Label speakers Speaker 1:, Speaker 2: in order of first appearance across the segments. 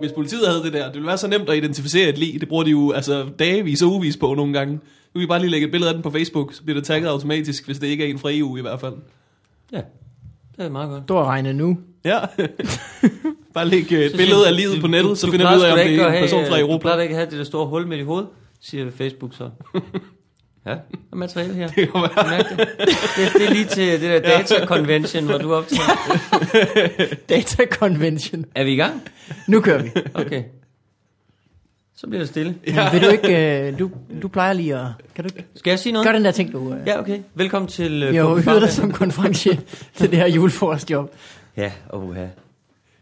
Speaker 1: hvis politiet havde det der. Det ville være så nemt at identificere et lig. Det bruger de jo altså, dagevis og ugevis på nogle gange. Nu kan vi bare lige lægge et billede af den på Facebook, så bliver det tagget automatisk, hvis det ikke er en fra EU i hvert fald.
Speaker 2: Ja, det er meget godt.
Speaker 3: Du har regnet nu.
Speaker 1: Ja. bare lægge et billede af livet på nettet, så finder vi ud af, om det er en person fra
Speaker 2: Du
Speaker 1: Europa.
Speaker 2: plejer da ikke at have det der store hul midt i hovedet, siger Facebook så. Ja, der er materiale her.
Speaker 1: Det kan være.
Speaker 2: Mærk det. Det, det er lige til det der data convention, hvor du er optaget.
Speaker 3: Data convention.
Speaker 2: Er vi i gang?
Speaker 3: Nu kører vi.
Speaker 2: Okay. Så bliver det stille.
Speaker 3: Ja. Vil du ikke, øh, du, du plejer lige at... Kan du ikke
Speaker 2: Skal jeg sige noget?
Speaker 3: gøre den der ting, du... Øh, ja.
Speaker 2: Ja, okay. Velkommen til... øh,
Speaker 3: Jeg har jo
Speaker 2: Fucking
Speaker 3: hyret dig
Speaker 2: Farmand.
Speaker 3: som konferencier til det her juleforskjob.
Speaker 2: Ja, oha.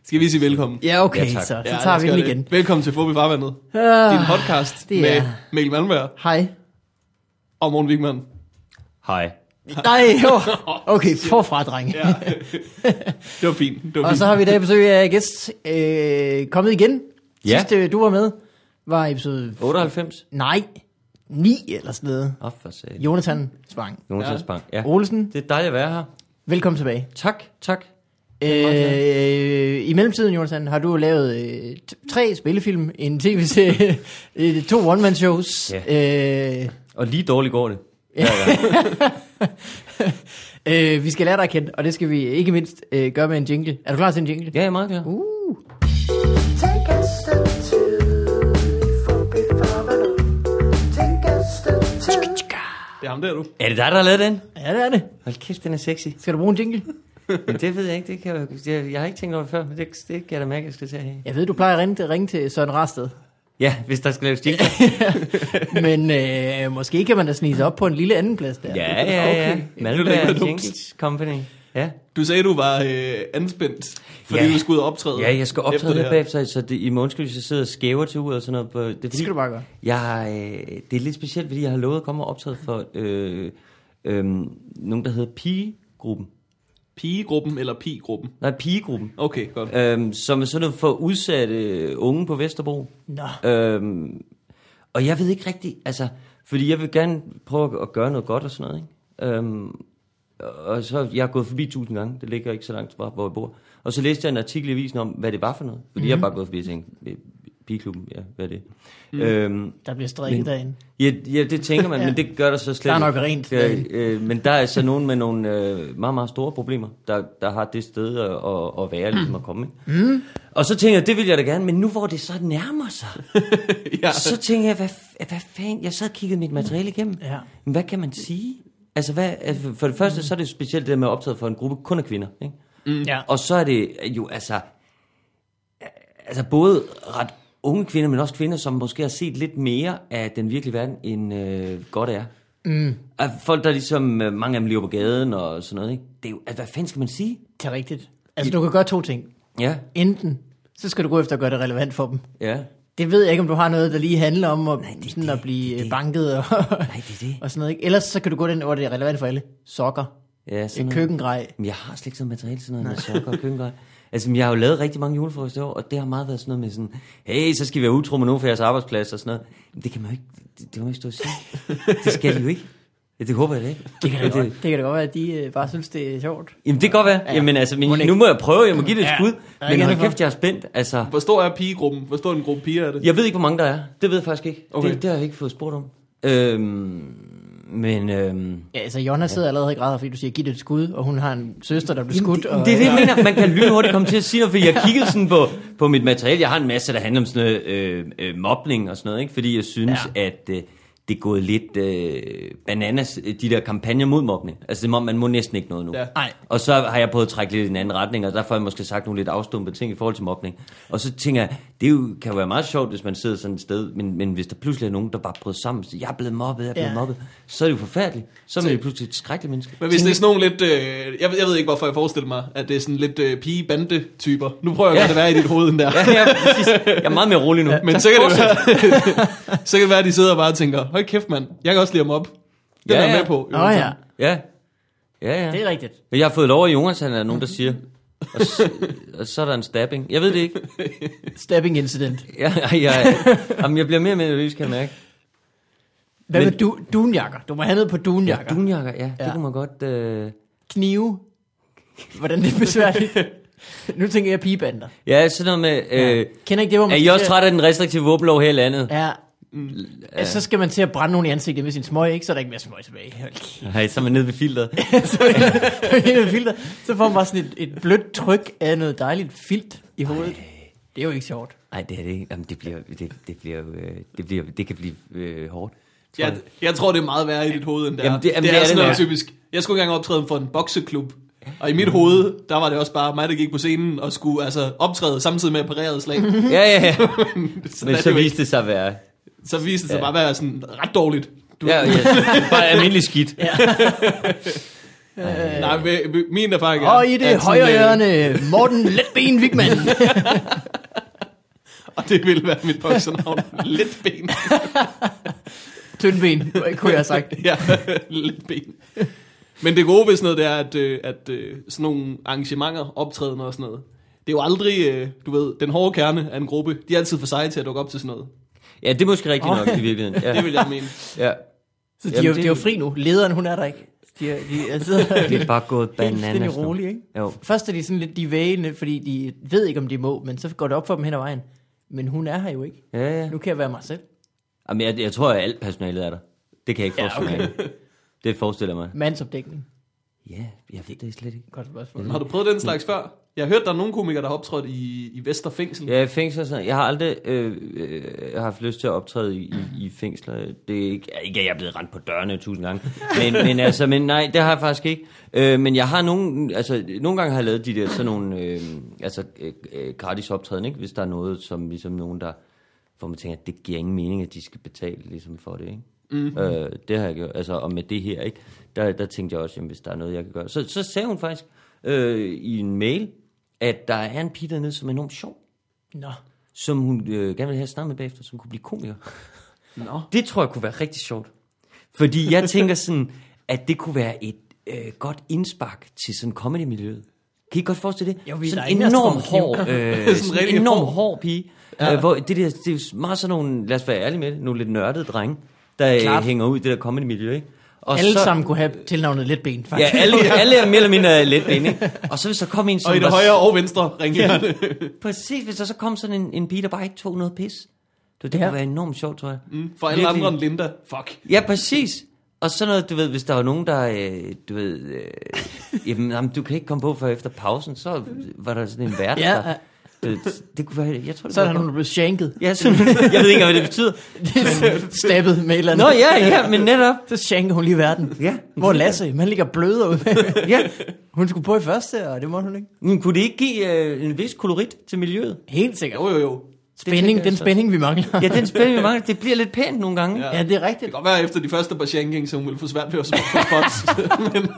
Speaker 1: Skal vi sige velkommen?
Speaker 3: Ja, okay,
Speaker 2: Ja,
Speaker 3: ja,
Speaker 2: tak.
Speaker 3: så, så
Speaker 1: Ja,
Speaker 3: tager
Speaker 1: lad os
Speaker 3: vi
Speaker 1: gøre
Speaker 3: den
Speaker 1: det.
Speaker 3: igen.
Speaker 1: Velkommen til Fobi Farvandet. Din
Speaker 3: Ah,
Speaker 1: podcast
Speaker 3: det
Speaker 1: med
Speaker 3: er-
Speaker 1: Mikkel Malmberg
Speaker 3: hej.
Speaker 1: og Morten Wigman.
Speaker 2: Hej.
Speaker 3: Nej, jo. Okay, forfra, drenge.
Speaker 1: Ja. det var fint. Det var
Speaker 3: Og
Speaker 1: fint.
Speaker 3: så har vi i dag besøg af gæst øh, kommet igen.
Speaker 2: Ja.
Speaker 3: Sidste øh, du var med, var episode...
Speaker 2: 98.
Speaker 3: Nej, 9 eller sådan noget.
Speaker 2: Åh, oh, for satan.
Speaker 3: Jonathan Svang.
Speaker 2: Nogen
Speaker 1: Ja.
Speaker 2: ja. bank. Ja.
Speaker 3: Olsen,
Speaker 2: Det er dejligt at være her.
Speaker 3: velkommen tilbage.
Speaker 2: Tak, tak.
Speaker 3: Øh, I mellemtiden, Jonathan, har du lavet øh, t- tre spillefilm, en tv-serie, øh, to one-man-shows.
Speaker 2: Ja.
Speaker 3: Øh,
Speaker 2: Og lige dårligt går det.
Speaker 3: øh, vi skal lære dig at kende, og det skal vi ikke mindst øh, gøre med en jingle. Er du klar til en jingle?
Speaker 2: Ja, jeg er meget klar. Uh.
Speaker 4: Take a step to for before Take a step to
Speaker 1: Det er ham der, du.
Speaker 2: Er det dig, der har lavet den?
Speaker 3: Ja, det er det.
Speaker 2: Hold kæft, den er sexy.
Speaker 3: Skal du bruge en jingle?
Speaker 2: Men det ved jeg ikke. Det kan jeg, jeg, jeg har ikke tænkt over det før, men det, det kan jeg da mærke, jeg skal til at have.
Speaker 3: Jeg ved, du plejer at ringe til, ringe til Søren Rasted,
Speaker 2: Ja, hvis der skal laves jingle.
Speaker 3: men øh, måske kan man da snige sig op på en lille anden plads der.
Speaker 2: ja, ja, ja.
Speaker 3: Okay.
Speaker 1: Det lyder
Speaker 2: Malmberg
Speaker 1: dumt.
Speaker 2: Jingles Company. Ja.
Speaker 1: Du sagde, du var øh, anspændt, fordi
Speaker 2: Ja.
Speaker 1: du skulle ud og optræde.
Speaker 2: ja, jeg skal
Speaker 1: efter
Speaker 2: optræde
Speaker 1: det
Speaker 2: lidt
Speaker 1: her.
Speaker 2: bagefter, så det, i morgen skal vi så sidde og skæver til uret og sådan noget. På, det, er
Speaker 3: Det skal du bare gøre.
Speaker 2: Jeg, øh, det er lidt specielt, fordi jeg har lovet at komme og optræde for øh, øh, nogen, der hedder Pigegruppen.
Speaker 1: Pigegruppen eller pigruppen?
Speaker 2: Nej, Pigegruppen.
Speaker 1: Okay, godt.
Speaker 2: Øhm, som er sådan noget for udsatte unge på Vesterbro.
Speaker 3: Nå.
Speaker 2: Øhm, og jeg ved ikke rigtigt, altså, fordi jeg vil gerne prøve at- at gøre noget godt og sådan noget, ikke? Øhm, og så, jeg har gået forbi tusind gange, det ligger ikke så langt fra, hvor jeg bor. Og så læste jeg en artikel i avisen om, hvad det var for noget. Fordi
Speaker 3: Mhm.
Speaker 2: mm-hmm. jeg er bare gået forbi og tænkte, "Øh, pigeklubben, ja, hvad er det? Mm. Øhm,
Speaker 3: Der bliver strikket
Speaker 2: Men-
Speaker 3: derinde.
Speaker 2: ja, ja, det tænker man,
Speaker 3: Ja.
Speaker 2: men det gør der så slet
Speaker 3: Der er
Speaker 2: ikke.
Speaker 3: nok rent.
Speaker 2: Øh, øh, men der er så nogen med nogle øh, meget, meget store problemer, der, der har det sted at, at, at være,
Speaker 3: Mhm.
Speaker 2: ligesom at komme. Ikke? Mm. Og så tænker jeg, det vil jeg da gerne, men nu hvor det så nærmer sig,
Speaker 1: ja.
Speaker 2: så tænker jeg, hvad, f- hvad fanden, jeg sad og kiggede mit materiale igennem.
Speaker 3: Ja.
Speaker 2: Men hvad kan man sige? Altså, hvad, altså for det første, så er det specielt det der med at optage for en gruppe kun af kvinder. Ikke?
Speaker 3: Ja.
Speaker 2: Og så er det jo altså, altså både ret unge kvinder, men også kvinder, som måske har set lidt mere af den virkelige verden, end øh, godt er. Mm. Folk, der ligesom, øh, mange af dem lever på gaden og sådan noget, ikke? Det er jo, altså, hvad fanden skal man sige?
Speaker 3: Det er rigtigt. Altså, du kan gøre to ting.
Speaker 2: Ja,
Speaker 3: Enten, så skal du gå efter at gøre det relevant for dem.
Speaker 2: ja.
Speaker 3: Det ved jeg ikke, om du har noget, der lige handler om at, Nej,
Speaker 2: det er
Speaker 3: det, sådan
Speaker 2: det,
Speaker 3: at blive øh,
Speaker 2: det er det.
Speaker 3: banket og,
Speaker 2: Nej, det er det.
Speaker 3: og sådan noget. Ikke? Ellers så kan du gå den, hvor det er relevant for alle. Sokker,
Speaker 2: Ja, sådan
Speaker 3: et
Speaker 2: noget.
Speaker 3: køkkengrej.
Speaker 2: Men jeg har slet ikke sådan materiale, sådan noget med sokker og køkkengrej. Altså, men jeg har jo lavet rigtig mange julefrokoster i år, og det har meget været sådan noget med sådan, hey, så skal vi være utro med nogen for jeres arbejdsplads og sådan noget. Men det kan man jo ikke, det, det kan man jo ikke stå og sige. Det skal de jo ikke. Ja, det håber jeg da ikke. Det kan
Speaker 3: Det, det kan da godt være, at de øh, bare synes, det er sjovt.
Speaker 2: Jamen, det kan godt være. Ja. Jamen, altså, men, nu må jeg prøve, jeg må give det et
Speaker 3: Ja.
Speaker 2: skud.
Speaker 3: Der er
Speaker 2: Men
Speaker 3: ikke
Speaker 2: hold
Speaker 3: andet
Speaker 2: kæft, jeg er spændt. Altså,
Speaker 1: Hvor stor er pigegruppen? Hvor stor en gruppe piger er det?
Speaker 2: jeg ved ikke, hvor mange der er. Det ved jeg faktisk ikke.
Speaker 1: Okay.
Speaker 2: Okay. Det, det har jeg ikke fået spurgt om. Øhm, men... Øhm,
Speaker 3: Ja, altså, Jonna sidder allerede og græder, fordi du siger, giv det et skud, og hun har en søster, der bliver skudt.
Speaker 2: det,
Speaker 3: og,
Speaker 2: det er det, jeg mener. Man kan lynhurtigt komme til at sige noget, fordi jeg kiggede sådan på, på mit materiale. Jeg har en masse, der handler om sådan noget øh, øh, mobning og sådan noget, ikke? fordi jeg synes, ja. at øh, det er gået lidt øh, bananas, øh, de der kampagner mod mobning. Altså, det må, man må næsten ikke noget nu.
Speaker 1: Ja.
Speaker 3: Nej.
Speaker 2: Og så har jeg prøvet at trække lidt i en anden retning, og derfor har jeg måske sagt nogle lidt afstumpede ting i forhold til mobning. Og så tænker jeg, det er jo, kan jo være meget sjovt, hvis man sidder sådan et sted, men, men hvis der pludselig er nogen, der bare bryder sammen, så jeg er blevet mobbet, jeg er blevet
Speaker 3: Ja.
Speaker 2: ja. mobbet, så er det jo forfærdeligt. Så er man jo pludselig et skrækkeligt menneske.
Speaker 1: Men hvis det er sådan nogle lidt... Øh, jeg, ved- jeg ved ikke, hvorfor jeg forestiller mig, at det er sådan lidt øh, pige-bande-typer. Nu prøver jeg at gøre
Speaker 2: Ja.
Speaker 1: det være i dit hoved, den der.
Speaker 2: Ja, ja, præcis. Jeg er meget mere rolig nu.
Speaker 1: Men så kan, det være, så kan det være, at de sidder og bare tænker, høj kæft mand, jeg kan også lide ham op. Det
Speaker 2: Ja,
Speaker 1: er jeg
Speaker 2: ja.
Speaker 1: med på.
Speaker 3: Nå ja,
Speaker 2: Ja. Ja,
Speaker 3: det
Speaker 2: ja.
Speaker 3: er rigtigt.
Speaker 2: Men jeg har fået lov i Jungersand, er der nogen, der siger. Og så, og så er der en stabbing. Jeg ved det ikke.
Speaker 3: Stabbing incident.
Speaker 2: Jeg, jeg, jeg, jamen, jeg bliver mere og mere nervøs, kan jeg mærke.
Speaker 3: Hvad
Speaker 2: Men-
Speaker 3: med du, dunjakker? Du må have noget på dunjakker.
Speaker 2: Dunjakker, ja. Det
Speaker 3: Ja.
Speaker 2: kunne man godt... Øh...
Speaker 3: Knive. Hvordan det er besværligt. nu tænker jeg pigebander.
Speaker 2: Ja, sådan noget med... Øh,
Speaker 3: Kender ikke det, hvor man...
Speaker 2: Er I
Speaker 3: skal
Speaker 2: også
Speaker 3: til
Speaker 2: trætte af den restriktive våbenlov her i landet?
Speaker 3: at- Ja. Mm. Så skal man til at brænde nogen i ansigtet med sin smøg, ikke? Så er der ikke mere smøg tilbage. Hold kæft.
Speaker 2: Nej, så er man nede ved filteret.
Speaker 3: så, er det filter. så får man bare sådan et, et blødt tryk af noget dejligt filt i hovedet. Det er jo ikke sjovt.
Speaker 2: Nej, det er det ikke. Jamen, det bliver... Det, det, bliver, jo, øh, det, bliver, det kan blive øh, hårdt. tror
Speaker 1: Jeg, jeg tror, det er meget værre i dit hoved, end det
Speaker 2: Jamen,
Speaker 1: er.
Speaker 2: det- jamen,
Speaker 1: det
Speaker 2: det
Speaker 1: er
Speaker 2: er
Speaker 1: sådan
Speaker 2: det
Speaker 1: noget
Speaker 2: nok.
Speaker 1: typisk. Jeg skulle engang optræde for en bokseklub, og i mit hoved, der var det også bare mig, der gik på scenen og skulle altså, optræde samtidig med at parerede slag. Sådan
Speaker 2: Ja, ja, ja. Men
Speaker 1: er det
Speaker 2: så
Speaker 1: jo ikke.
Speaker 2: viste det sig at være...
Speaker 1: så viste det sig bare at være sådan ret dårligt. Du,
Speaker 2: Ja, ja. Bare almindelig skidt.
Speaker 1: Nej, men- men min erfaring er...
Speaker 3: Øh, Og i det
Speaker 1: at sådan,
Speaker 3: højre
Speaker 1: øh,
Speaker 3: hjørne, Morten Letben Wigman.
Speaker 1: Og det ville være mit boksernavn. Lidt ben.
Speaker 3: Tyndben, kunne jeg have sagt.
Speaker 1: ja, lidt ben. Men det gode ved sådan noget, det er, at, øh, at øh, sådan nogle arrangementer, optrædener og sådan noget, det er jo aldrig, øh, du ved, den hårde kerne af en gruppe, de er altid for seje til at dukke op til sådan noget.
Speaker 2: Ja, det er måske rigtigt
Speaker 3: Åh.
Speaker 2: nok i virkeligheden. Ja,
Speaker 1: Det vil jeg mene.
Speaker 2: ja.
Speaker 3: Så de,
Speaker 2: Jamen,
Speaker 3: er jo,
Speaker 2: det-
Speaker 3: de er jo fri nu. Lederen, hun er der ikke. De, er, de er sidder
Speaker 2: Det er bare gået
Speaker 3: helt
Speaker 2: bananas
Speaker 3: stille
Speaker 2: nu.
Speaker 3: roligt, ikke?
Speaker 2: Jo.
Speaker 3: Først er de sådan lidt de er vægende, fordi de ved ikke, om de må, men så går det op for dem hen ad vejen. Men hun er her jo ikke.
Speaker 2: Ja, ja.
Speaker 3: Nu kan jeg være mig selv.
Speaker 2: Jamen, jeg, jeg tror, at alt personalet er der. Det kan jeg ikke
Speaker 3: Ja,
Speaker 2: forestille ja, okay. mig. Det forestiller jeg mig.
Speaker 3: Mandsopdækning.
Speaker 2: Ja, jeg ved det slet ikke.
Speaker 3: Godt spørgsmål.
Speaker 1: Har du prøvet den slags før? Jeg har hørt, der er nogle komikere, der har optrådt i, i Vesterfængsel.
Speaker 2: Ja, fængsler og sådan noget. Jeg har aldrig øh, øh, haft lyst til at optræde i, i, i fængsler. Det er ikke, ikke, at jeg er blevet rendt på dørene tusind gange. Men, men, altså, men nej, det har jeg faktisk ikke. Øh, men jeg har nogle, altså, nogle gange har jeg lavet de der sådan nogle øh, altså, øh, øh, gratis optræden, ikke? hvis der er noget, som ligesom nogen, der, hvor man tænker, at det giver ingen mening, at de skal betale ligesom, for det. Ikke? Mm-hmm. Øh, det har jeg gjort. Altså, og med det her, ikke? Der, der tænkte jeg også, jamen, hvis der er noget, jeg kan gøre. Så, så sagde hun faktisk øh, i en mail, at der er en pige dernede, som er enormt sjov
Speaker 3: Nå.
Speaker 2: som hun øh, gerne ville have snakket med bagefter, som kunne blive komiker.
Speaker 1: Nå.
Speaker 2: Det tror jeg kunne være rigtig sjovt. Fordi jeg tænker sådan, at det kunne være et øh, godt indspark til sådan comedy-miljøet. Kan I godt forestille det?
Speaker 3: Jo, vi er
Speaker 2: sådan
Speaker 3: derinde og
Speaker 2: enorm
Speaker 3: tror,
Speaker 2: hård, øh,
Speaker 1: Sådan
Speaker 2: sådan
Speaker 1: rigtig
Speaker 2: enorm
Speaker 1: hård.
Speaker 2: hård pige. Ja. Øh, hvor det, der, det er jo meget sådan nogle, lad os være ærlige med det, nogle lidt nørdede drenge, der øh,
Speaker 3: Klart.
Speaker 2: hænger ud i det der comedy-miljø, ikke? Og
Speaker 3: Alle
Speaker 2: så,
Speaker 3: sammen kunne have tilnavnet Letben,
Speaker 2: Ja,
Speaker 3: faktisk.
Speaker 2: alle, alle er mere eller mindre let inde, ikke? Og så hvis der kom en, som
Speaker 1: Og i det
Speaker 2: var
Speaker 1: højre og venstre ringhjørne.
Speaker 2: Præcis, hvis der så kom sådan en, en pige, der bare ikke tog noget pis. Du, det
Speaker 3: Ja.
Speaker 2: ja. kunne være enormt sjovt, tror jeg. Mm,
Speaker 1: For alle andre end Linda. Fuck.
Speaker 2: Ja, præcis. Og sådan noget, du ved, hvis der var nogen, der, øh, du ved, øh, jamen, jamen, du kan ikke komme på før efter pausen, så var der sådan en vært,
Speaker 3: Ja,
Speaker 2: der,
Speaker 3: ja.
Speaker 2: du ved, det kunne være, jeg tror, det
Speaker 3: Så er der
Speaker 2: kunne
Speaker 3: nogen,
Speaker 2: være
Speaker 3: der blev shanket.
Speaker 2: godt. Ja, sådan, jeg ved ikke, hvad det betyder.
Speaker 3: Stabbet med et eller andet.
Speaker 2: Nå, ja, ja, men netop.
Speaker 3: Så shankede hun lige verden.
Speaker 2: Ja.
Speaker 3: Hvor er Lasse, man ligger bløder ud.
Speaker 2: Ja,
Speaker 3: hun skulle på i første, og det måtte hun ikke.
Speaker 2: men kunne det ikke give øh, en vis kolorit til miljøet?
Speaker 3: Helt sikkert.
Speaker 1: Jo, jo, jo.
Speaker 3: Spænding, den
Speaker 2: så.
Speaker 3: spænding, vi mangler.
Speaker 2: Ja, den spænding, vi mangler, det bliver lidt pænt nogle gange.
Speaker 1: Ja.
Speaker 3: ja det er
Speaker 1: Det
Speaker 3: rigtigt.
Speaker 1: kan godt være, efter de første par shanking, så hun ville få svært ved at spørge for spots.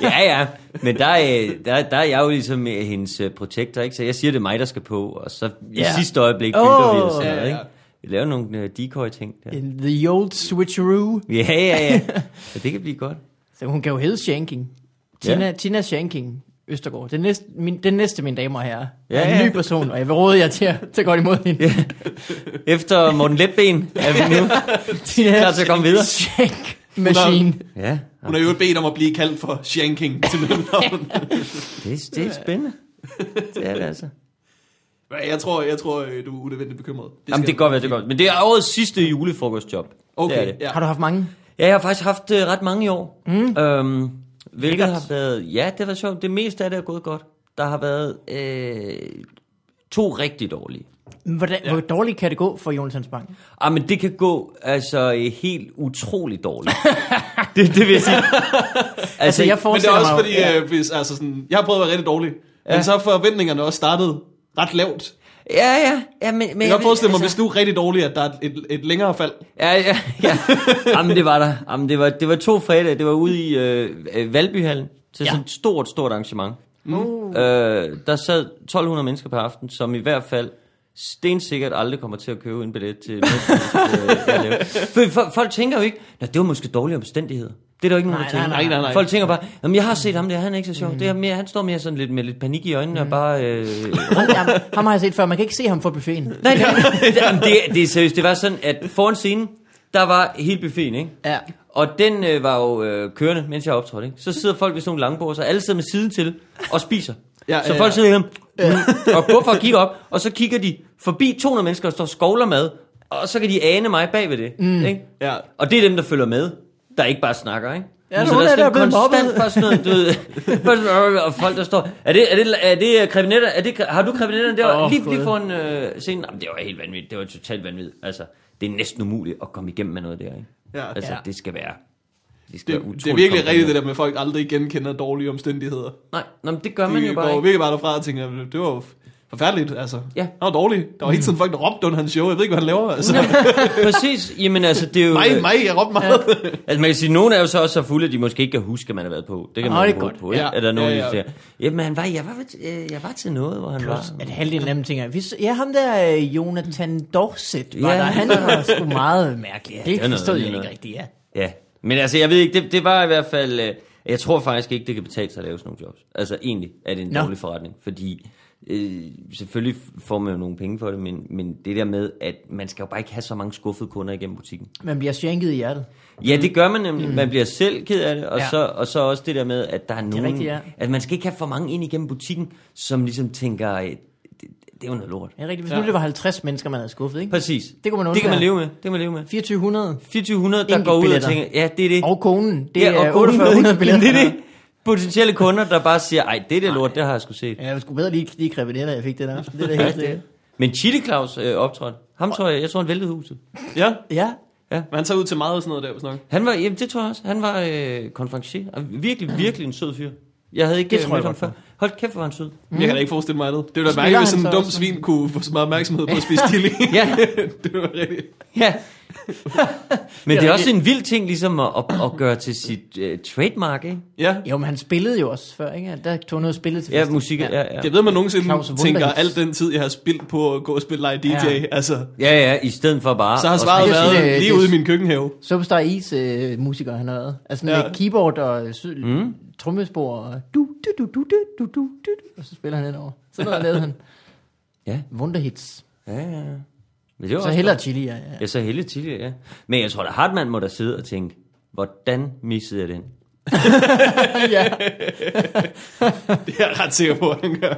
Speaker 2: Ja, ja, men der, øh, der, der er jeg jo ligesom øh, hendes øh, protektor, ikke? så jeg siger, det er mig, der skal på, og så i
Speaker 3: Ja.
Speaker 2: sidste øjeblik bytter oh, vi og
Speaker 3: Åh.
Speaker 2: sådan
Speaker 1: Ja,
Speaker 2: noget.
Speaker 1: ja.
Speaker 2: Ikke? Vi laver nogle øh, decoy-ting der.
Speaker 3: The old switcheroo.
Speaker 2: Ja, ja, ja. ja det kan blive godt.
Speaker 3: Så hun kan jo hedde Shanking. Tina, ja. Tina Shanking Østergaard. Den næste, min, den næste mine damer og herrer, ja,
Speaker 2: Ja,
Speaker 3: er en
Speaker 2: ja.
Speaker 3: ny person, og jeg vil råde jer til at tage godt imod hende. Ja.
Speaker 2: Efter Morten Letben er vi nu
Speaker 3: Tina
Speaker 2: klar til at komme videre.
Speaker 3: Shank Machine.
Speaker 2: Ja,
Speaker 1: Hun har jo bedt om at blive kaldt for shanking til mellemnavn.
Speaker 2: det, er- det er spændende. Det er det altså.
Speaker 1: Ja, Jeg tror, jeg tror øh, du er unødvendigt bekymret. Det
Speaker 2: Jamen,
Speaker 1: skal
Speaker 2: det kan godt være, det er godt. Men det er årets sidste julefrokostjob.
Speaker 1: Okay,
Speaker 2: det er det.
Speaker 1: ja.
Speaker 3: Har du haft mange?
Speaker 2: Ja, jeg har faktisk haft øh, ret mange i år. Mm. Øhm, hvilket
Speaker 3: Lækkert.
Speaker 2: har været... Ja, det har været sjovt. Det meste af det er gået godt. Der har været øh, to rigtig dårlige.
Speaker 3: Hvordan, ja. Hvor dårligt kan det gå for Jonas Hans Bang?
Speaker 2: Ah, men det kan gå altså øh, helt utroligt dårligt. det, det vil jeg sige.
Speaker 3: Altså, jeg
Speaker 1: Men det
Speaker 3: forestiller
Speaker 1: er også
Speaker 3: mig
Speaker 1: fordi,
Speaker 3: jo-
Speaker 1: ja. øh, hvis, altså sådan, jeg har prøvet at være rigtig dårlig, ja. men så er forventningerne også startet ret lavt. Jeg
Speaker 2: Ja, ja. ja altså- men, men,
Speaker 1: kan godt forestille mig, hvis du er rigtig dårlig, at der er et, et længere fald.
Speaker 2: Ja, ja, ja. Jamen, det var der. Jamen, det var, det var to fredage. Det var ude i øh, øh, Valbyhallen til
Speaker 3: Ja.
Speaker 2: ja. sådan et stort, stort arrangement.
Speaker 3: Mm. Uh,
Speaker 2: Øh, der sad 1200 mennesker på aften, som i hvert fald stensikkert aldrig kommer til at købe en billet til for, øh, for, Folk tænker jo ikke, Nå, det var måske dårlige omstændigheder. Det er der jo ikke nogen, der
Speaker 3: Nej,
Speaker 2: tænker.
Speaker 3: nej,
Speaker 1: nej, nej.
Speaker 2: Folk tænker bare, Jamen, jeg har set ham der, han er ikke så sjov. Mm. Det er mere, han står mere sådan lidt med lidt panik i øjnene mm. og bare... Øh,
Speaker 3: ham, ham, ham, har jeg set før, man kan ikke se ham fra buffeten.
Speaker 2: nej, nej, Jamen, det, det er seriøst. Det var sådan, at foran scenen, der var hele buffeten, ikke?
Speaker 3: Ja.
Speaker 2: Og den øh, var jo øh, kørende, mens jeg optrådte. Ikke? Så sidder folk ved sådan nogle langbord, så alle sidder med siden til og spiser.
Speaker 1: Ja,
Speaker 2: Så folk sidder hjemme mm, og går for at kigge op, og så kigger de forbi 200 mennesker, der står og skovler mad, og så kan de ane mig bag ved det. Mm. Ikke?
Speaker 1: Ja.
Speaker 2: Og det er dem, der følger med, der ikke bare snakker, ikke?
Speaker 3: Ja,
Speaker 2: så
Speaker 3: nogen
Speaker 2: der
Speaker 3: af
Speaker 2: sådan
Speaker 3: dem er blevet
Speaker 2: konstant
Speaker 3: mobbet.
Speaker 2: bare sådan noget, du ved, bare sådan, øh, og folk der står, er det, er det, er det øh, krimineller, er det, har du krimineller der,
Speaker 3: Åh,
Speaker 2: oh, lige,
Speaker 3: Gud.
Speaker 2: lige foran øh, scenen, Jamen, det var helt vanvittigt, det var totalt vanvittigt, altså, det er næsten umuligt at komme igennem med noget der, ikke?
Speaker 1: Ja.
Speaker 2: Altså,
Speaker 3: Ja.
Speaker 2: det skal være, det skal
Speaker 1: Det,
Speaker 2: være
Speaker 1: det er
Speaker 2: utroligt
Speaker 1: virkelig rigtigt det
Speaker 2: komprimeret.
Speaker 1: der med, at folk aldrig genkender dårlige omstændigheder.
Speaker 2: Nej, nå, men det gør man
Speaker 1: De
Speaker 2: jo bare
Speaker 1: går
Speaker 2: ikke.
Speaker 1: virkelig bare derfra og tænker, det var jo forfærdeligt, altså.
Speaker 2: Ja.
Speaker 1: Han var dårlig. Der var hele tiden folk, der råbte under hans show. Jeg ved ikke, hvad han laver, altså.
Speaker 2: Præcis, jamen altså, det er jo...
Speaker 1: mig, mig, jeg råbte meget.
Speaker 2: Altså man kan sige, nogen er jo så også så fulde, at de måske ikke kan huske, at man har været på. Det kan
Speaker 3: Nå,
Speaker 2: man
Speaker 3: det
Speaker 2: jo
Speaker 3: er
Speaker 2: håbe
Speaker 3: godt.
Speaker 2: på, ikke?
Speaker 1: Ja.
Speaker 2: Ja. Eller nogen,
Speaker 1: Ja,
Speaker 2: ja,
Speaker 1: ja.
Speaker 2: ja. der siger, jamen han var, jeg, var, ved- øh, jeg var til noget, hvor han
Speaker 3: Plus,
Speaker 2: var.
Speaker 3: at halvdelen af dem tænker, vi, s- ja, ham der øh, Jonathan Dorset, var
Speaker 2: Ja.
Speaker 3: der, han var sgu meget mærkelig. Ja,
Speaker 2: er
Speaker 3: det
Speaker 2: noget
Speaker 3: forstod
Speaker 2: andet
Speaker 3: jeg ikke
Speaker 2: noget.
Speaker 3: rigtigt, ja.
Speaker 2: Ja, men altså, jeg ved ikke, det, det var i hvert fald... Øh, jeg tror faktisk ikke, det kan betale sig at lave sådan nogle jobs. Altså egentlig er det en
Speaker 3: Nå.
Speaker 2: dårlig forretning, fordi øh, selvfølgelig får man jo nogle penge for det, men, men det der med, at man skal jo bare ikke have så mange skuffede kunder igennem butikken.
Speaker 3: Man bliver sjanket i hjertet.
Speaker 2: Ja, det gør man nemlig. Mm. Man bliver selv ked af det, og,
Speaker 3: Ja.
Speaker 2: ja. så, og så også det der med, at der er nogen...
Speaker 3: rigtigt, ja.
Speaker 2: At man skal ikke have for mange ind igennem butikken, som ligesom tænker, øh, det, det, det er jo noget lort.
Speaker 3: Ja, rigtigt. Hvis ja. nu det var 50 mennesker, man havde skuffet, ikke?
Speaker 2: Præcis.
Speaker 3: Det kunne man
Speaker 2: det kan
Speaker 3: undvære.
Speaker 2: man leve med. Det kan man leve med.
Speaker 3: 2400.
Speaker 2: 2400, der
Speaker 3: Enkelt
Speaker 2: går ud og
Speaker 3: billetter.
Speaker 2: tænker, ja, det er det.
Speaker 3: Og konen. Det
Speaker 2: ja,
Speaker 3: ja, er
Speaker 2: konen,
Speaker 3: 4800
Speaker 2: ikke?
Speaker 3: billetter.
Speaker 2: Jamen, Det er det. Potentielle kunder, der bare siger, ej, det er det lort, det har jeg sgu set.
Speaker 3: Ja, jeg skulle bedre lige lige kræve det, da jeg fik den aften. Det er da helt det.
Speaker 2: Men Chili Claus øh, optrådte. Ham tror jeg, jeg tror han væltede huset.
Speaker 1: ja,
Speaker 3: Ja,
Speaker 1: men han tager ud til meget og sådan noget der, hvis nok.
Speaker 2: Han var, jamen det tror jeg også, han var øh, konferencier. Og Virkelig, virkelig en sød fyr. Jeg havde ikke
Speaker 3: Det
Speaker 2: øh,
Speaker 3: tror
Speaker 2: mødt
Speaker 3: jeg
Speaker 2: ham
Speaker 3: godt
Speaker 2: før. Hold kæft, hvor var han sød.
Speaker 1: Mm. Jeg kan da ikke forestille mig andet. Det ville da
Speaker 3: Spiller
Speaker 1: mærke, hvis
Speaker 3: han
Speaker 1: sådan en
Speaker 3: så
Speaker 1: dum
Speaker 3: også?
Speaker 1: svin kunne få så meget opmærksomhed på at spise chili.
Speaker 2: Ja,
Speaker 1: det var rigtigt.
Speaker 2: ja. Men det er også en vild ting ligesom at, at, at gøre til sit øh, trademark, ikke?
Speaker 1: Ja.
Speaker 3: Jo, men han spillede jo også før, ikke? Der tog noget spillet til
Speaker 2: Ja,
Speaker 3: festen.
Speaker 2: musik. Ja, ja.
Speaker 1: Jeg ved, man nogensinde
Speaker 3: Claus
Speaker 1: tænker,
Speaker 3: Wunderhits.
Speaker 1: al den tid, jeg har spildt på at gå og spille live DJ,
Speaker 3: Ja.
Speaker 1: ja. altså,
Speaker 2: ja, ja, i stedet for bare...
Speaker 1: så har
Speaker 2: at
Speaker 1: svaret
Speaker 3: det er
Speaker 1: været
Speaker 3: sådan, øh,
Speaker 1: lige
Speaker 3: det er-
Speaker 1: ude i min køkkenhave.
Speaker 3: Superstar Is øh, musiker, han har været. Altså med
Speaker 1: Ja.
Speaker 3: ja. keyboard og sy- mm. trommespor og du, du, du, du, du, du, du, du, og så spiller han henover. Sådan noget lavede han.
Speaker 2: Ja.
Speaker 3: Wunderhits.
Speaker 2: Ja, ja, ja. Men det var
Speaker 3: Så
Speaker 2: også
Speaker 3: heller
Speaker 2: godt.
Speaker 3: chili, ja. ja.
Speaker 2: Ja, så heller tidligere, ja. Men jeg tror da, Hartmann må da sidde og tænke, hvordan missede jeg den?
Speaker 3: ja.
Speaker 1: Det er jeg ret sikker på, at han gør.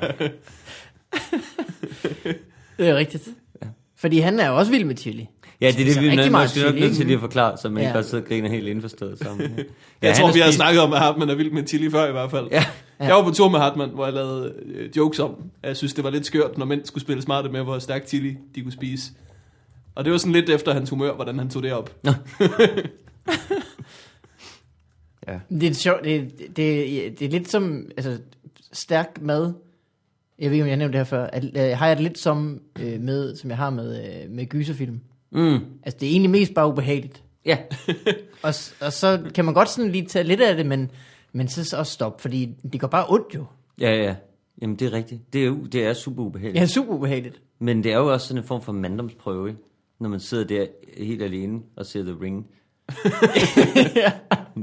Speaker 3: Det er rigtigt. Ja. Fordi han er jo også vild med chili.
Speaker 2: Ja, det er det,
Speaker 3: Spiser
Speaker 2: vi
Speaker 3: rigtig
Speaker 2: er
Speaker 3: meget
Speaker 2: måske nok
Speaker 3: chili,
Speaker 2: nødt til
Speaker 3: ikke?
Speaker 2: lige at forklare, så man
Speaker 3: Ja.
Speaker 2: ikke bare sidder og griner helt indforstået sammen. Ja,
Speaker 1: Jeg
Speaker 2: han
Speaker 1: tror, vi har
Speaker 2: spist-
Speaker 1: snakket om, at Hartmann er vild med chili før i hvert fald.
Speaker 2: Ja.
Speaker 1: Ja. Jeg var på tur med Hartmann, hvor jeg lavede øh, jokes om, at jeg synes, det var lidt skørt, når mænd skulle spille smarte med, hvor stærk chili de kunne spise. Og det var sådan lidt efter hans humør, hvordan han tog det op.
Speaker 2: Ja.
Speaker 3: Det er sjovt. Det, det, det, det er lidt som altså, stærk mad. Jeg ved ikke, om jeg nævnte det her før. At, øh, har jeg det lidt som, øh, med, som jeg har med, øh, med gyserfilm.
Speaker 2: Mm.
Speaker 3: Altså, det er egentlig mest bare ubehageligt.
Speaker 2: Ja.
Speaker 3: Og, s- og så kan man godt sådan lige tage lidt af det, men, men så s- også stoppe, fordi det går bare ondt jo.
Speaker 2: ja, ja. Jamen, det er rigtigt. Det er, jo- det er super ubehageligt.
Speaker 3: Ja, super ubehageligt.
Speaker 2: Men det er jo også sådan en form for manddomsprøve, ikke? Når man sidder der helt alene og ser The Ring.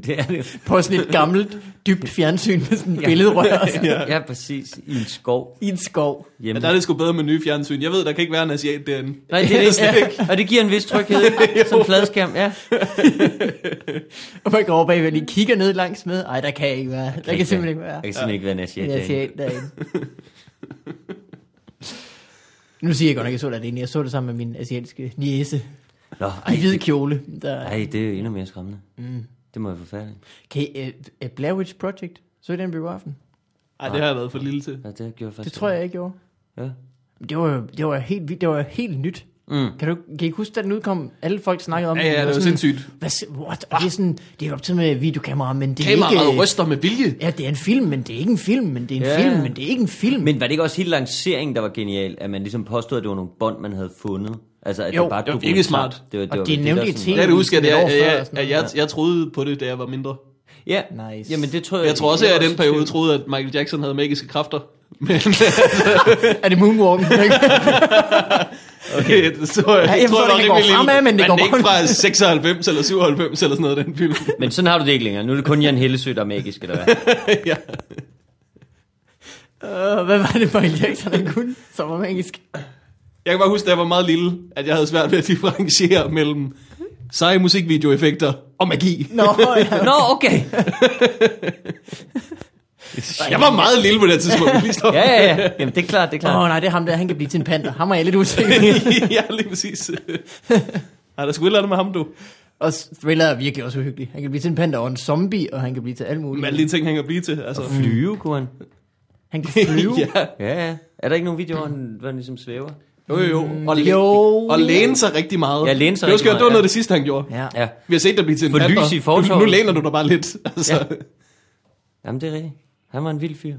Speaker 2: det er det jo.
Speaker 3: På sådan et gammelt, dybt fjernsyn med sådan et billedrør og sådan.
Speaker 2: Ja. ja, præcis. I en skov
Speaker 3: i en skov.
Speaker 1: Ja,
Speaker 2: hjemme.
Speaker 1: der er det sgu bedre med nye fjernsyn. Jeg ved, der kan ikke være en asiat derinde.
Speaker 2: Nej, det er det ikke. Ja. Og det giver en vis tryghed, ikke? Som fladskærm, ja.
Speaker 3: Og man går over bagved og lige kigger ned langs med. Ej, der kan jeg ikke være. Der kan,
Speaker 2: ikke
Speaker 3: simpelthen
Speaker 2: være-
Speaker 3: ikke være.
Speaker 2: Jeg kan simpelthen ikke være en asiat.
Speaker 3: En
Speaker 2: derinde.
Speaker 3: asiat derinde. nu siger jeg godt nok, at jeg så det alene. Jeg så det sammen med min asiatiske niese
Speaker 2: Nå,
Speaker 3: i hvid
Speaker 2: ej,
Speaker 3: kjole. Der...
Speaker 2: ej, det er jo endnu mere skræmmende. Mm. Det må jeg forfærdeligt.
Speaker 3: Kan I, øh, øh, Blair Witch Project? Så I den biografen?
Speaker 1: Nej, det har jeg været for lille til.
Speaker 2: Ja, det gjorde jeg faktisk.
Speaker 3: Det tror jeg ikke, gjorde.
Speaker 2: Ja.
Speaker 3: Det var, jo- det var helt vildt. Det var helt nyt.
Speaker 2: Mm.
Speaker 3: Kan du kan I huske, da den udkom? Alle folk snakkede om
Speaker 1: Ja, ja, det var
Speaker 3: sådan,
Speaker 1: sindssygt.
Speaker 3: Hvad, si- what? Og det er sådan, det er optaget med videokamera, men det er
Speaker 1: Kameraet
Speaker 3: ikke...
Speaker 1: ryster med vilje.
Speaker 3: Ja, det er en film, men det er ikke en film, men det er en
Speaker 2: Ja.
Speaker 3: film, men det er ikke en film.
Speaker 2: Men var det ikke også hele lanceringen, der var genial? At man ligesom påstod, at det var nogle bånd, man havde fundet? Altså, at
Speaker 3: Jo.
Speaker 2: det bare
Speaker 1: Det var
Speaker 2: dokumentar-
Speaker 1: virkelig smart.
Speaker 2: Det var, det
Speaker 3: Og
Speaker 2: var
Speaker 3: de
Speaker 2: vel
Speaker 3: nævnte
Speaker 2: der
Speaker 3: i
Speaker 2: sådan-
Speaker 1: Jeg kan da huske, at jeg,
Speaker 3: Et
Speaker 1: jeg,
Speaker 3: år før
Speaker 1: jeg,
Speaker 3: eller sådan
Speaker 1: jeg,
Speaker 3: noget.
Speaker 1: jeg, jeg troede på det, da jeg var mindre.
Speaker 2: Ja,
Speaker 3: Nice.
Speaker 2: jamen det tror jeg...
Speaker 1: Jeg tror også, at
Speaker 2: det
Speaker 1: jeg i
Speaker 2: var
Speaker 1: den periode
Speaker 2: tvivl.
Speaker 1: troede, at Michael Jackson havde magiske kræfter. Men
Speaker 3: er det moonwalking?
Speaker 1: okay, det tror jeg,
Speaker 3: Ja, jeg
Speaker 1: jeg tror,
Speaker 3: forstår
Speaker 1: jeg var
Speaker 3: ikke, det
Speaker 1: rimelig
Speaker 3: går
Speaker 1: lille.
Speaker 3: fremad, men det går
Speaker 1: ikke
Speaker 3: rundt.
Speaker 1: fra 96 eller 97 eller sådan noget, den film.
Speaker 2: Men sådan har du det ikke længere. Nu er det kun Jan Hellesø, der er magisk, eller hvad?
Speaker 1: ja.
Speaker 3: uh, hvad var det, Michael Jackson han kunne? Som var magisk.
Speaker 1: Jeg kan bare huske, da jeg var meget lille, at jeg havde svært ved at differentiere mellem seje musikvideoeffekter og magi.
Speaker 3: Nå, ja.
Speaker 2: Nå, okay.
Speaker 1: Jeg var meget lille på det her tidspunkt. Lige stop.
Speaker 2: Ja, ja, ja. Jamen, det er klart, det er
Speaker 3: Åh
Speaker 2: klart.
Speaker 3: oh, nej, det er ham der, han kan blive til en panda. Ham er jeg lidt usikker. på.
Speaker 1: ja, lige præcis. Ej, der skulle et eller andet med ham, du.
Speaker 3: og Thriller er virkelig også uhyggelig. Han kan blive til en panda og en zombie, og han kan blive til alt muligt.
Speaker 1: Med alle de ting, han kan blive til. Altså.
Speaker 3: mm.
Speaker 2: Flyve, kunne han.
Speaker 3: Han kan flyve. ja.
Speaker 1: ja.
Speaker 2: Ja, ja. Er der ikke nogen video, hvor han, hvor han ligesom svæver?
Speaker 1: Jo, jo, jo. Og, læ-
Speaker 3: Jo.
Speaker 1: og læne sig rigtig meget.
Speaker 2: Ja, læne sig
Speaker 1: det var,
Speaker 2: rigtig
Speaker 1: skørt,
Speaker 2: meget,
Speaker 1: det var noget
Speaker 2: ja.
Speaker 1: af det sidste, han gjorde.
Speaker 3: ja.
Speaker 2: Ja.
Speaker 1: Vi har set dig blive til en
Speaker 2: Få lys
Speaker 1: panter.
Speaker 2: i fortovet.
Speaker 1: Nu, nu læner du dig bare lidt. Altså. Ja.
Speaker 2: Jamen, det er rigtigt. Han var en vild fyr.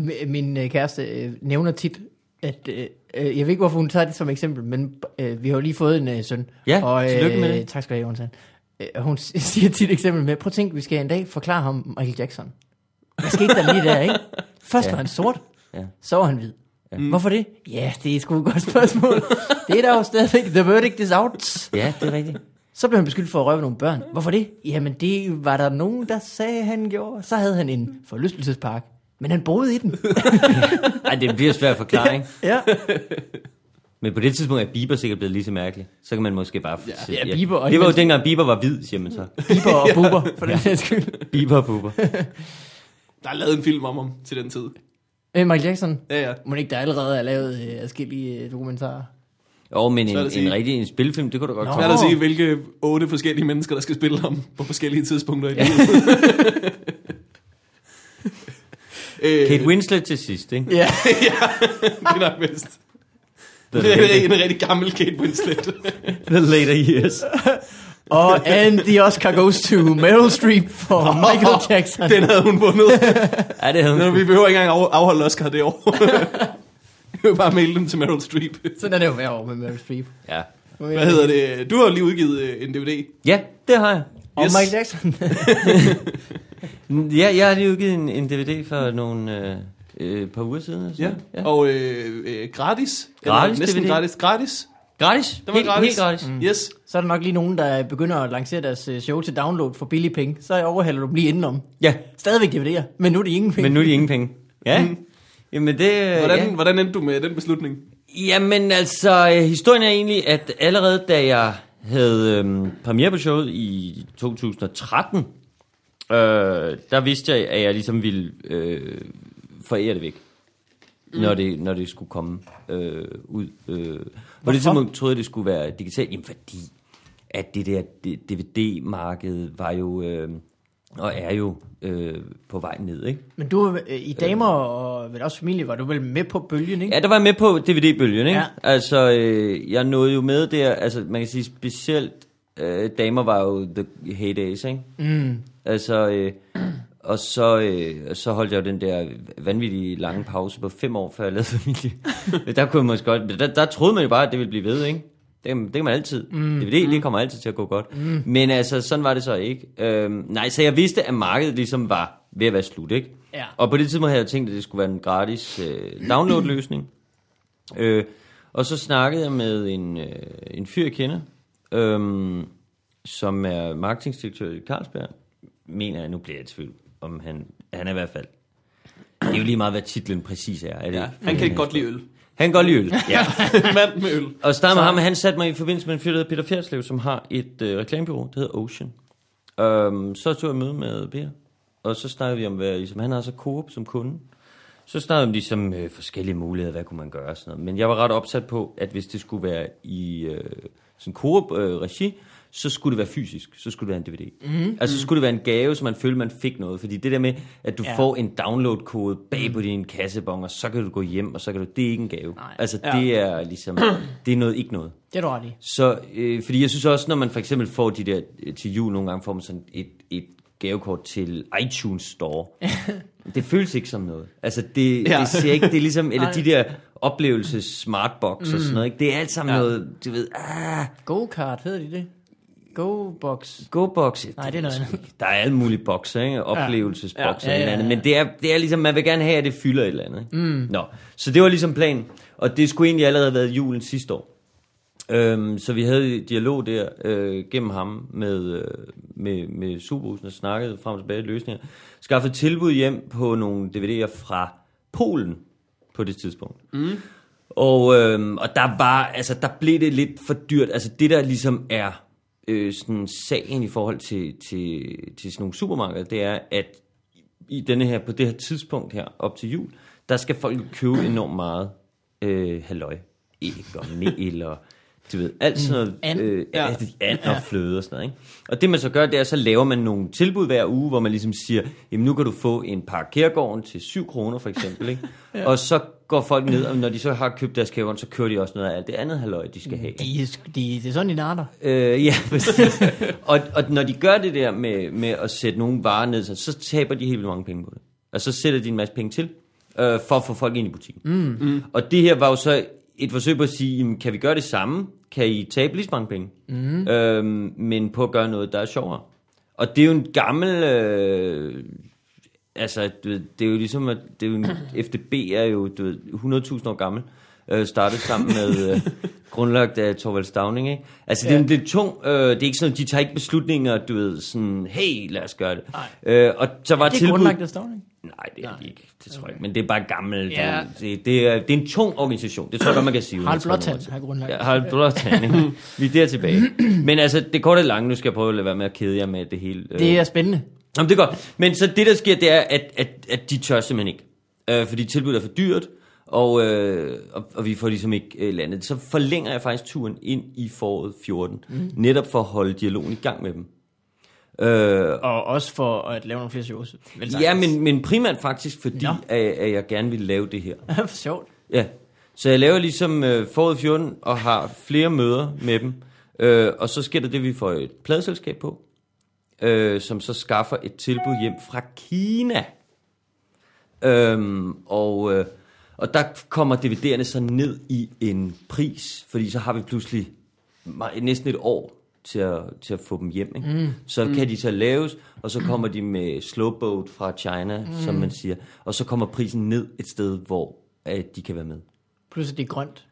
Speaker 3: M- Min øh, kæreste øh, nævner tit, at øh, øh, jeg ved ikke, hvorfor hun tager det som eksempel, men øh, vi har jo lige fået en øh, søn.
Speaker 2: Ja,
Speaker 3: og,
Speaker 2: tillykke med det.
Speaker 3: Tak skal du have, Jonathan. Øh, og hun s- siger tit et eksempel med, prøv at tænke, vi skal en dag forklare ham Michael Jackson. Hvad skete der lige der, ikke? Først ja.
Speaker 2: Ja.
Speaker 3: var han sort, ja.
Speaker 2: Ja.
Speaker 3: så var han hvid. Ja. Hvorfor det? Ja, det er sgu et godt spørgsmål. det er der jo stadigvæk. The verdict is out.
Speaker 2: Ja, det er rigtigt.
Speaker 3: Så blev han beskyldt for at røve nogle børn. Hvorfor det? Jamen det var der nogen, der sagde, han gjorde. Så havde han en forlystelsespark. Men han boede i den.
Speaker 2: Ej, det bliver svært at forklare, ikke?
Speaker 3: ja.
Speaker 2: Men på det tidspunkt er Bieber sikkert blevet lige så mærkelig. Så kan man måske bare... Ja,
Speaker 3: ja, Bieber og-
Speaker 2: Det var jo dengang Bieber var hvid, siger man så.
Speaker 3: Bieber og Bubber, for den sags skyld.
Speaker 2: Bieber og Bubber.
Speaker 1: Der er lavet en film om ham til den tid.
Speaker 3: Øh, Michael Jackson.
Speaker 1: Ja, ja.
Speaker 3: Må ikke, der allerede er lavet øh, adskillige øh, dokumentarer?
Speaker 2: Jo, men en,
Speaker 1: Svært at sige.
Speaker 2: en rigtig en spilfilm, det kunne du godt
Speaker 3: Nå.
Speaker 1: Svært
Speaker 2: klare.
Speaker 1: at
Speaker 3: Åh.
Speaker 1: sige, hvilke otte forskellige mennesker, der skal spille ham på forskellige tidspunkter i livet. Øh,
Speaker 2: Kate Winslet til sidst, ikke?
Speaker 3: Ja.
Speaker 1: det er nok bedst.
Speaker 2: The
Speaker 1: Det er
Speaker 2: later,
Speaker 1: en rigtig gammel Kate Winslet.
Speaker 2: the later years.
Speaker 3: og and the Oscar goes to Meryl Streep for Michael Jackson.
Speaker 1: Den havde hun vundet.
Speaker 2: Ja, det havde hun
Speaker 1: Nå,
Speaker 2: sgu.
Speaker 1: vi behøver ikke engang af- afholde Oscar det år. Vi kan bare maile dem til Meryl Streep.
Speaker 3: Sådan er det jo hver år med Meryl Streep.
Speaker 2: Ja.
Speaker 1: Hvad hedder det? Du har jo lige udgivet øh, en DVD.
Speaker 2: ja, det har jeg.
Speaker 3: Og
Speaker 1: Yes.
Speaker 3: Michael Jackson.
Speaker 2: Ja, jeg har lige udgivet en, en DVD for nogle øh, øh, par uger siden. eller sådan noget.
Speaker 1: Ja. Og øh, øh, gratis.
Speaker 2: Gratis
Speaker 1: næsten
Speaker 2: DVD.
Speaker 1: gratis. Gratis.
Speaker 2: Gratis.
Speaker 1: Den var
Speaker 2: helt,
Speaker 1: gratis.
Speaker 2: Helt gratis. Mm.
Speaker 1: Yes.
Speaker 3: så er der nok lige nogen, der begynder at lancere deres øh, show til download for billige penge. Så overhælder du dem lige indenom.
Speaker 2: Ja,
Speaker 3: Stadigvæk DVD'er, men nu er det ingen penge.
Speaker 2: men nu er de ingen penge. Ja.
Speaker 1: Mm.
Speaker 2: Mm. Jamen det... øh,
Speaker 1: Hvordan,
Speaker 2: Ja.
Speaker 1: hvordan endte du med den beslutning?
Speaker 2: Jamen altså, øh, historien er egentlig, at allerede da jeg havde øhm, premiere på showet i 2013, øh, der vidste jeg, at jeg ligesom ville øh, forære det væk, mm. når, det, når det skulle komme øh, ud. Øh. På det tidspunkt troede jeg, det skulle være digitalt. Jamen fordi, at det der D- DVD-marked var jo, øh, og er jo øh, på vej ned, ikke?
Speaker 3: Men du øh, i damer og vel også familie, var du vel med på bølgen, ikke?
Speaker 2: Ja, der var jeg med på DVD-bølgen, ikke?
Speaker 3: Ja.
Speaker 2: Ja. Altså, øh, jeg nåede jo med der, altså man kan sige specielt, øh, damer var jo the heydays, ikke? Mm. Altså, øh, og så, øh, og så holdt jeg jo den der vanvittige lange pause på fem år, før jeg lavede familie. Men der kunne jeg måske godt, men der, der troede man jo bare, at det ville blive ved, ikke? Det, kan- det kan man altid. Mm. DVD, det kommer altid til at gå godt. Mm. Men altså, sådan var det så ikke. Øhm, nej, så jeg vidste, at markedet ligesom var ved at være slut, ikke?
Speaker 3: Ja.
Speaker 2: Og på det tidspunkt havde jeg tænkt, at det skulle være en gratis øh, download-løsning. Øh, og så snakkede jeg med en, øh, en fyr, jeg kender, øhm, som er marketingdirektør i Carlsberg. Mener jeg, nu bliver jeg i tvivl, om han, han er i hvert fald. Det er jo lige meget, hvad titlen præcis er. er det
Speaker 1: Ja,
Speaker 2: ikke?
Speaker 1: han kan ikke godt lide øl.
Speaker 2: Han kan godt lide øl. Ja.
Speaker 1: Mand med øl.
Speaker 2: Og snakke med ham, han satte mig i forbindelse med en fyr, der hedder Peter Fjerslev, som har et øh, reklamebureau, der hedder Ocean. Øhm, så tog jeg møde med Peter, og så snakkede vi om, hvad, ligesom, han har så Coop som kunde. Så snakkede vi om ligesom, øh, forskellige muligheder, hvad kunne man gøre og sådan noget. Men jeg var ret opsat på, at hvis det skulle være i øh, sådan Coop-regi, så skulle det være fysisk, så skulle det være en DVD. Mm. Altså så skulle det være en gave, så man følte, man fik noget. Fordi det der med, at du
Speaker 3: Ja.
Speaker 2: ja. får en download-kode bag på din kassebon, og så kan du gå hjem, og så kan du... Det er ikke en gave.
Speaker 3: Nej.
Speaker 2: Altså
Speaker 1: Ja.
Speaker 2: det det er ligesom, det er noget ikke noget.
Speaker 3: Det er du ret i.
Speaker 2: Så, øh, fordi jeg synes også, når man for eksempel får de der, øh, til jul nogle gange får man sådan et, et gavekort til iTunes Store. det føles ikke som noget. Altså det,
Speaker 1: Ja.
Speaker 2: det ser ikke, det er ligesom, eller de der oplevelses smartbox og sådan noget, ikke? det er alt sammen ja. noget, du ved, ah,
Speaker 3: Go-kart, hedder de det? Go-box.
Speaker 2: Go-box.
Speaker 3: Nej, det er noget andet.
Speaker 2: Der er alle mulige bokser, ikke? Oplevelsesbokser
Speaker 3: Ja.
Speaker 2: ja. ja,
Speaker 3: Ja, ja,
Speaker 2: ja,
Speaker 3: ja.
Speaker 2: andet. Men det er, det er ligesom, man vil gerne have, at det fylder et eller andet. Ikke? Mm. Nå, så det var ligesom planen. Og det skulle egentlig allerede have været julen sidste år. Øhm, så vi havde dialog der øh, gennem ham med, øh, med, med Superhusen og snakkede frem og tilbage løsninger. Skaffede tilbud hjem på nogle DVD'er fra Polen på det tidspunkt. Mm. Og, øhm, og der var, altså der blev det lidt for dyrt. Altså det der ligesom er øh, sådan sagen i forhold til, til, til sådan nogle supermarkeder, det er, at i denne her, på det her tidspunkt her, op til jul, der skal folk købe enormt meget øh, halløj. Æg og mel og du ved, alt sådan noget.
Speaker 3: And.
Speaker 2: Øh,
Speaker 1: Ja.
Speaker 2: ja. and og fløde og sådan noget. Ikke? Og det man så gør, det er, så laver man nogle tilbud hver uge, hvor man ligesom siger, jamen nu kan du få en par kærgården til 7 kroner for eksempel. Ikke? ja. Og så går folk ned, og når de så har købt deres kærgården, så kører de også noget af alt det andet halløj, de skal have.
Speaker 3: De, de, det er sådan, de narter.
Speaker 2: Øh, ja, præcis. og, og når de gør det der med, med at sætte nogle varer ned, så, så taber de helt vildt mange penge på det. Og så sætter de en masse penge til, øh, for at få folk ind i butikken. Mm. Mm. Og det her var jo så et forsøg på at sige, jamen, kan vi gøre det samme? Kan I tabe lige så mange penge? Mm. Øhm, men på at gøre noget, der er sjovere. Og det er jo en gammel... Øh, altså, du ved, det er jo ligesom, at det er jo en, FDB er jo du ved, 100.000 år gammel, øh, startet sammen med øh, grundlagt af Torvald Stavning, ikke? Altså, det er en lidt tung, øh, det er ikke sådan, de tager ikke beslutninger, du ved, sådan, hey, lad os gøre det. Øh, og så var
Speaker 3: Det er
Speaker 2: tilbud-
Speaker 3: grundlagt af Stavning.
Speaker 2: Nej, det er de ikke, det tror jeg ikke, men det er bare gammel,
Speaker 3: Ja.
Speaker 2: ja. det, det, er, det er en tung organisation, det tror jeg godt, man kan sige. uden
Speaker 3: Harald
Speaker 2: at træde nogen
Speaker 3: Blåtand
Speaker 2: over til.
Speaker 3: har grundlagt.
Speaker 2: Ja, Harald Blåtand, ikke? Vi er der tilbage. Men altså, det korte og lange, nu skal jeg prøve at lade være med at kede jer med det hele. øh,
Speaker 3: Det er spændende.
Speaker 2: Jamen, det er godt. Men så det, der sker, det er, at, at, at de tør simpelthen ikke. Øh, fordi tilbuddet er for dyrt, og, øh, og, og vi får ligesom ikke øh, landet. det. Så forlænger jeg faktisk turen ind i foråret 14, mm. netop for at holde dialogen i gang med dem. Øh,
Speaker 3: Og også for at lave nogle flere shows. Vel
Speaker 2: ja,
Speaker 3: sagtens.
Speaker 2: men, men primært faktisk, fordi
Speaker 3: Nå.
Speaker 2: at, at jeg gerne ville lave det her.
Speaker 3: For sjovt.
Speaker 2: Ja, så jeg laver ligesom øh, foråret 14 og har flere møder med dem. Øh, og så sker der det, vi får et pladeselskab på, øh, som så skaffer et tilbud hjem fra Kina. Øhm, og, øh, og der kommer DVD'erne så ned i en pris, fordi så har vi pludselig me- næsten et år til at, til at få dem hjem. Ikke? Mm. Så kan de så laves, og så kommer de med slowboat fra China, mm. som man siger, og så kommer prisen ned et sted, hvor at de kan være med.
Speaker 3: Plus at det er grønt.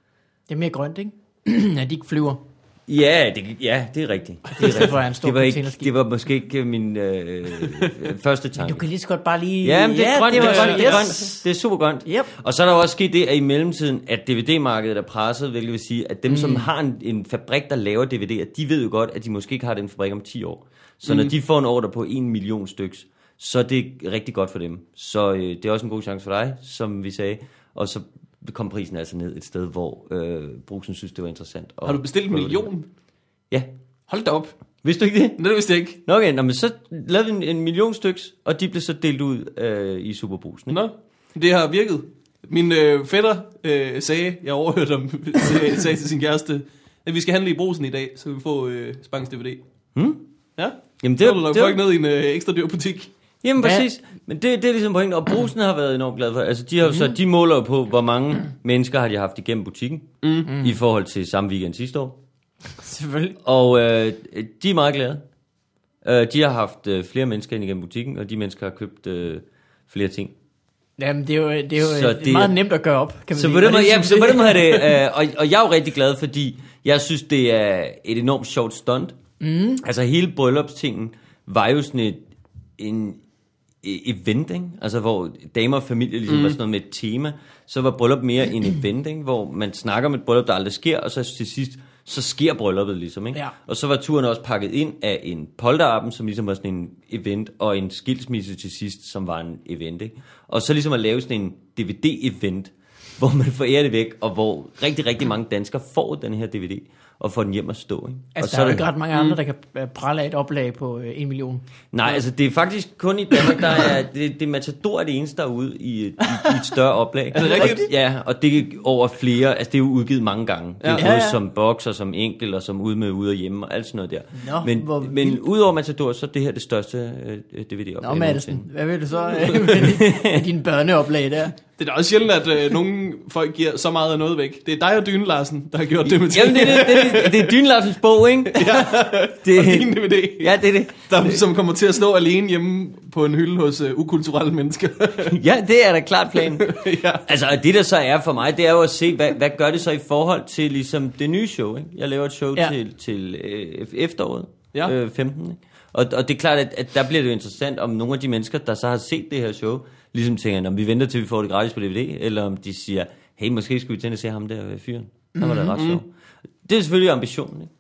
Speaker 3: Det er mere grønt, ikke? at de ikke flyver.
Speaker 2: Ja, det, ja, det er rigtigt.
Speaker 3: Det er rigtigt. For en stor
Speaker 2: Det var, ikke,
Speaker 3: containerskib.
Speaker 2: det var måske ikke min øh, øh, første tanke.
Speaker 3: Du kan lige så godt bare lige...
Speaker 2: Ja, men det er grønt, det,
Speaker 3: var
Speaker 2: er grønt, det er
Speaker 3: yes.
Speaker 2: grønt. Det er super grønt.
Speaker 3: Yep.
Speaker 2: Og så er der jo også sket det, at i mellemtiden, at DVD-markedet er presset, hvilket vil sige, at dem, mm. som har en, en fabrik, der laver DVD'er, de ved jo godt, at de måske ikke har den fabrik om 10 år. Så mm. når de får en ordre på 1 million styks, så er det rigtig godt for dem. Så øh, det er også en god chance for dig, som vi sagde. Og så kom prisen altså ned et sted, hvor øh, Brugsen synes, det var interessant. at
Speaker 1: Har du bestilt en
Speaker 2: prøve det.
Speaker 1: million?
Speaker 2: Ja.
Speaker 1: Hold da op.
Speaker 2: Vidste du ikke det?
Speaker 1: Nej, det vidste jeg ikke.
Speaker 2: Nå okay, nå, men så lavede vi en, en million styks, og de blev så delt ud øh, i Superbrugsen. ikke?
Speaker 1: Nå, det har virket. Min øh, fætter øh, sagde, jeg overhørte ham, sagde, sagde til sin kæreste, at vi skal handle i brosen i dag, så vi får øh, Spangs DVD.
Speaker 2: Hmm?
Speaker 1: Ja,
Speaker 2: Jamen,
Speaker 1: det
Speaker 2: det,
Speaker 1: var du
Speaker 2: det,
Speaker 1: nok
Speaker 2: det,
Speaker 1: folk ned i en øh, ekstra dyr butik.
Speaker 2: Jamen
Speaker 3: Hvad?
Speaker 2: præcis, men det, det er ligesom pointen, og Brugsen har været enormt glad for. Altså de, har, mm. så, de måler jo på, hvor mange mennesker har de haft igennem butikken, mm. i forhold til samme weekend sidste år.
Speaker 3: Selvfølgelig.
Speaker 2: Og øh, de er meget glade. Øh, de har haft øh, flere mennesker ind igennem butikken, og de mennesker har købt øh, flere ting.
Speaker 3: Jamen, det er jo, det er jo
Speaker 2: Så
Speaker 3: det er
Speaker 2: det-
Speaker 3: meget nemt at gøre op, kan man
Speaker 2: Så
Speaker 3: sige.
Speaker 2: på den
Speaker 3: Og
Speaker 2: måde,
Speaker 3: det er
Speaker 2: ja,
Speaker 3: ligesom
Speaker 2: så på den måde er det, øh, og, og jeg er jo rigtig glad, fordi jeg synes, det er et enormt sjovt stunt. Mm. Altså hele bryllupstingen var jo sådan et en e- event, ikke? Altså hvor damer og familie ligesom mm. var sådan noget med et tema, så var bryllup mere en event, ikke? Hvor man snakker om et bryllup, der aldrig sker, og så til sidst, så sker brylluppet ligesom, ikke?
Speaker 3: Ja.
Speaker 2: Og så var turen også pakket ind af en polterappen, som ligesom var sådan en event, og en skilsmisse til sidst, som var en event. Ikke? Og så ligesom at lave sådan en DVD-event, hvor man forærer det væk, og hvor rigtig, rigtig mange danskere får den her DVD, og får den hjem at stå. Ikke? og
Speaker 3: Altså,
Speaker 2: så
Speaker 3: der
Speaker 2: er
Speaker 3: er jo
Speaker 2: det- Mm.
Speaker 3: ikke ret mange andre, der kan øh, prale af et oplag på øh, en million.
Speaker 2: Nej, altså det er faktisk kun i Danmark, der er, det, det er Matador er det eneste, der er ude i, et- i, i et større oplag. Er
Speaker 1: det rigtigt?
Speaker 2: Og, ja, og det er over flere, altså det er jo udgivet mange gange. Det er
Speaker 1: Ja.
Speaker 2: ja. både
Speaker 3: Ja, ja.
Speaker 2: som boks og som enkelt og som ude med ude og hjemme og alt sådan noget der.
Speaker 3: Nå, hvor
Speaker 2: men men udover Matador, så er det her det største øh, DVD-oplag.
Speaker 3: Nå,
Speaker 2: nogensinde.
Speaker 3: Madsen, hvad vil du så øh, med dine børneoplag der?
Speaker 1: Det er da også sjældent, at øh, nogle folk giver så meget af noget væk. Det er dig og Dyne Larsen, der har gjort det med
Speaker 2: Jamen det, er det, det, er det, det er Dynlarsens bog, ikke? Ja, det,
Speaker 1: og din DVD.
Speaker 2: ja, det er det.
Speaker 1: Der, som kommer til at stå alene hjemme på en hylde hos øh, ukulturelle mennesker.
Speaker 2: Ja, det er da klart planen.
Speaker 1: ja.
Speaker 2: Altså, og det der så er for mig, det er jo at se, hvad, hvad gør det så i forhold til ligesom det nye show, ikke? Jeg laver et show
Speaker 3: Ja.
Speaker 2: ja. til, til øh, efteråret
Speaker 1: Ja.
Speaker 2: ja. øh, 15, ikke? Og, og det er klart, at, at der bliver det jo interessant, om nogle af de mennesker, der så har set det her show, ligesom tænker, om vi venter til vi får det gratis på DVD, eller om de siger, hey, måske skulle vi tænde og se ham der øh, fyren. Han var da ret sjov. Det er selvfølgelig ambitionen, ikke?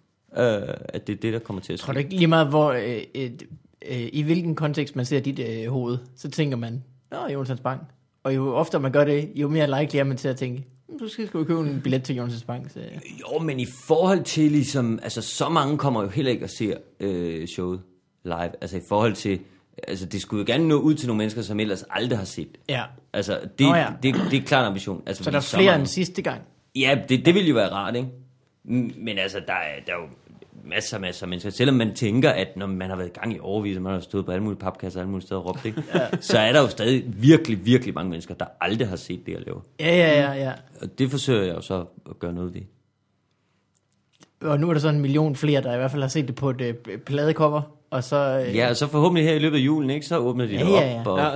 Speaker 2: Øh, at det er det, der kommer til at ske.
Speaker 3: Tror du ikke lige meget, hvor øh, et, øh, i hvilken kontekst man ser dit øh, hoved, så tænker man, Nå, Jonas Bang. Og jo oftere man gør det, jo mere likely er man til at tænke, "Hmm, du skal sgu købe en billet til Jonas Bang. Så, øh.
Speaker 2: Jo, men i forhold til ligesom, altså så mange kommer jo heller ikke og ser øh, showet live. Altså i forhold til, altså det skulle jo gerne nå ud til nogle mennesker, som ellers aldrig har set det.
Speaker 3: Ja.
Speaker 2: Altså det,
Speaker 3: Nå
Speaker 2: Nå,
Speaker 3: ja.
Speaker 2: ja. det, det, det er klart en ambition. Altså,
Speaker 3: Så
Speaker 2: fordi
Speaker 3: der er flere
Speaker 2: mange-
Speaker 3: end sidste gang.
Speaker 2: Ja, det, det ville jo være rart, ikke? M- Men altså, der er, der er jo masser, masser af mennesker. Selvom man tænker, at når man har været i gang i overvis, og man har stået på alle mulige papkasser og alle mulige steder og råbt, ikke? ja. så er der jo stadig virkelig, virkelig mange mennesker, der aldrig har set det, jeg laver.
Speaker 3: Ja, ja, ja, ja.
Speaker 2: Og det forsøger jeg jo så at gøre noget ved.
Speaker 3: Og nu er der så en million flere, der i hvert fald har set det på et øh, pladecover. Og så, øh,
Speaker 2: Ja, og så forhåbentlig her i løbet af julen, ikke? Så åbner de
Speaker 3: Ja,
Speaker 2: det
Speaker 3: ja, ja.
Speaker 2: op og
Speaker 1: Ja.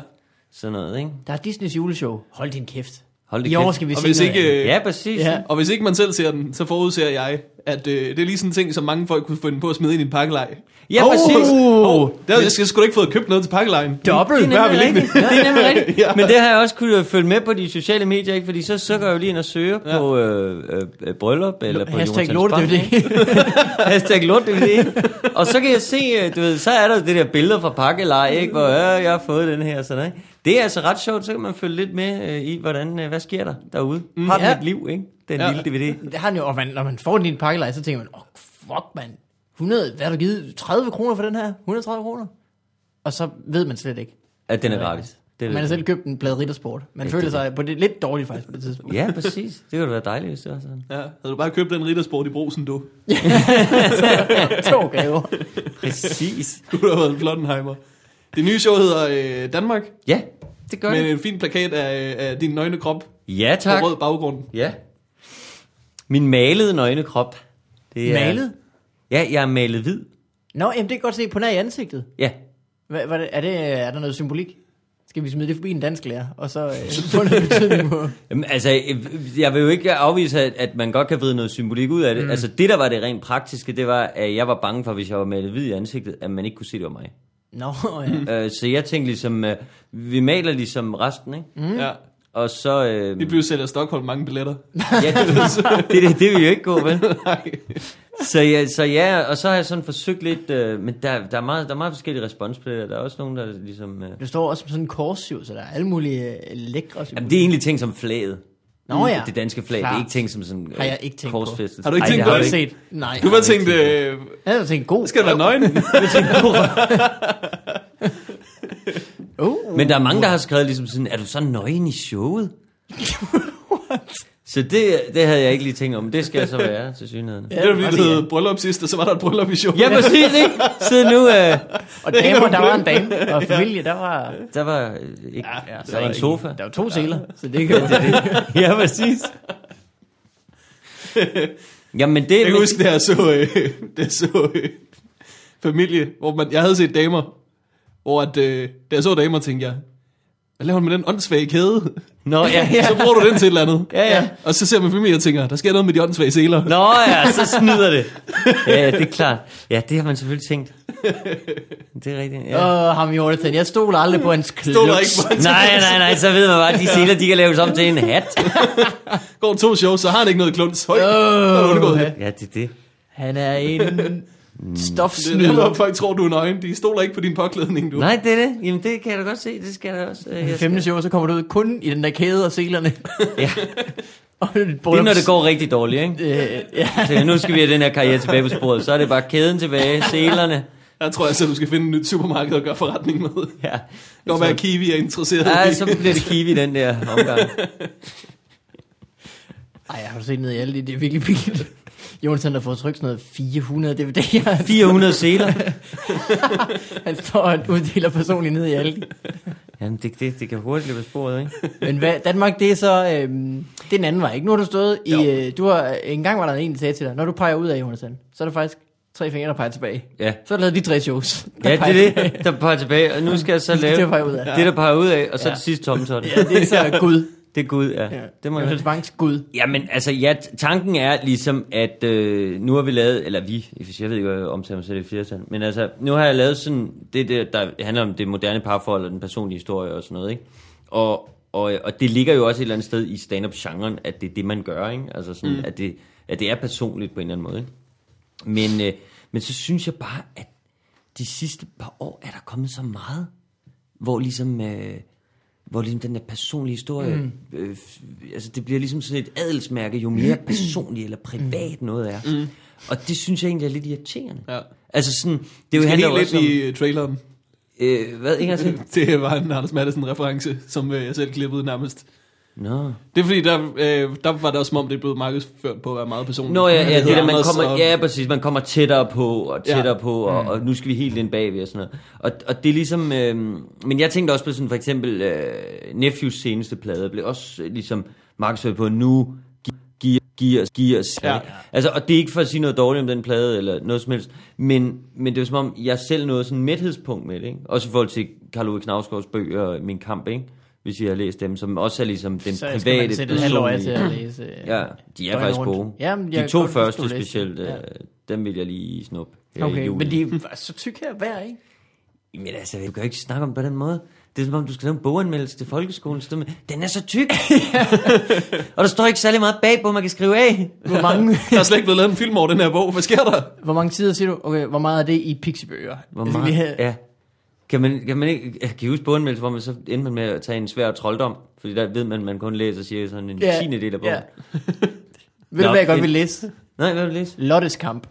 Speaker 2: sådan noget, ikke?
Speaker 3: der er Disneys juleshow. Hold din kæft.
Speaker 2: Hold det
Speaker 3: I år
Speaker 2: kæft.
Speaker 3: skal vi
Speaker 1: Og
Speaker 3: se
Speaker 1: hvis
Speaker 3: noget andet.
Speaker 1: ikke, øh,
Speaker 2: Ja, præcis.
Speaker 3: Ja.
Speaker 2: Ja.
Speaker 1: og hvis ikke man selv ser den, så forudser jeg, at øh, det er lige sådan en ting, som mange folk kunne finde på at smide ind i en pakkelej.
Speaker 2: Ja, præcis.
Speaker 1: Oh, der, jeg skal sgu da ikke fået købt noget til pakkelejen.
Speaker 3: Dobbelt.
Speaker 1: Hvad har vi liggende?
Speaker 2: rigtigt. Det er nemlig rigtigt.
Speaker 1: Ja.
Speaker 2: ja. Men det har jeg også kunne følge med på de sociale medier, ikke? Fordi så sukker jeg jo lige ind og søger ja. på øh, øh, øh, bryllup, eller på
Speaker 3: Hashtag
Speaker 2: Jonathan
Speaker 3: lorte
Speaker 2: Spang,
Speaker 3: DVD.
Speaker 2: ikke? Hashtag lort DVD. Og så kan jeg se, øh, du ved, så er der det der billede fra pakkeleje, ikke? Hvor øh, jeg har fået den her og sådan noget. ikke? Det er altså ret sjovt, så kan man følge lidt med øh, i, hvordan, øh, hvad sker der derude. Har den
Speaker 3: Ja.
Speaker 2: et liv, ikke? Den
Speaker 1: Mm. Ja.
Speaker 2: lille DVD.
Speaker 3: Det har den jo, og man, når man får den i en pakkelej, så tænker man, åh, oh, fuck mand, 100, hvad har du givet? 30 kroner for den her? 130 kroner? Og så ved man slet ikke.
Speaker 2: At den er gratis. Det
Speaker 3: Man har selv købt en plade riddersport. Man
Speaker 2: Ja,
Speaker 3: føler
Speaker 2: det er
Speaker 3: sig på det lidt dårligt faktisk på det tidspunkt.
Speaker 2: Ja, præcis. Det kunne da være dejligt, hvis det var sådan.
Speaker 1: Ja, havde du bare købt den riddersport i brosen, du.
Speaker 3: to gaver.
Speaker 2: Præcis.
Speaker 1: Kunne du have været en Flottenheimer. Det nye show hedder øh, Danmark,
Speaker 2: Ja, det gør
Speaker 1: med
Speaker 2: det.
Speaker 1: en fin plakat af, af din nøgne krop
Speaker 2: Ja, tak.
Speaker 1: på rød baggrund.
Speaker 2: Ja. Min malede nøgne krop. Det
Speaker 3: Malet?
Speaker 2: Ja, jeg er malet hvid.
Speaker 3: Nå, jamen det kan godt se på nær i ansigtet.
Speaker 2: Ja.
Speaker 3: Hvad, hvad, er, det, er der noget symbolik? Skal vi smide det forbi en dansk lærer, og så øh, få noget betydning på?
Speaker 2: Jamen, altså, øh, jeg vil jo ikke afvise, at, at man godt kan vride noget symbolik ud af det. Mm. Altså, det der var det rent praktiske, det var, at jeg var bange for, hvis jeg var malet hvid i ansigtet, at man ikke kunne se, det var mig.
Speaker 3: Nå, ja.
Speaker 2: Mm. Øh, så jeg tænkte ligesom, øh, vi maler ligesom resten, ikke? Mm.
Speaker 1: Mm. Ja.
Speaker 2: Og så... Øh,
Speaker 1: Vi blev sælger Stockholm mange billetter.
Speaker 2: ja, det, det, det, det vil jo ikke gå, vel?
Speaker 1: Nej.
Speaker 2: Så ja, så ja, og så har jeg sådan forsøgt lidt, øh, men der, der, er meget, der er meget forskellige respons på det der. Der er også nogen, der ligesom... Øh,
Speaker 3: Du står også som sådan en korssyv, så der er alle mulige øh, lækre symboler.
Speaker 2: jamen, det er egentlig ting som flaget.
Speaker 3: Nå ja.
Speaker 2: Det danske flag, det
Speaker 3: Klart.
Speaker 2: er ikke ting som sådan øh,
Speaker 3: Har jeg ikke tænkt på.
Speaker 2: korsfæstet.
Speaker 1: Har du ikke
Speaker 2: Ej,
Speaker 1: tænkt
Speaker 2: det
Speaker 1: på
Speaker 2: har
Speaker 1: det?
Speaker 2: du ikke.
Speaker 3: set. Nej,
Speaker 1: Du var tænkt, øh,
Speaker 3: jeg havde tænkt god.
Speaker 1: skal du være nøgen?
Speaker 3: Oh.
Speaker 2: Men der er mange, der har skrevet ligesom sådan, er du så nøgen i showet? så det, det havde jeg ikke lige tænkt om. Det skal jeg så være, til synligheden.
Speaker 1: det var fordi,
Speaker 3: og
Speaker 1: det
Speaker 3: det er-
Speaker 1: hed bryllup sidst, og så var der et bryllup i showet.
Speaker 2: Ja, præcis, ikke? Så nu, øh,
Speaker 3: Og
Speaker 1: Det er
Speaker 3: damer,
Speaker 1: ikke
Speaker 3: der var en
Speaker 1: noget
Speaker 3: dame, og familie, der var...
Speaker 2: der var øh, ikke, ja,
Speaker 3: der
Speaker 2: der var en sofa.
Speaker 3: Der var to seler, så det kan jo...
Speaker 2: Ja, præcis. Jamen det,
Speaker 1: Jeg kan
Speaker 2: men,
Speaker 1: huske, da jeg så, øh, da jeg så øh, familie, hvor man, jeg havde set damer, hvor at, øh, da jeg så damer, tænkte jeg, hvad laver man med den åndssvage kæde?
Speaker 2: Nå, ja, ja.
Speaker 1: Så bruger du den til et eller andet.
Speaker 2: Ja, ja.
Speaker 1: Og så ser man familie og tænker, der sker noget med de åndssvage seler.
Speaker 2: Nå ja, så snyder det. Ja, det er klart. Ja, det har man selvfølgelig tænkt. Det er rigtigt. Ja.
Speaker 3: Åh, ham Jonathan, jeg stoler aldrig på hans klub.
Speaker 1: Stod der ikke bare,
Speaker 2: Nej, nej, nej, så ved man bare, at de seler, de kan laves om til en hat.
Speaker 1: går to shows, så har han ikke noget kluns. Høj, så er du undgået.
Speaker 3: Åh,
Speaker 2: Ja, det er det.
Speaker 3: han er en
Speaker 1: Mm. Det er derfor,
Speaker 3: stofsnyder.
Speaker 1: folk tror, du er nøgen. De stoler ikke på din påklædning, du.
Speaker 2: Nej, det er det. Jamen, det kan jeg da godt se. Det skal jeg da også. øh, Jeg
Speaker 3: I
Speaker 2: skal.
Speaker 3: femte show, så kommer du ud kun i den der kæde og selerne.
Speaker 2: Ja.
Speaker 3: og dit
Speaker 2: Det er,
Speaker 3: bryllups...
Speaker 2: når det går rigtig dårligt, ikke?
Speaker 3: Øh, ja.
Speaker 2: Så nu skal vi have den her karriere tilbage på sporet. Så er det bare kæden tilbage, selerne.
Speaker 1: Jeg tror altså, du skal finde et nyt supermarked og gøre forretning med.
Speaker 2: Ja,
Speaker 1: Det kan være, at Kiwi er interesseret
Speaker 2: ja
Speaker 1: i.
Speaker 2: så bliver det kiwi den der omgang.
Speaker 3: Ej, jeg har du set ned i alle det, det er virkelig pinligt. Jonathan har fået trykt sådan noget 400 DVD'er.
Speaker 2: 400 seler.
Speaker 3: Han står og uddeler personligt ned i alle.
Speaker 2: Jamen, det, det, det kan hurtigt løbe af sporet, ikke?
Speaker 3: Men hvad, Danmark, det er så øhm, det er den anden vej, ikke? Nu har du stået i...
Speaker 1: Jo.
Speaker 3: Øh, du har, en gang var der en, der sagde til dig, når du peger ud af, Jonathan, så er der faktisk tre fingre, der peger tilbage.
Speaker 2: Ja.
Speaker 3: Så har du lavet de tre shows. der
Speaker 2: Ja,
Speaker 3: peger
Speaker 2: det er
Speaker 3: tilbage.
Speaker 2: det, der peger tilbage. Og nu skal jeg så
Speaker 3: Det
Speaker 2: lave
Speaker 3: er det, der peger ud af.
Speaker 2: det, der peger ud af. Og så
Speaker 3: Ja.
Speaker 2: det sidste tomtotten.
Speaker 3: Ja, det er så Gud.
Speaker 2: Det er Gud,
Speaker 3: Ja.
Speaker 2: ja. Det må jeg
Speaker 3: Jonathan Banks Gud.
Speaker 2: Jamen, altså, ja, t- tanken er ligesom, at øh, nu har vi lavet, eller vi, hvis jeg ved ikke, hvad jeg omtaler mig selv i flertal, men altså, nu har jeg lavet sådan, det der, der handler om det moderne parforhold og den personlige historie og sådan noget, ikke? Og, og, og det ligger jo også et eller andet sted i stand-up-genren, at det er det, man gør, ikke? Altså sådan, mm. at, det, at det er personligt på en eller anden måde, ikke? Men, øh, men så synes jeg bare, at de sidste par år er der kommet så meget, hvor ligesom, øh, hvor ligesom den der personlige historie, mm. øh, f- altså det bliver ligesom sådan et adelsmærke, jo mere
Speaker 1: Mm.
Speaker 2: personlig eller privat noget er. Mm. Og det synes jeg egentlig er lidt irriterende.
Speaker 1: Ja.
Speaker 2: Altså sådan, det,
Speaker 1: Det
Speaker 2: jo
Speaker 1: skal
Speaker 2: handler
Speaker 1: lige
Speaker 2: jo
Speaker 1: lidt
Speaker 2: også om...
Speaker 1: i øh, traileren.
Speaker 2: Øh, hvad, ikke altså?
Speaker 1: Det var en Anders Madsen reference, som øh, jeg selv klippede nærmest.
Speaker 2: Nå.
Speaker 1: Det er fordi, der, øh, der var det også som om, det er blevet markedsført på at være meget personligt.
Speaker 2: Nå ja, ja, det der,
Speaker 1: hedder
Speaker 2: man
Speaker 1: Anders
Speaker 2: kommer,
Speaker 1: og-
Speaker 2: ja, præcis, man kommer tættere på og
Speaker 1: Ja.
Speaker 2: tættere på,
Speaker 3: Mm.
Speaker 2: og, og nu skal vi helt ind bagved og sådan noget. Og, og det er ligesom, øh, men jeg tænkte også på sådan for eksempel, øh, Nephews seneste plade blev også øh, ligesom markedsført på, nu giver giver giver
Speaker 1: Ja.
Speaker 2: ja. Altså, og det er ikke for at sige noget dårligt om den plade, eller noget som helst, men, men det var som om, jeg selv nåede sådan en mæthedspunkt med det, ikke? Også i forhold til Karl Ove Knavsgaards bøger, Min Kamp, ikke? Hvis I har læst dem, som også er ligesom den
Speaker 3: så
Speaker 2: private,
Speaker 3: skal man sætte et halvt år af til
Speaker 2: personlige-
Speaker 3: at læse. øh,
Speaker 2: Ja, de er
Speaker 3: døgnet
Speaker 2: faktisk
Speaker 3: rundt.
Speaker 2: gode.
Speaker 3: Jamen, jeg
Speaker 2: de
Speaker 3: kan
Speaker 2: to
Speaker 3: godt forstå
Speaker 2: første
Speaker 3: det.
Speaker 2: specielt,
Speaker 3: Ja.
Speaker 2: ja. dem vil jeg lige snuppe her i
Speaker 3: Okay,
Speaker 2: juli.
Speaker 3: men de er så tyk her hver, ikke?
Speaker 2: Jamen altså, jeg kan jo ikke snakke om det på den måde. Det er som om, du skal lave en boganmeldelse til folkeskolen. så står man, Den er så tyk! og der står ikke særlig meget bagpå, man kan skrive af.
Speaker 3: Hvor mange,
Speaker 1: Der er slet ikke blevet lavet en film over den her bog. Hvad sker der?
Speaker 3: hvor mange sider siger du? Okay, hvor meget er det i pixiebøger? Altså,
Speaker 2: Hvor
Speaker 3: Jeg skal
Speaker 2: meget,
Speaker 3: lige have-
Speaker 2: ja. Kan man, kan man ikke kan I huske boganmeldelser, hvor man så endte man med at tage en svær trolddom? Fordi der ved man, at man kun læser cirka sådan en
Speaker 3: Ja,
Speaker 2: tiende del af bogen.
Speaker 3: ja. Ved du,
Speaker 2: Nå,
Speaker 3: hvad jeg godt
Speaker 2: en-
Speaker 3: vil læse?
Speaker 2: Nej, hvad vil du læse?
Speaker 3: Lottes kamp.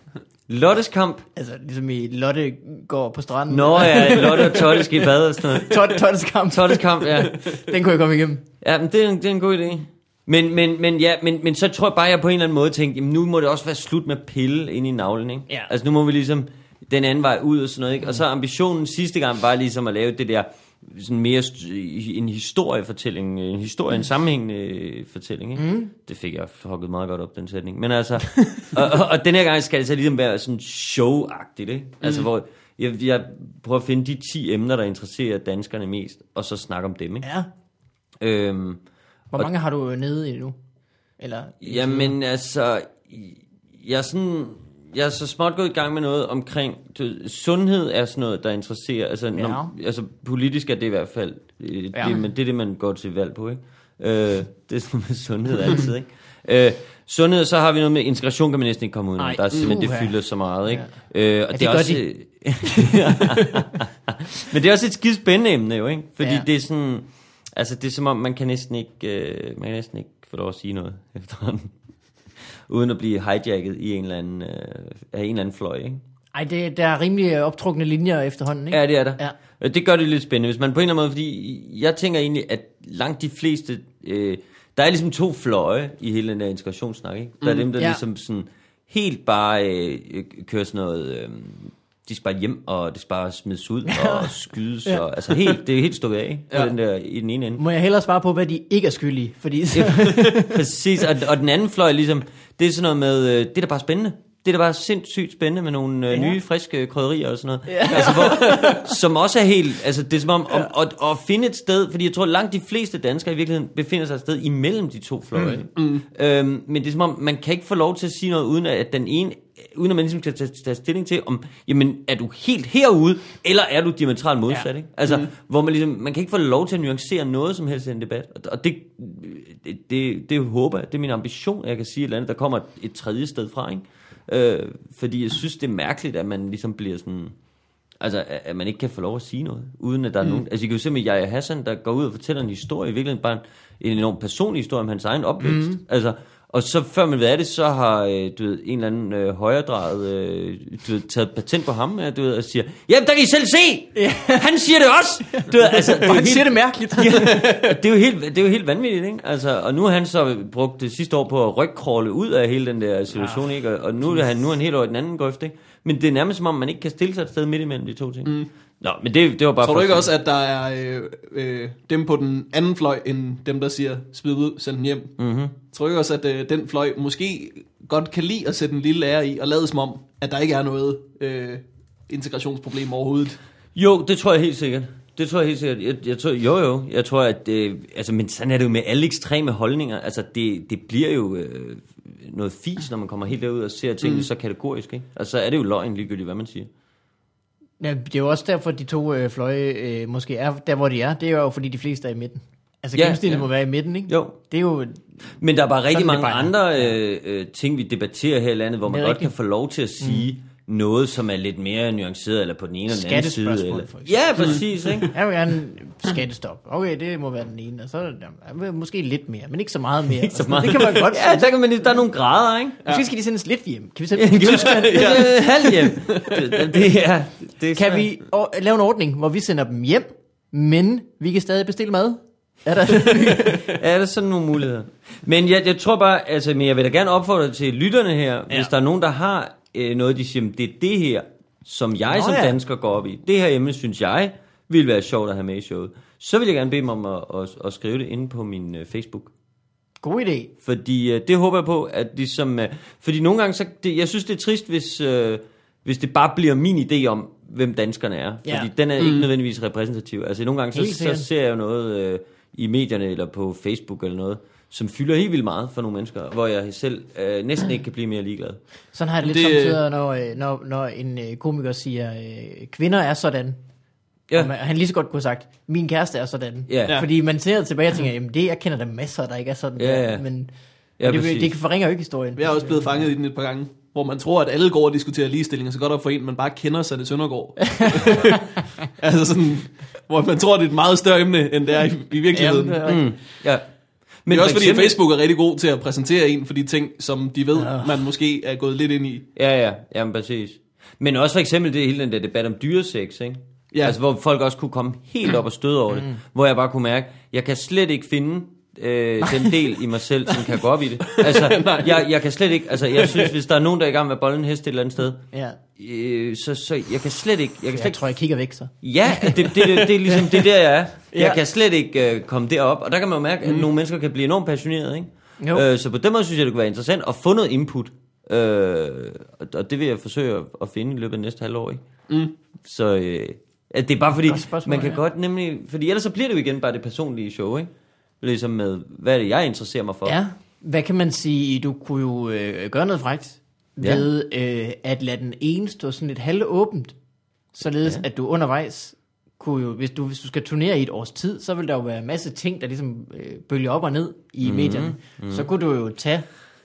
Speaker 2: Lottes kamp.
Speaker 3: Altså, ligesom i Lotte går på stranden.
Speaker 2: Nå ja, Lotte og Totte skal i bad og sådan noget.
Speaker 3: Tot, Tottes kamp.
Speaker 2: Tottes kamp, ja.
Speaker 3: Den kunne jeg komme igennem.
Speaker 2: Ja, men det er, en, det er en god idé. Men, men, men, ja, men, men så tror jeg bare, at jeg på en eller anden måde tænkte, jamen nu må det også være slut med at pille ind i navlen, ikke?
Speaker 3: Ja.
Speaker 2: Altså nu må vi ligesom den anden vej ud og sådan noget, ikke? Og så ambitionen sidste gang var ligesom at lave det der sådan mere st- en historiefortælling, en historie,
Speaker 3: Mm.
Speaker 2: en sammenhængende øh, fortælling, ikke? Mm. Det fik jeg hugget meget godt op, den sætning. Men altså, og, og, og den her gang skal det så ligesom være sådan showagtigt, ikke?
Speaker 3: Mm.
Speaker 2: Altså hvor jeg, jeg prøver at finde de 10 emner, der interesserer danskerne mest, og så snakke om dem, ikke?
Speaker 3: Ja.
Speaker 2: Øhm,
Speaker 3: Hvor mange har
Speaker 2: øh,
Speaker 3: du nede endnu? Eller,
Speaker 2: Jamen altså, jeg er, sådan, jeg er så småt gået i gang med noget omkring, du, ved, sundhed er sådan noget, der interesserer, altså, ja. når, altså politisk er det i hvert fald, øh,
Speaker 3: Ja.
Speaker 2: det, men det er det, man går til valg på, ikke? Øh, det er sådan med sundhed altid, ikke? Øh, sundhed, så har vi noget med integration, kan man næsten ikke komme ud
Speaker 3: Nej,
Speaker 2: af. Der er simpelthen, det
Speaker 3: uha.
Speaker 2: fylder så meget, ikke? Ja. Øh, og det,
Speaker 3: det
Speaker 2: det er
Speaker 3: gør
Speaker 2: også,
Speaker 3: de.
Speaker 2: men det er også et skidt spændende emne jo, ikke? Fordi
Speaker 3: Ja.
Speaker 2: ja. det er sådan... Altså, det er som om, man kan næsten ikke, øh, man kan næsten ikke få lov at sige noget efterhånden. Uden at blive hijacket i en eller anden, øh, af en eller anden fløj, ikke?
Speaker 3: Ej, det, der er rimelig optrukne linjer efterhånden, ikke?
Speaker 2: Ja, det er der.
Speaker 3: Ja.
Speaker 2: Øh, Det gør det lidt spændende, hvis man på en eller anden måde, fordi jeg tænker egentlig, at langt de fleste, øh, der er ligesom to fløje i hele den der integrationssnak, ikke? Der er dem, der
Speaker 3: Mm, Ja.
Speaker 2: ja. ligesom sådan helt bare øh, øh, kører sådan noget, øh, de skal bare hjem, og det skal bare smides ud og skydes, ja. og, altså helt, det er helt stukket af, ikke? På
Speaker 1: Ja.
Speaker 2: Den der, i den ene ende.
Speaker 3: Må jeg hellere svare på, hvad de ikke er skyldige? Fordi så,
Speaker 2: Præcis, og, og den anden fløj ligesom, det er sådan noget med, øh, det er da bare spændende. Det er da bare sindssygt spændende med nogle øh, nye, friske krydderier og sådan noget. Ja. Altså, hvor, som også er helt, altså det er som om, om at, at finde et sted, fordi jeg tror langt de fleste danskere i virkeligheden befinder sig et sted imellem de to fløje. Mm. Øhm, men det er som om, man kan ikke få lov til at sige noget, uden at at den ene uden at man ligesom skal tage, tage stilling til, om jamen, er du helt herude, eller er du diametralt modsat,
Speaker 3: Ja.
Speaker 2: ja. ikke? Altså, mm. hvor man ligesom, man kan ikke få lov til at nuancere noget som helst i en debat, og, og det, det, det, det håber jeg, det er min ambition, at jeg kan sige et eller andet, der kommer et, et tredje sted fra, ikke? Øh, fordi jeg synes, det er mærkeligt, at man ligesom bliver sådan, altså, at at man ikke kan få lov at sige noget, uden at der mm. er nogen, altså, jeg kan jo se med Jaja Hassan, der går ud og fortæller en historie, i virkeligheden bare en, en enorm personlig historie om hans egen opvækst, mm. altså, og så før man ved af det, så har øh, du ved, en eller anden øh, højredrejet øh, du ved, taget patent på ham ja, du ved, og siger, jamen der kan I selv se, han siger det også. Du ved, altså, det er jo
Speaker 3: han
Speaker 2: helt-
Speaker 3: siger det mærkeligt.
Speaker 2: ja, det, er jo helt, det er jo helt vanvittigt, ikke? Altså, og nu har han så brugt det sidste år på at rygkråle ud af hele den der situation, ja. ikke? Og, og nu, er han, nu er han helt over i den anden grøft, ikke? Men det er nærmest som om, man ikke kan stille sig et sted midt imellem de to ting. Mm. Nå, men det, det var bare...
Speaker 1: Tror du
Speaker 2: for-
Speaker 1: ikke også, at der er øh, øh, dem på den anden fløj, end dem, der siger, smid ud, send den hjem?
Speaker 2: Mhm.
Speaker 1: Mm-hmm. Tror du ikke også, at øh, den fløj måske godt kan lide at sætte en lille ære i, og lade som om, at der ikke er noget øh, integrationsproblem overhovedet?
Speaker 2: Jo, det tror jeg helt sikkert. Det tror jeg helt sikkert. Jeg, jeg tror, jo, jo. Jeg tror, at... Øh, altså, men sådan er det jo med alle ekstreme holdninger. Altså, det, det bliver jo øh, noget fis, når man kommer helt derud og ser tingene mm. så kategorisk, ikke? Og så er det jo løgn ligegyldigt, hvad man siger.
Speaker 3: Ja, det er jo også derfor, de to øh, fløje øh, måske er der, hvor de er. Det er jo fordi, de fleste er i midten. Altså
Speaker 2: Ja,
Speaker 3: gennemsnittet
Speaker 2: ja.
Speaker 3: må være i midten, ikke?
Speaker 2: Jo,
Speaker 3: Det er jo...
Speaker 2: Men der er bare rigtig
Speaker 3: Sådan er
Speaker 2: mange
Speaker 3: det bare.
Speaker 2: andre øh, øh, ting, vi debatterer her i landet, hvor
Speaker 3: Det
Speaker 2: man
Speaker 3: er
Speaker 2: godt
Speaker 3: rigtigt.
Speaker 2: kan få lov til at sige, mm. noget, som er lidt mere nuanceret, eller på den ene eller den anden side.
Speaker 3: Skattespørgsmål,
Speaker 2: Eller...
Speaker 3: for eksempel.
Speaker 2: Ja, præcis, ikke?
Speaker 3: Jeg vil gerne skattestop. Okay, det må være den ene. Og så er der- jeg vil måske lidt mere, men ikke så meget mere.
Speaker 2: Så meget.
Speaker 3: Det kan man godt
Speaker 2: Ja,
Speaker 3: sige.
Speaker 2: der, kan man, der er nogle grader, ikke?
Speaker 3: Måske skal de sendes lidt hjem. Kan vi sende
Speaker 2: Ja,
Speaker 3: dem til Tyskland?
Speaker 2: ja. Halv hjem. Det, det, det, er, det er
Speaker 3: Kan
Speaker 2: svært.
Speaker 3: vi o- lave en ordning, hvor vi sender dem hjem, men vi kan stadig bestille mad? Er der
Speaker 2: Er der sådan nogle muligheder? Men jeg, jeg tror bare, altså, men jeg vil da gerne opfordre til lytterne her, ja. hvis der er nogen, der har øh, noget, de siger, "Men det er det her, som jeg Nå, som
Speaker 3: ja.
Speaker 2: ja. dansker går op i. Det her emne, synes jeg, ville være sjovt at have med i showet. Så vil jeg gerne bede dem om at, at, at skrive det inde på min øh, Facebook.
Speaker 3: god idé?
Speaker 2: Fordi øh, det håber jeg på, at ligesom... Øh, fordi nogle gange, så, det, jeg synes, det er trist, hvis, øh, hvis det bare bliver min idé om, hvem danskerne er.
Speaker 3: Ja.
Speaker 2: Fordi den er mm. ikke nødvendigvis repræsentativ. Altså nogle gange,
Speaker 3: Helt
Speaker 2: så,
Speaker 3: sikkert.
Speaker 2: så ser jeg jo noget øh, i medierne eller på Facebook eller noget, som fylder helt vildt meget for nogle mennesker, hvor jeg selv øh, næsten ikke kan blive mere ligeglad.
Speaker 3: Sådan har jeg det lidt
Speaker 1: Det, øh,
Speaker 3: samtidig, når, øh, når, når en øh, komiker siger, øh, kvinder er sådan.
Speaker 2: Ja.
Speaker 3: Og man, han lige så godt kunne have sagt, min kæreste er sådan.
Speaker 2: Ja.
Speaker 3: Fordi man ser tilbage og tænker, jamen det, jeg kender der masser, der ikke er sådan.
Speaker 2: Ja,
Speaker 3: der."
Speaker 2: ja.
Speaker 3: Men,
Speaker 2: Ja,
Speaker 3: ja, men det,
Speaker 2: præcis.
Speaker 3: det forringer jo ikke historien.
Speaker 1: Jeg er også blevet fanget i den et par gange, hvor man tror, at alle går og diskuterer ligestilling, og så godt op for en, man bare kender Sanne Søndergaard. altså sådan, hvor man tror, det er et meget større emne, end det er i, i virkeligheden.
Speaker 3: Jamen, det er
Speaker 1: det,
Speaker 3: rigtigt.
Speaker 2: Mm. Ja.
Speaker 1: men det er også
Speaker 2: for
Speaker 1: fordi, at Facebook er rigtig god til at præsentere en for de ting, som de ved, man måske er gået lidt ind i.
Speaker 2: Ja, ja, jamen præcis. Men også for eksempel det hele den der debat om dyresex, ikke?
Speaker 1: Ja.
Speaker 2: Ja. Altså, hvor folk også kunne komme helt op og støde over det. Hvor jeg bare kunne mærke, jeg kan slet ikke finde øh, den del i mig selv, som kan gå op i det. Altså, jeg, jeg kan slet ikke, altså, jeg synes, hvis der er nogen, der er i gang med at bolle en hest et eller andet sted,
Speaker 3: Ja.
Speaker 2: øh, så, så jeg kan slet ikke, jeg kan slet
Speaker 3: Jeg
Speaker 2: ikke
Speaker 3: tror, jeg kigger væk så.
Speaker 2: Ja, det, det, det, det er ligesom det er der, jeg er. Jeg
Speaker 3: Ja. Mm.
Speaker 2: kan slet ikke øh, komme derop. Og der kan man jo mærke, at nogle mennesker kan blive enormt passionerede. Ikke?
Speaker 3: Jo.
Speaker 2: Øh, så på den måde synes jeg, det kunne være interessant at få noget input. Øh, og- og det vil jeg forsøge at, at finde i løbet af næste halvår. Ikke? Mm. Så øh, at det er bare fordi,
Speaker 3: Godt spørgsmål,
Speaker 2: man kan
Speaker 3: ja.
Speaker 2: godt nemlig... Fordi ellers så bliver det jo igen bare det personlige show, ikke? Ligesom med, hvad er det, jeg interesserer mig for?
Speaker 3: Ja. Hvad kan man sige, du kunne jo øh, gøre noget frækt
Speaker 2: Ja.
Speaker 3: ved øh, at lade den ene stå sådan lidt halvåbent, således ja. at du undervejs kunne jo, hvis du, hvis du skal turnere i et års tid, så vil der jo være en masse ting, der ligesom øh, bølger op og ned i
Speaker 2: Mhm,
Speaker 3: mm-hmm. medierne. Mm-hmm. Så kunne du jo tage,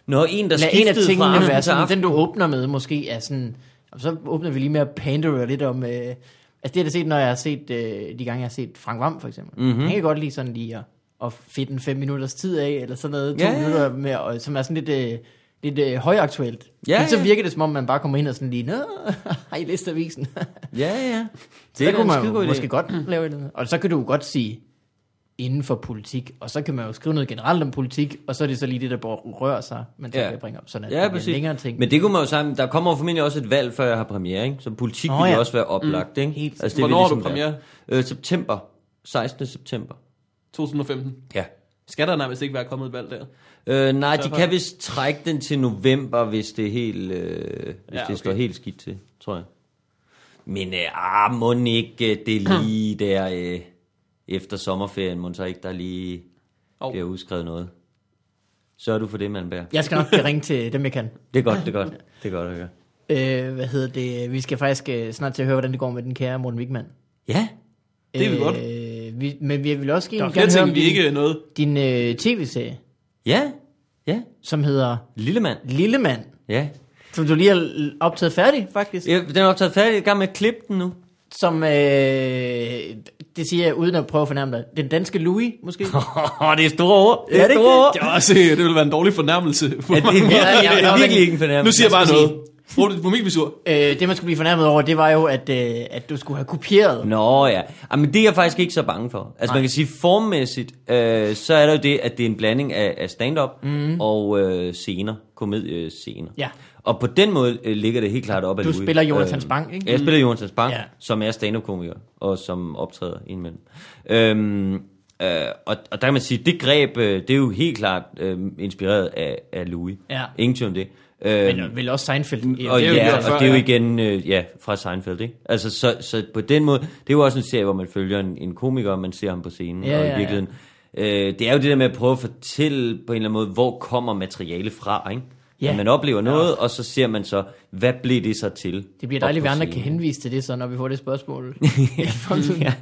Speaker 2: Når en, der
Speaker 3: lad en af
Speaker 2: skiftede fra
Speaker 3: tingene
Speaker 2: aften
Speaker 3: være
Speaker 2: til
Speaker 3: sådan,
Speaker 2: aften.
Speaker 3: den du åbner med måske er sådan, og så åbner vi lige med at pandere lidt om, øh, altså det har jeg set, når jeg har set, øh, de gange jeg har set Frank Vam for eksempel.
Speaker 2: Mhm.
Speaker 3: Mm-hmm. Han kan godt lide sådan lige at, at fedte en fem minutters tid af, eller sådan noget, to
Speaker 2: Ja, ja, ja.
Speaker 3: minutter, med, og, som er sådan lidt, øh, lidt øh, højaktuelt.
Speaker 2: Ja,
Speaker 3: Men så
Speaker 2: ja.
Speaker 3: virker det som om, man bare kommer ind og sådan lige, nå, har I læst avisen?
Speaker 2: Ja, ja.
Speaker 3: Det der
Speaker 2: da
Speaker 3: kunne
Speaker 2: en
Speaker 3: man
Speaker 2: skidegod
Speaker 3: jo
Speaker 2: idé.
Speaker 3: måske godt lave et eller andet. Mm. Og så kan du jo godt sige, inden for politik, og så kan man jo skrive noget generelt om politik, og så er det så lige det, der rører sig, man så
Speaker 2: Ja.
Speaker 3: kan bringe op, sådan at
Speaker 2: Ja,
Speaker 3: det bliver en
Speaker 2: præcis.
Speaker 3: længere ting.
Speaker 2: Men det kunne man jo sammen. Der kommer jo formentlig også et valg, før jeg har premiere, ikke? Så politik
Speaker 3: Nå,
Speaker 2: Nå, ville
Speaker 3: ja. Mm.
Speaker 2: ja. også være oplagt, ikke? Altså,
Speaker 3: Helt
Speaker 2: det
Speaker 1: Hvornår
Speaker 2: vil
Speaker 1: har du premiere?
Speaker 2: være. Øh, september. 16. september.
Speaker 1: 2015.
Speaker 2: Ja.
Speaker 1: Skal der nærmest ikke være kommet et valg der?
Speaker 2: Øh, nej, de
Speaker 1: Derfor-
Speaker 2: kan vist trække den til november, hvis det, er helt, øh, hvis
Speaker 1: Ja,
Speaker 2: ja, okay.
Speaker 1: okay.
Speaker 2: det står helt skidt til, tror jeg. Men øh, ah, må ikke øh, det
Speaker 3: Hm.
Speaker 2: er lige der øh, efter sommerferien, må så ikke der lige
Speaker 1: Hov.
Speaker 2: oh. bliver udskrevet noget. Sørg du for det, Malmberg.
Speaker 3: Jeg skal nok lige ringe til dem, jeg kan.
Speaker 2: Det er godt, det er godt. Det er godt at høre.
Speaker 3: Øh, hvad hedder det? Vi skal faktisk øh, snart til at høre, hvordan det går med den kære Morten Wigman. Øh,
Speaker 2: Ja,
Speaker 1: Det er vi godt.
Speaker 3: Vi, men vi vil også
Speaker 1: Der er
Speaker 3: gerne,
Speaker 1: flere
Speaker 3: gerne høre om
Speaker 1: ting, vi
Speaker 3: din,
Speaker 1: ikke nåede.
Speaker 3: din øh, tv-serie,
Speaker 2: ja, ja.
Speaker 3: som hedder
Speaker 2: Lillemand.
Speaker 3: Lillemand,
Speaker 2: Ja.
Speaker 3: som du lige har l- optaget færdig, faktisk.
Speaker 2: ja den er optaget færdig. Jeg er i gang med at klippe den nu.
Speaker 3: Som, øh, det siger jeg uden at prøve at fornærme dig, den danske Louis, måske?
Speaker 2: det er store ord.
Speaker 3: Er det ikke det?
Speaker 1: Det, er også, det ville være en dårlig fornærmelse.
Speaker 2: Ja, det er virkelig,
Speaker 3: Ja, ja,
Speaker 2: det
Speaker 3: ja,
Speaker 2: er
Speaker 3: men-
Speaker 2: virkelig ikke en fornærmelse.
Speaker 1: nu siger jeg bare
Speaker 3: skal
Speaker 1: noget. Brug det på mit visur.
Speaker 3: øh, det, man skulle blive fornærmet over, det var jo, at, øh, at du skulle have kopieret.
Speaker 2: Nå ja, Jamen, det er jeg faktisk ikke så bange for. Altså Nej. man kan sige, formmæssigt, øh, så er der jo det, at det er en blanding af, af stand-up mm. og øh, scener, øh, komediescener.
Speaker 3: Mhm. Ja.
Speaker 2: Og på den måde øh, ligger det helt klart op ad
Speaker 3: Du
Speaker 2: Louis. Øh,
Speaker 3: spiller Jonathan Spang, ikke?
Speaker 2: Jeg spiller Jonathan Spang,
Speaker 3: Ja.
Speaker 2: ja. som er stand-up-komiker, og som optræder indimellem. Øhm, øh, og, og der kan man sige, det greb, øh, det er jo helt klart øh, inspireret af, af Louis.
Speaker 3: Ja.
Speaker 2: Ingen tvivl om det. Øhm,
Speaker 3: Men vel også Seinfeld.
Speaker 2: og
Speaker 1: det er jo
Speaker 2: ja,
Speaker 1: gjort før,
Speaker 2: og det er jo
Speaker 1: ja.
Speaker 2: igen øh, ja, fra Seinfeld, ikke? Altså, så, så på den måde, det er jo også en serie, hvor man følger en, en komiker, og man ser ham på scenen,
Speaker 3: Ja,
Speaker 2: og
Speaker 3: ja,
Speaker 2: i virkeligheden. Øh, det er jo det der med at prøve at fortælle på en eller anden måde, hvor kommer materiale fra, ikke?
Speaker 3: Ja.
Speaker 2: Ja. At man oplever noget, og så ser man så, hvad blev det så til?
Speaker 3: Det bliver
Speaker 2: op
Speaker 3: dejligt,
Speaker 2: på
Speaker 3: at andre
Speaker 2: scenen.
Speaker 3: kan henvise til det, så når vi får det spørgsmål.
Speaker 2: ja.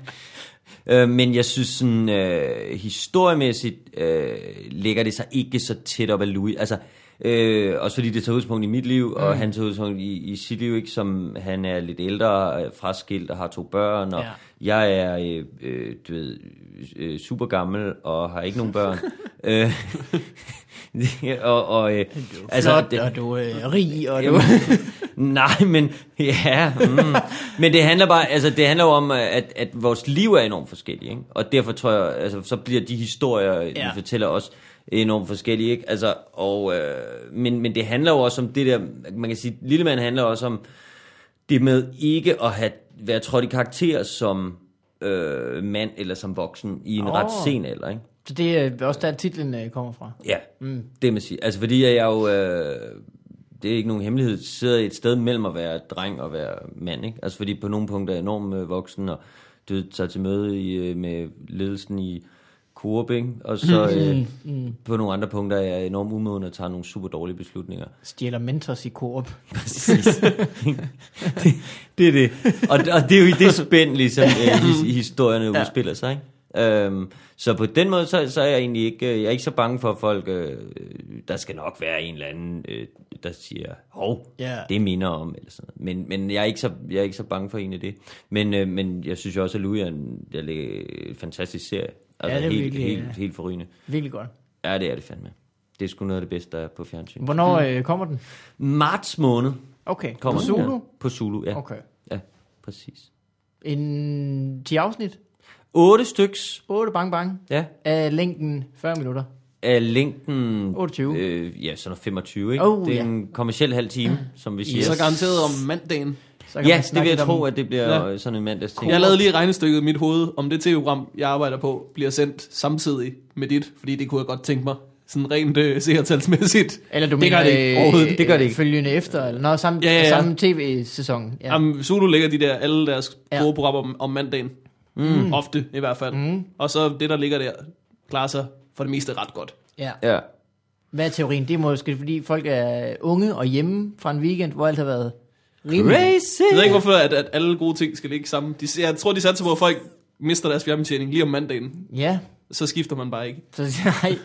Speaker 2: Øh, men jeg synes sådan, øh, historiemæssigt øh, ligger det sig ikke så tæt op af Louis. Altså, Øh, også fordi det tager udgangspunkt i mit liv,
Speaker 3: Mm.
Speaker 2: og han tager udgangspunkt i, i sit liv, ikke, som han er lidt ældre, øh, fraskilt og har to børn, og ja. jeg er øh, øh, du ved, øh, super gammel og har ikke nogen børn. øh, og, og, øh,
Speaker 3: Altså, Flot, det, og du er øh, rig, og du...
Speaker 2: Nej, men ja, mm. men det handler bare, altså det handler jo om at, at vores liv er enormt forskellige, ikke? og derfor tror jeg, altså så bliver de historier, ja. vi fortæller os enormt forskellige, ikke? Altså, og øh, men men det handler jo også om det der, man kan sige, lille mand handler også om det med ikke at have være trådt i karakter som øh, mand eller som voksen i en oh. ret
Speaker 3: Åh.
Speaker 2: sen alder, ikke?
Speaker 3: Så det er også der, titlen øh, kommer fra.
Speaker 2: Ja, mm. det må jeg sige. Altså fordi jeg, jeg jo, øh, det er ikke nogen hemmelighed, sidder et sted mellem at være dreng og være mand. Ikke? Altså fordi på nogle punkter er jeg enormt øh, voksen, og du ved, tager til møde i, øh, med ledelsen i Coop, ikke? og så øh, på nogle andre punkter er jeg enormt umoden og tager nogle super dårlige beslutninger.
Speaker 3: Stjæler mentors i Coop.
Speaker 2: Præcis. det, det er det. Og, og det er jo i det spænd, ligesom øh, his, historierne ja. udspiller sig, ikke? Øhm, så på den måde, så, så er jeg egentlig ikke, øh, jeg er ikke så bange for at folk, øh, der skal nok være en eller anden, øh, der siger, hov,
Speaker 3: Ja.
Speaker 2: det minder om, eller sådan noget. Men, men jeg, er ikke så, jeg er ikke så bange for en af det. Men, øh, men jeg synes jo også, at Louis er en, jeg lægger, en fantastisk serie. Altså
Speaker 3: det er
Speaker 2: helt,
Speaker 3: virkelig,
Speaker 2: helt,
Speaker 3: ja.
Speaker 2: helt forrygende.
Speaker 3: Virkelig godt.
Speaker 2: Ja, det er det fandme. Det er sgu noget af det bedste, der er på fjernsyn.
Speaker 3: Hvornår øh, kommer den?
Speaker 2: Marts måned
Speaker 3: Okay,
Speaker 2: Mm. kommer
Speaker 3: kommer på Zulu?
Speaker 2: Ja. På Zulu, ja.
Speaker 3: Okay.
Speaker 2: Ja, præcis.
Speaker 3: En 10 afsnit.
Speaker 2: Otte styks,
Speaker 3: 8 bang bang.
Speaker 2: ja,
Speaker 3: Af længden 40 minutter.
Speaker 2: af længden...
Speaker 3: 28.
Speaker 2: Øh, ja, sådan noget 25, ikke?
Speaker 3: Oh,
Speaker 2: det er
Speaker 3: ja.
Speaker 2: en kommersiel halv time, som vi siger.
Speaker 1: Så garanteret om mandagen.
Speaker 3: Så kan
Speaker 2: Ja,
Speaker 3: man
Speaker 2: det
Speaker 3: snakke
Speaker 2: vil jeg
Speaker 3: lidt om-
Speaker 2: tro, at det bliver
Speaker 1: Ja.
Speaker 2: øh, sådan en mandags ting.
Speaker 1: Jeg lavede lige regnestykket i mit hoved, om det tv-program, jeg arbejder på, bliver sendt samtidig med dit, fordi det kunne jeg godt tænke mig, sådan rent øh, seertalsmæssigt.
Speaker 3: Eller du
Speaker 1: det
Speaker 3: mener,
Speaker 1: gør det ikke.
Speaker 3: øh,
Speaker 1: Overhovedet.
Speaker 2: Det gør det ikke.
Speaker 3: Følgende efter, eller noget, samme,
Speaker 1: Ja, ja, ja.
Speaker 3: samme tv-sæson. Ja.
Speaker 1: Jamen, Zulu lægger de der, alle deres
Speaker 3: Ja.
Speaker 1: gode programmer om, om mandagen. Mm. Ofte, i hvert fald. Mm. Og så det, der ligger der, klarer sig for det meste ret godt.
Speaker 3: ja.
Speaker 2: Ja.
Speaker 3: Hvad er teorien? Det er måske, fordi folk er unge og hjemme fra en weekend, hvor alt har været rimelig.
Speaker 1: Jeg ved
Speaker 2: Crazy!
Speaker 1: ikke, hvorfor at, at alle gode ting skal ligge sammen. De, jeg tror, de satser på, at folk mister deres fjernbetjening lige om mandagen.
Speaker 3: Ja,
Speaker 1: Så skifter man bare ikke.
Speaker 3: så nej.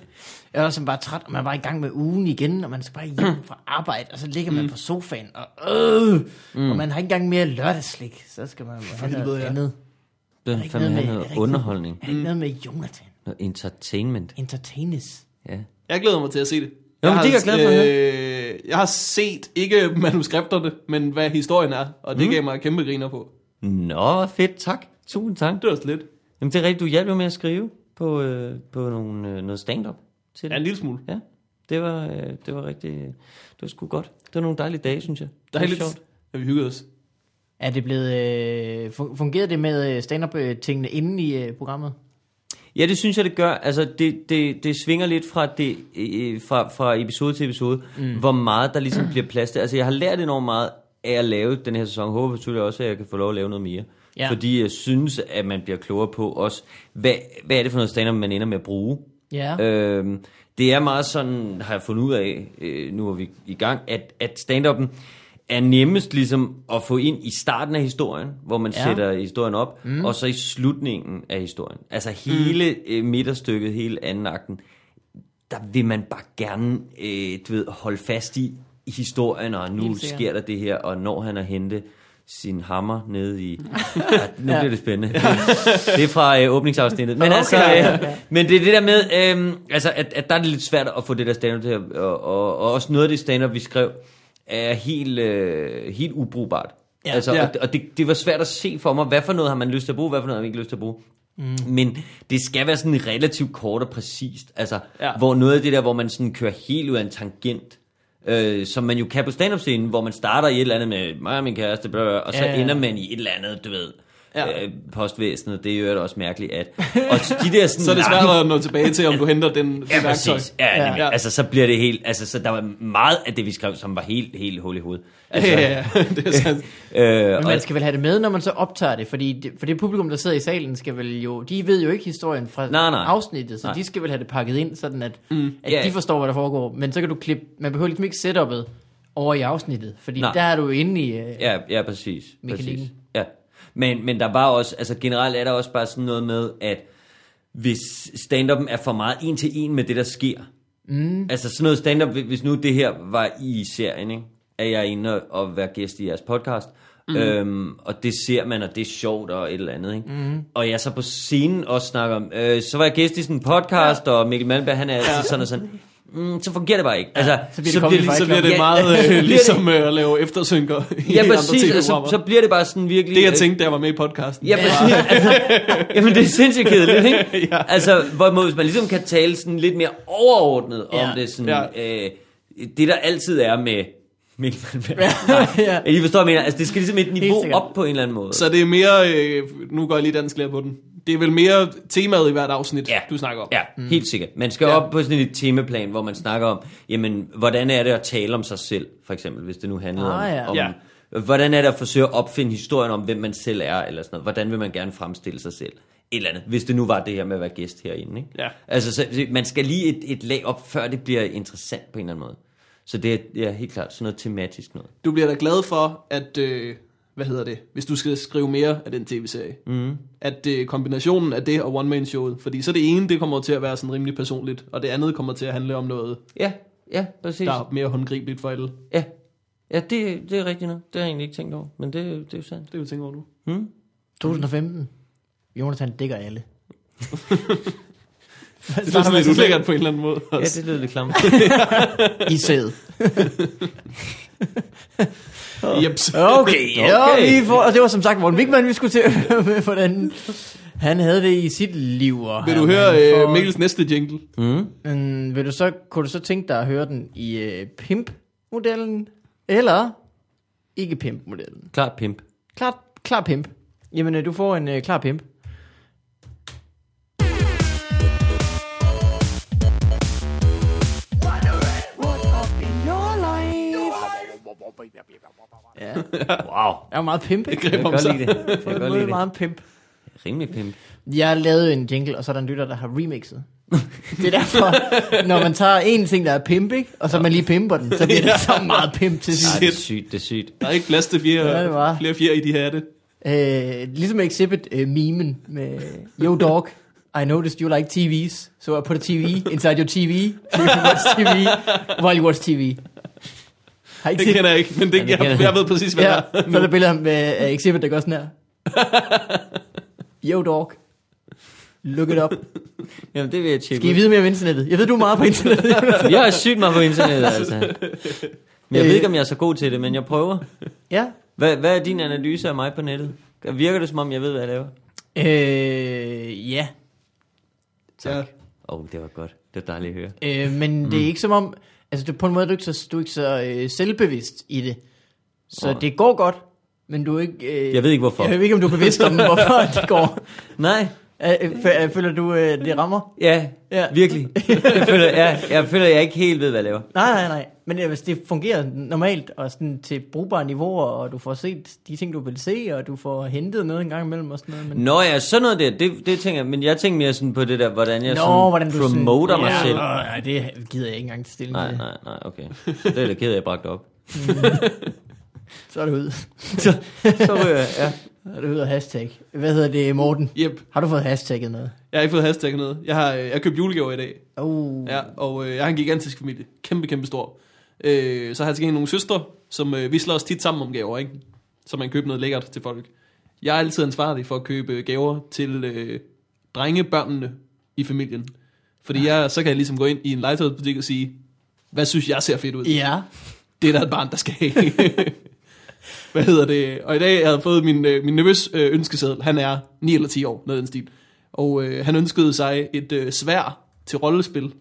Speaker 3: Jeg er også bare træt, og man er bare i gang med ugen igen, og man skal bare hjem fra arbejde, og så ligger man på sofaen, og, øh, mm. og man har ikke engang mere lørdagsslik. Så skal man jo have noget
Speaker 1: helvede, ja.
Speaker 3: andet.
Speaker 2: Den
Speaker 3: ikke
Speaker 2: fandme
Speaker 3: noget
Speaker 2: have
Speaker 3: med- er
Speaker 2: noget
Speaker 3: der ikke
Speaker 2: underholdning.
Speaker 3: Er det ikke noget med Jonathan?
Speaker 2: Noget entertainment.
Speaker 3: Entertainers.
Speaker 2: Ja.
Speaker 1: Jeg glæder mig til at se det.
Speaker 2: Nå,
Speaker 1: Jeg
Speaker 2: men det er jeg glad for at
Speaker 1: øh, jeg har set, ikke manuskripterne, men hvad historien er, og
Speaker 2: Mhm.
Speaker 1: det mm. gav mig en kæmpe griner på.
Speaker 2: Nå, lidt tak. Tusind tak.
Speaker 1: Det var også lidt.
Speaker 2: Jamen, det er rigtigt, du hjalp jo med at skrive på, øh, på nogle, øh, noget stand-up til
Speaker 1: Ja, en
Speaker 2: det.
Speaker 1: lille smule.
Speaker 2: Ja, det var, øh, det var rigtig, øh, det var sgu godt. Det var nogle dejlige dage, synes jeg.
Speaker 1: Der
Speaker 2: Det
Speaker 1: er
Speaker 2: var
Speaker 1: lidt,
Speaker 2: sjovt.
Speaker 1: at vi hyggede os.
Speaker 3: Er det blevet... Øh, fun- fungerede det med øh, stand-up-tingene inde i øh, programmet?
Speaker 2: Ja, det synes jeg, det gør. Altså, det, det, det svinger lidt fra, det, øh, fra, fra episode til episode, mm. hvor meget der ligesom bliver plads til. Altså, jeg har lært enormt meget af at lave den her sæson. Håber selvfølgelig også, at jeg kan få lov at lave noget mere.
Speaker 3: Ja.
Speaker 2: Ja. Fordi jeg synes, at man bliver klogere på også, hvad, hvad er det for noget stand man ender med at bruge.
Speaker 3: Ja.
Speaker 2: Øhm, det er meget sådan, har jeg fundet ud af, øh, nu er vi i gang, at, at stand-upen er nemmest ligesom at få ind i starten af historien, hvor man
Speaker 3: Ja.
Speaker 2: ja. sætter historien op, mm. og så i slutningen af historien. Altså hele mm. øh, midterstykket, hele anden akten, der vil man bare gerne øh, du ved, holde fast i historien, og nu
Speaker 3: Helt sikkert.
Speaker 2: sker der det her, og når han har hentet sin hammer nede i... Ja, nu bliver det spændende. Det er fra øh, åbningsafsnittet. Men, okay, altså, øh, men det er det der med, øh, altså, at, at der er det lidt svært at få det der stand-up til, at- og, og, og også noget af det stand-up, vi skrev, er helt, øh, helt ubrugbart. Ja, altså,
Speaker 1: Ja.
Speaker 2: Og, og det, det var svært at se for mig, hvad for noget har man lyst til at bruge, hvad for noget har man ikke lyst til at bruge. Mm. Men det skal være sådan relativt kort og præcist. Altså,
Speaker 1: Ja.
Speaker 2: ja. hvor noget af det der, hvor man sådan kører helt ud af en tangent, øh, som man jo kan på stand-up-scenen, hvor man starter i et eller andet med mig og min kæreste, blah, blah, blah, og så
Speaker 3: Ja, ja.
Speaker 2: ja. ender man i et eller andet, du ved,
Speaker 1: Ja.
Speaker 2: ja. øh, postvæsenet. Det er jo også mærkeligt, at... Og de der sådan,
Speaker 1: Så er det
Speaker 2: lange-
Speaker 1: svært at nå tilbage til, om du henter den det
Speaker 2: Ja,
Speaker 1: værktøj.
Speaker 2: præcis. Ja, nemlig.
Speaker 1: Ja.
Speaker 2: ja. Altså, så bliver det helt... Altså, så der var meget af det, vi skrev, som var helt, helt hul i hovedet. Altså,
Speaker 1: Ja, ja, ja. det er sandt.
Speaker 2: øh,
Speaker 3: Men
Speaker 2: og,
Speaker 3: man skal vel have det med, når man så optager det, fordi det, for det publikum, der sidder i salen, skal vel jo, de ved jo ikke historien fra
Speaker 2: Nej, nej.
Speaker 3: afsnittet, så
Speaker 2: Nej.
Speaker 3: de skal vel have det pakket ind, sådan at, mm, at
Speaker 2: Ja.
Speaker 3: de forstår, hvad der foregår. Men så kan du klippe, man behøver ligesom ikke setup'et over i afsnittet, fordi
Speaker 2: Nej.
Speaker 3: der er du jo inde i... Øh,
Speaker 2: Ja, ja, præcis.
Speaker 3: Mekanikken.
Speaker 2: præcis. Ja. Men, men der var også, altså generelt er der også bare sådan noget med, at hvis stand-up'en er for meget en til en med det, der sker, Mm. Altså sådan noget stand-up, hvis- hvis nu det her var i serien, ikke? at jeg er inde og, og være gæst i jeres podcast, mm. øhm, og det ser man, og det er sjovt og et eller andet. Ikke? Mm. Og jeg så på scenen også snakker om, øh, så var jeg gæst i sådan en podcast, ja. og Mikkel Malmberg, han er altid sådan og sådan. Mm, så fungerer det bare ikke. Altså,
Speaker 3: så bliver det Comedy
Speaker 1: Så
Speaker 3: Fight
Speaker 1: bliver det
Speaker 2: Ja,
Speaker 1: meget
Speaker 2: bliver
Speaker 1: øh,
Speaker 2: det-
Speaker 1: ligesom øh, at lave eftersynker i
Speaker 2: Ja,
Speaker 1: andre
Speaker 2: præcis. Altså,
Speaker 1: TV-programmer.
Speaker 2: så bliver det bare sådan virkelig...
Speaker 1: det jeg
Speaker 2: øh,
Speaker 1: tænkte, da jeg var med i podcasten.
Speaker 2: Ja, præcis. Altså, jamen, det er sindssygt kedeligt, ikke? ja. Altså, hvorimod hvis man ligesom kan tale sådan lidt mere overordnet ja.
Speaker 3: Ja.
Speaker 2: om det sådan... Ja. Øh, det, der altid er med Mikkel Malmberg.
Speaker 3: ja.
Speaker 2: Ja. I forstår, hvad jeg mener. Altså, det skal ligesom et niveau
Speaker 3: sikkert.
Speaker 2: op på en eller anden måde.
Speaker 1: Så det er mere, øh, nu går jeg lige dansk lærer på den, det er vel mere temaet i hvert afsnit,
Speaker 2: Ja.
Speaker 1: du snakker om.
Speaker 2: Ja, mm. helt sikkert. Man skal ja.
Speaker 1: Ja.
Speaker 2: op på sådan et temaplan, hvor man snakker om, jamen, hvordan er det at tale om sig selv, for eksempel, hvis det nu handler
Speaker 3: Ah, ja.
Speaker 2: om... om
Speaker 1: Ja.
Speaker 2: Hvordan er det at forsøge at opfinde historien om, hvem man selv er, eller sådan noget? Hvordan vil man gerne fremstille sig selv? Et eller andet, hvis det nu var det her med at være gæst herinde, ikke?
Speaker 1: Ja.
Speaker 2: Altså, så, så man skal lige et, et lag op, før det bliver interessant på en eller anden måde. Så det er, det er helt klart sådan noget tematisk noget.
Speaker 1: Du bliver da glad for, at, øh, hvad hedder det, hvis du skal skrive mere af den tv-serie. Mm. At øh, kombinationen af det og one-man-showet, fordi så det ene, det kommer til at være sådan rimelig personligt, og det andet kommer til at handle om noget,
Speaker 2: Ja, ja, præcis.
Speaker 1: der er mere håndgribeligt for alle. Det
Speaker 2: Ja, ja det, det er rigtigt nok. Det har jeg egentlig ikke tænkt over, men det, det er jo sandt.
Speaker 1: er jo tænker over nu.
Speaker 3: 2015. Jonathan dækker alle.
Speaker 1: Det er sådan lidt ulækkert på en eller anden måde.
Speaker 2: Ja,
Speaker 1: Også.
Speaker 2: det lyder lidt klamt.
Speaker 3: I sædet.
Speaker 1: Jeps.
Speaker 3: Okay,
Speaker 2: Okay.
Speaker 3: okay. Vi får, og det var som sagt Morten Wigman, vi skulle til at høre med, hvordan han havde det i sit liv. Og
Speaker 1: Vil
Speaker 3: han-
Speaker 1: du
Speaker 3: han
Speaker 1: høre
Speaker 3: får-
Speaker 1: øh, Mikkels næste jingle?
Speaker 3: Mm, vil du så, kunne du så tænke dig at høre den i øh, pimp-modellen? Eller ikke pimp-modellen?
Speaker 2: Klart pimp.
Speaker 3: Klar, klar pimp. Jamen, øh, du får en øh, klar pimp.
Speaker 4: What up in your life?
Speaker 3: Ja.
Speaker 2: Wow.
Speaker 3: Jeg er meget pimp, ikke?
Speaker 1: Jeg
Speaker 2: Jeg
Speaker 1: griber
Speaker 2: kan
Speaker 1: om
Speaker 2: godt
Speaker 1: sig.
Speaker 2: lide det. Jeg
Speaker 3: Jeg
Speaker 2: kan
Speaker 3: er
Speaker 2: godt lide
Speaker 3: meget,
Speaker 2: det.
Speaker 3: meget pimp.
Speaker 2: Rimelig pimp.
Speaker 3: Jeg lavede en jingle, og så er der en lytter, der har remixet. Det er derfor, når man tager en ting, der er pimp, ikke? og så man lige pimper den, så bliver det så meget pimp til
Speaker 2: Ej,
Speaker 3: sidst.
Speaker 2: det er sygt, det er sygt.
Speaker 1: Der er ikke plads til fire,
Speaker 3: Ja, det var.
Speaker 1: flere fjer i de hatte.
Speaker 3: Øh, ligesom Exhibit-memen med Yo dog, I noticed you like TVs, so I put a TV inside your TV, so you can watch TV while you watch TV. Har I ikke
Speaker 1: Det
Speaker 3: set
Speaker 1: kender jeg ikke, men det,
Speaker 2: det
Speaker 1: jeg,
Speaker 2: kender
Speaker 1: jeg,
Speaker 2: jeg.
Speaker 1: ved præcis, hvad
Speaker 3: Ja,
Speaker 1: det er.
Speaker 3: så er der billeder med uh, Exhibit, der gør sådan her. Yo dog. Look it up.
Speaker 2: Jamen, det vil jeg tjekke
Speaker 3: Skal I vide mere om internettet? Jeg ved, du er meget på internettet.
Speaker 2: ud. Jeg er sygt meget på internettet, altså. Men jeg ved ikke, om jeg er så god til det, men jeg prøver.
Speaker 3: ja.
Speaker 2: Hvad, hvad er din analyse af mig på nettet? Virker det, som om jeg ved, hvad jeg laver?
Speaker 3: Øh, ja.
Speaker 1: Ja.
Speaker 2: Åh, oh, det var godt. Det var dejligt at høre.
Speaker 3: Øh, men mm. det er ikke som om... Altså, det, på en måde er du ikke så, du er ikke så øh, selvbevidst i det. Så
Speaker 2: Åh.
Speaker 3: oh. det går godt, men du er ikke... Øh,
Speaker 2: Jeg ved ikke, hvorfor.
Speaker 3: Jeg ved ikke, om du er bevidst om, hvorfor det går.
Speaker 2: Nej,
Speaker 3: Øh, øh, fø- øh, føler du, øh, det rammer?
Speaker 2: ja,
Speaker 3: Ja.
Speaker 2: virkelig. Jeg føler, jeg, jeg føler, jeg ikke helt ved, hvad jeg laver.
Speaker 3: Nej, nej, nej. Men øh, hvis det fungerer normalt og sådan til brugbare niveauer, og du får set de ting, du vil se, og du får hentet noget en gang imellem og sådan noget. Men...
Speaker 2: Nå ja, sådan noget der, det, det tænker jeg, men jeg tænker mere sådan på det der, hvordan jeg sådan promoter mig
Speaker 3: ja,
Speaker 2: selv.
Speaker 3: åh, Nej, det gider jeg ikke engang til stille
Speaker 2: Nej,
Speaker 3: til.
Speaker 2: nej, nej, okay. Så det er da ked af, at jeg bragte op.
Speaker 3: Så er det ud.
Speaker 2: Så ryger jeg, ja.
Speaker 3: Så er det ud af hashtag. Hvad hedder det, Morten?
Speaker 1: Yep.
Speaker 3: Har du fået hashtagget noget?
Speaker 1: Jeg har ikke fået hashtag noget. Jeg har, øh, jeg købte julegaver i dag,
Speaker 2: Uh.
Speaker 3: Oh.
Speaker 1: ja, og øh, jeg har en gigantisk familie. Kæmpe, kæmpe stor. Øh, så har jeg til gengæld nogle søstre, som øh, vi slår os tit sammen om gaver, ikke? Så man køber noget lækkert til folk. Jeg er altid ansvarlig for at købe gaver til øh, drengebørnene i familien. Fordi jeg, så kan jeg ligesom gå ind i en legetøjsbutik og sige, hvad synes jeg ser fedt ud?
Speaker 3: Ja.
Speaker 1: det er der et barn, der skal have. Hvad hedder det? Og i dag jeg havde fået min, øh, min nervøs øh, ønskeseddel. Han er 9 eller 10 år, noget i den stil. Og øh, han ønskede sig et øh, svær til rollespil.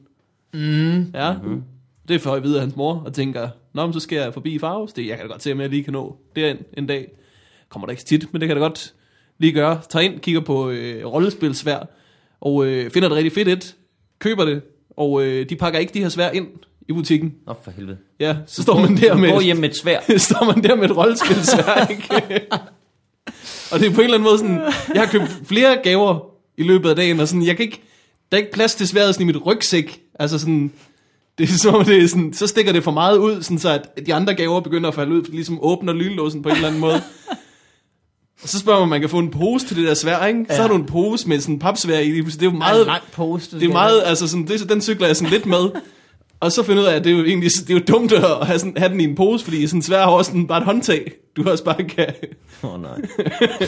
Speaker 1: Mm. Ja. Mm-hmm. Det får jeg videre af hans mor, og tænker, Nå, men så skal jeg forbi Faros. Det jeg kan da godt se, om jeg lige kan nå derind en dag. Kommer der ikke så tit, men det kan jeg da godt lige gøre. Tager ind, kigger på øh, rollespil svær, og øh, finder det rigtig fedt et. Køber det, og øh, de pakker ikke de her svær ind i butikken.
Speaker 2: Nå, for helvede.
Speaker 1: Ja, så står man der med
Speaker 2: Gå hjem med et svær.
Speaker 1: står man der med et rollespilsværk. og det er på en eller anden måde sådan, jeg har købt flere gaver i løbet af dagen, og sådan, jeg kan ikke, der er ikke plads til sværet sådan i mit rygsæk. Altså sådan, det er som om det er sådan, så stikker det for meget ud, sådan så at de andre gaver begynder at falde ud, for det ligesom åbner lynlåsen på en eller anden måde. Og så spørger man, om man kan få en pose til det der svær, ikke? Ja. Så har du en pose med sådan en papsvær i, det er jo
Speaker 3: Meget
Speaker 1: meget,
Speaker 3: lang post.
Speaker 1: det er meget, altså sådan, det, den cykler jeg sådan lidt med. Og så finder jeg ud af, at det er jo egentlig det er jo dumt at have, sådan, have den i en pose, fordi sådan svær har også sådan bare et håndtag, du også bare kan
Speaker 2: Åh oh, nej.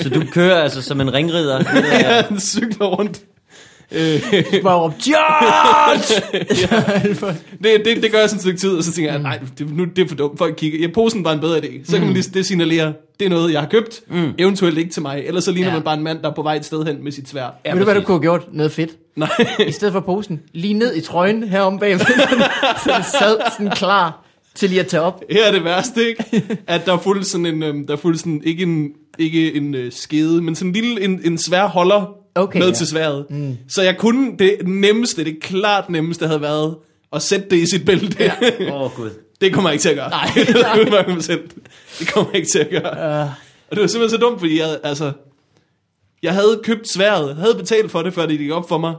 Speaker 2: Så du kører altså som en ringrider.
Speaker 1: ja. cykle rundt. Øh,
Speaker 3: Du bare råbe, George!
Speaker 1: det, det, det gør jeg sådan et stykke tid, og så tænker jeg, nej, det, nu, det er for dumt, folk kigger. Ja, posen var en bedre idé. Så kan man lige det signalere, det er noget, jeg har købt, mm. eventuelt ikke til mig. Ellers så ligner
Speaker 3: Ja.
Speaker 1: ja. man bare en mand, der er på vej et sted hen med sit svær.
Speaker 3: Ja, Ved du, hvad du kunne have gjort? Noget fedt.
Speaker 1: Nej,
Speaker 3: I stedet for posen, lige ned i trøjen heromme bagved, så den sad sådan klar til lige at tage op.
Speaker 1: her er det værste, ikke? At der er fuldt sådan en, øhm, der er fuldt sådan, ikke en, ikke en øh, skede, men sådan en lille, en, en svær holder
Speaker 3: Okay,
Speaker 1: med
Speaker 3: ja.
Speaker 1: til sværet. Mm. Så jeg kunne det nemmeste, det klart nemmeste havde været, at sætte det i sit bælte. Ja.
Speaker 2: Åh oh, gud.
Speaker 1: Det kommer jeg ikke til at gøre. Nej, nej. det kommer jeg ikke til at gøre. Uh. Og det var simpelthen så dumt, fordi jeg, altså, jeg havde købt sværet, havde betalt for det, før det gik op for mig.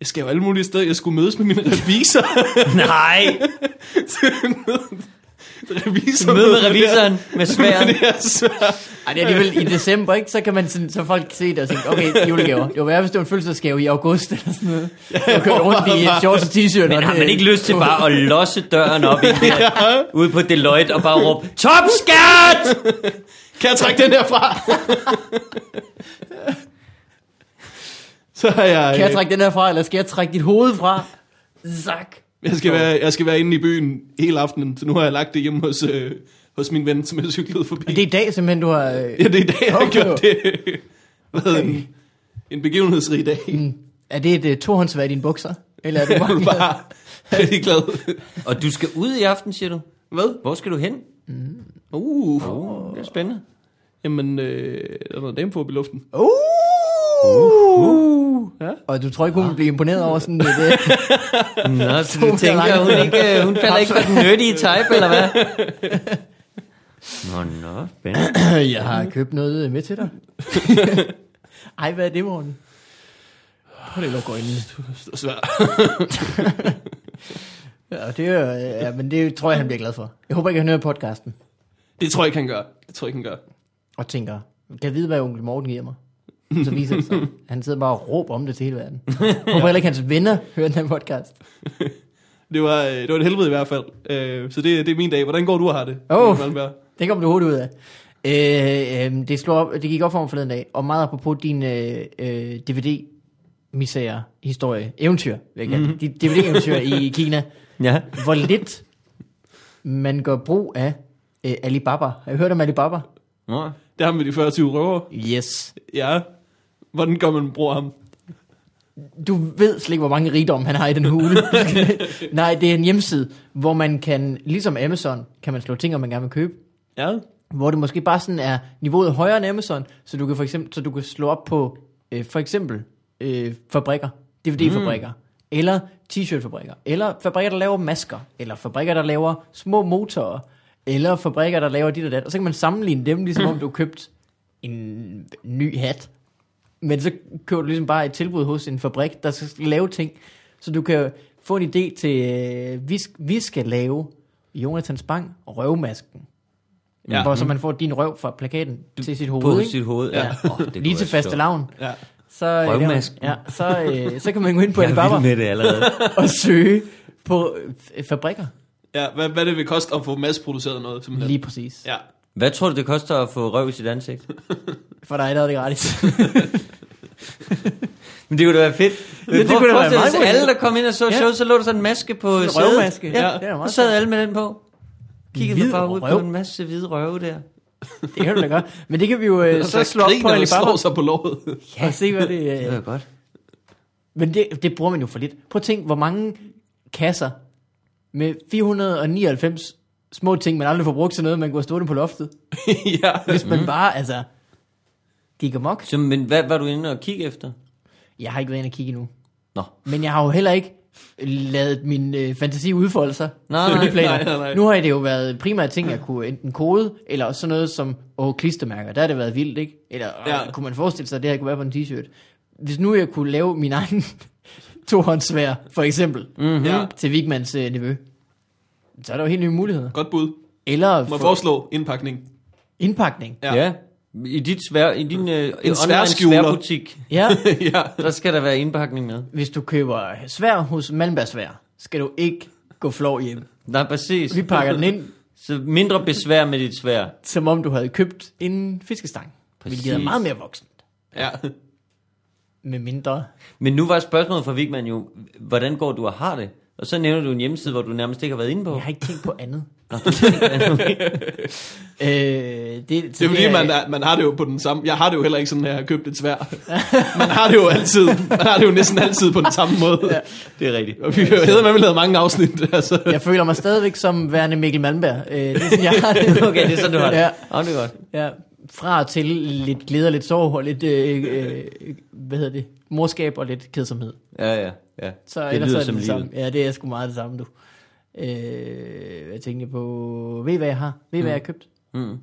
Speaker 1: Jeg skal jo alle mulige steder. Jeg skulle mødes med min revisor.
Speaker 2: Nej,
Speaker 1: revisor
Speaker 2: mød med revisoren med sværet.
Speaker 1: Det er svært.
Speaker 3: Ej, det er alligevel i december, ikke? Så kan man sådan, så folk se det og tænke, okay, julegaver. Det var værre, hvis det var en fødselsdagsgave i august eller sådan noget. Jeg kørte rundt i øh, shorts og t-shirt.
Speaker 2: Men
Speaker 3: og
Speaker 2: har
Speaker 3: det-
Speaker 2: man ikke lyst til bare at losse døren op i det der, ude på Deloitte og bare råbe, Top skat!
Speaker 1: Kan jeg trække den her fra? så har jeg...
Speaker 3: Kan jeg trække den her fra, eller skal jeg trække dit hoved fra? Zak.
Speaker 1: Jeg skal, være, jeg skal være inde i byen hele aftenen, så nu har jeg lagt det hjemme hos, øh, hos min ven, som jeg cyklede forbi.
Speaker 3: Og det er i dag simpelthen, du har... øh,
Speaker 1: Ja, det er i dag, jeg har
Speaker 3: Okay.
Speaker 1: gjort det. Hvad okay. en, en begivenhedsrig dag. Mm.
Speaker 3: Er det et øh, tohåndsvær i dine bukser? Eller er det
Speaker 1: Jeg er
Speaker 3: bare...
Speaker 1: bare rigtig glad.
Speaker 2: Og du skal ud i aften, siger du.
Speaker 1: Hvad?
Speaker 2: Hvor skal du hen?
Speaker 1: Uh,
Speaker 2: Uh, det er spændende.
Speaker 1: jamen, øh, der er noget damefob i luften.
Speaker 3: Uh!
Speaker 1: Ja.
Speaker 3: Og du tror ikke, hun vil blive imponeret over sådan et... øh,
Speaker 2: Nå, så
Speaker 3: Uh.
Speaker 2: du tænker, hun, ikke, øh, hun falder ikke for den nødige type, eller hvad? Nå, nå, spændende.
Speaker 3: jeg har købt noget øh, med til dig. Ej, hvad er det, morgen? Prøv lige at lukke øjnene.
Speaker 1: Det er svært.
Speaker 3: Ja, det er, øh, ja, men det tror jeg, han bliver glad for. Jeg håber ikke, han hører podcasten
Speaker 1: Det tror jeg ikke, han gør. Det tror jeg ikke, han gør.
Speaker 3: og tænker, kan jeg vide, hvad onkel Morten giver mig? Så viser det sig. Han sidder bare og råber om det til hele verden. Jeg håber heller ikke, hans venner hører den her podcast.
Speaker 1: Det var, øh, det var et helvede i hvert fald. Øh, så det, det er min dag. Hvordan går du og har det?
Speaker 3: Åh.
Speaker 1: Mikkel Malmberg?
Speaker 3: Det kom du hurtigt ud af. Øh, øh, det, slog op, det gik op for mig forleden dag, og meget apropos din øh, øh, dvd misære historie, eventyr, vil jeg kalde mm. Dit DVD-eventyr i Kina.
Speaker 2: Ja.
Speaker 3: Hvor lidt man gør brug af øh, Alibaba. Har I hørt om Alibaba?
Speaker 2: Nå.
Speaker 1: Det er ham med de 40 røver.
Speaker 3: Yes.
Speaker 1: Ja. Hvordan gør man bruger ham?
Speaker 3: Du ved slet ikke, hvor mange rigdom han har i den hule. Nej, det er en hjemmeside, hvor man kan, ligesom Amazon, kan man slå ting, om man gerne vil købe.
Speaker 1: Ja.
Speaker 3: hvor det måske bare sådan er niveauet højere end Amazon, så du kan for eksempel, så du kan slå op på øh, for eksempel øh, fabrikker, DVD-fabrikker, mm. eller t-shirt-fabrikker, eller fabrikker, der laver masker, eller fabrikker, der laver små motorer, eller fabrikker, der laver dit og dat, og så kan man sammenligne dem, ligesom om du har købt en ny hat. Men så køber du ligesom bare et tilbud hos en fabrik, der skal lave ting, så du kan få en idé til, øh, vi, sk- vi skal lave Jonathan Spang røvmasken. Ja.
Speaker 1: Ja.
Speaker 3: Hvor så man får din røv fra plakaten du, til sit hoved,
Speaker 2: Mhm. På
Speaker 3: ikke?
Speaker 2: sit hoved, ja.
Speaker 3: Ja.
Speaker 2: Åh, det kunne
Speaker 3: Lige
Speaker 2: jeg
Speaker 3: til
Speaker 2: forstå.
Speaker 3: faste lavn.
Speaker 1: Ja.
Speaker 3: Så, øh,
Speaker 2: Røvmasken.
Speaker 3: Ja, så, øh, så kan man gå ind på
Speaker 2: Jeg er vild
Speaker 3: Alibaba
Speaker 2: med det allerede.
Speaker 3: og søge på øh, f- fabrikker.
Speaker 1: ja. Hvad, hvad det vil koste at få masseproduceret noget, simpelthen.
Speaker 3: Lige præcis. Ja.
Speaker 1: Ja.
Speaker 2: Hvad tror du, det koster at få røv i sit ansigt?
Speaker 3: For dig der er det gratis.
Speaker 2: Men det kunne da være fedt. Ja,
Speaker 3: det kunne da være meget
Speaker 2: hvis
Speaker 3: godt.
Speaker 2: alle, der kom ind og så
Speaker 3: Ja.
Speaker 2: ja. showet, så lå der sådan en maske på en
Speaker 3: røvmaske.
Speaker 2: Ja,
Speaker 3: Ja,
Speaker 2: ja.
Speaker 3: det er
Speaker 2: og
Speaker 3: meget
Speaker 2: så sad
Speaker 3: fedt.
Speaker 2: alle med den på. Kiggede
Speaker 3: Hvid
Speaker 2: bare ud på
Speaker 3: røv.
Speaker 2: en masse hvide røve der.
Speaker 3: det kan du da gøre. Men det kan vi jo øh, så slå op på
Speaker 1: og
Speaker 3: Alibaba
Speaker 1: Altså, slår sig på låret.
Speaker 3: og se, hvad det...
Speaker 2: Det
Speaker 3: Øh.
Speaker 2: var godt.
Speaker 3: Men det, det bruger man jo for lidt. Prøv at tænk, hvor mange kasser med 499 små ting, man aldrig får brugt til noget, man kunne have stående på loftet.
Speaker 1: ja.
Speaker 3: Hvis man bare, altså, gik amok.
Speaker 2: Så, men hvad var du inde og kigge efter?
Speaker 3: Jeg har ikke været inde og kigge endnu.
Speaker 2: Nå.
Speaker 3: Men jeg har jo heller ikke lavet min øh, fantasi udfolde sig.
Speaker 2: Nej,
Speaker 3: Det er
Speaker 2: nej,
Speaker 3: de planer.
Speaker 1: nej, nej, nej.
Speaker 3: Nu har det jo været primært ting, jeg kunne enten kode, eller også sådan noget som åh, klistermærker. Der har det været vildt, ikke? Eller øh, ja.
Speaker 1: Ja.
Speaker 3: kunne man forestille sig, at det her kunne være på en t-shirt. Hvis nu jeg kunne lave min egen tohåndsvær, for eksempel, mm-hmm.
Speaker 1: Ja.
Speaker 3: til Vigmans øh, niveau, så er der jo helt nye muligheder.
Speaker 1: Godt bud.
Speaker 3: Eller
Speaker 1: Må jeg
Speaker 3: for
Speaker 1: foreslå indpakning?
Speaker 3: indpakning.
Speaker 1: Ja.
Speaker 2: ja. I, dit svær, i din øh, online
Speaker 1: sværskjuler.
Speaker 2: sværbutik,
Speaker 3: Ja,
Speaker 1: ja.
Speaker 2: der skal der være indpakning med.
Speaker 3: hvis du køber svær hos Malmbergsvær, skal du ikke gå flov hjem.
Speaker 2: Nej, præcis.
Speaker 3: Vi pakker den ind,
Speaker 2: Så mindre besvær med dit svær.
Speaker 3: som om du havde købt en fiskestang. Præcis. Hvilket er
Speaker 2: Præcis.
Speaker 3: meget mere voksent.
Speaker 1: Ja.
Speaker 3: Med mindre.
Speaker 2: Men nu var spørgsmålet fra Vigman jo, hvordan går du og har det? Og så nævner du en hjemmeside, hvor du nærmest ikke har været inde på.
Speaker 3: Jeg har ikke tænkt på andet.
Speaker 2: Ja.
Speaker 3: Øh, det,
Speaker 1: Det er fordi, man, er- man har det jo på den samme... Jeg har det jo heller ikke sådan, at jeg har købt et svær. Man har det jo altid... Man har det jo næsten altid på den samme måde.
Speaker 2: det er rigtigt.
Speaker 1: Og vi har jo med lavet mange afsnit, altså.
Speaker 3: Jeg føler mig stadigvæk som værende Mikkel Malmberg. Øh, det er sådan, jeg har det.
Speaker 2: Okay, det er sådan, du har det.
Speaker 3: Ja.
Speaker 2: Ja. Oh, det er godt.
Speaker 3: Ja, fra og til lidt glæder, lidt sorg og lidt, øh, øh, hvad hedder det, morskab og lidt kedsomhed.
Speaker 2: Ja, ja, ja.
Speaker 3: Så
Speaker 2: det
Speaker 3: ellers
Speaker 2: lyder
Speaker 3: er det
Speaker 2: som
Speaker 3: det
Speaker 2: livet.
Speaker 3: samme. Ja, det er sgu meget det samme, du. Øh, jeg tænkte på, ved I, hvad jeg har? Ved I, hvad jeg har købt?
Speaker 2: Mm.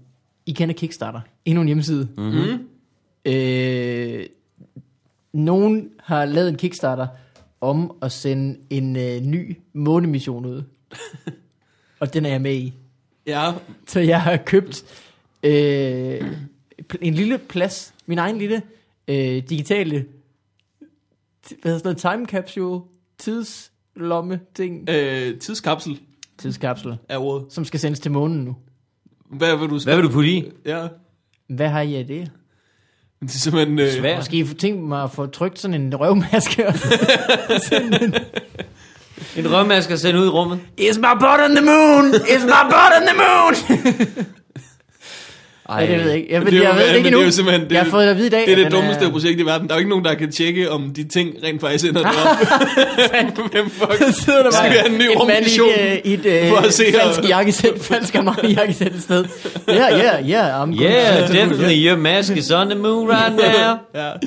Speaker 3: I kender Kickstarter. Endnu en hjemmeside.
Speaker 1: Mm.
Speaker 3: Øh, nogen har lavet en Kickstarter om at sende en øh, ny månemission ud. og den er jeg med i.
Speaker 1: Ja,
Speaker 3: Så jeg har købt øh, pl- en lille plads, min egen lille øh, digitale, t- hvad hedder sådan noget, time capsule, tidslomme ting,
Speaker 1: øh, tidskapsel
Speaker 3: tidskapsler,
Speaker 1: er ordet.
Speaker 3: som skal sendes til månen nu.
Speaker 1: Hvad vil du
Speaker 2: Hvad vil du putte i?
Speaker 1: Ja.
Speaker 3: Hvad har I af det?
Speaker 1: Det er simpelthen... Øh,
Speaker 2: Svær.
Speaker 3: Måske I tænkt mig at få trykt sådan en røvmaske.
Speaker 2: En rømmasker sendt ud i rummet.
Speaker 3: Is my butt on the moon? Is my butt on the moon?
Speaker 2: Ej,
Speaker 3: Ej, det ved jeg ikke. Jeg, ved,
Speaker 1: det er jo-
Speaker 3: jeg ved det
Speaker 1: men
Speaker 3: ikke
Speaker 1: det er
Speaker 3: endnu.
Speaker 1: jo simpelthen- det er
Speaker 3: jeg har
Speaker 1: jo-
Speaker 3: fået det at vide i dag.
Speaker 1: Det er det
Speaker 3: at den
Speaker 1: dummeste
Speaker 3: er-
Speaker 1: projekt i verden. Der er jo ikke nogen, der kan tjekke, om de ting rent faktisk ender deroppe. Hvem fuck
Speaker 3: sidder der
Speaker 1: Skal
Speaker 3: bare
Speaker 1: vi have en ny rummission?
Speaker 3: mand i et, øh, i et
Speaker 1: For
Speaker 3: øh,
Speaker 1: at se her.
Speaker 3: falsk jakkesæt, falsk Armani jakkesæt et sted. Yeah, yeah, yeah, I'm
Speaker 2: Yeah,
Speaker 3: good.
Speaker 2: definitely your mask is on the moon right now.
Speaker 1: Ja. De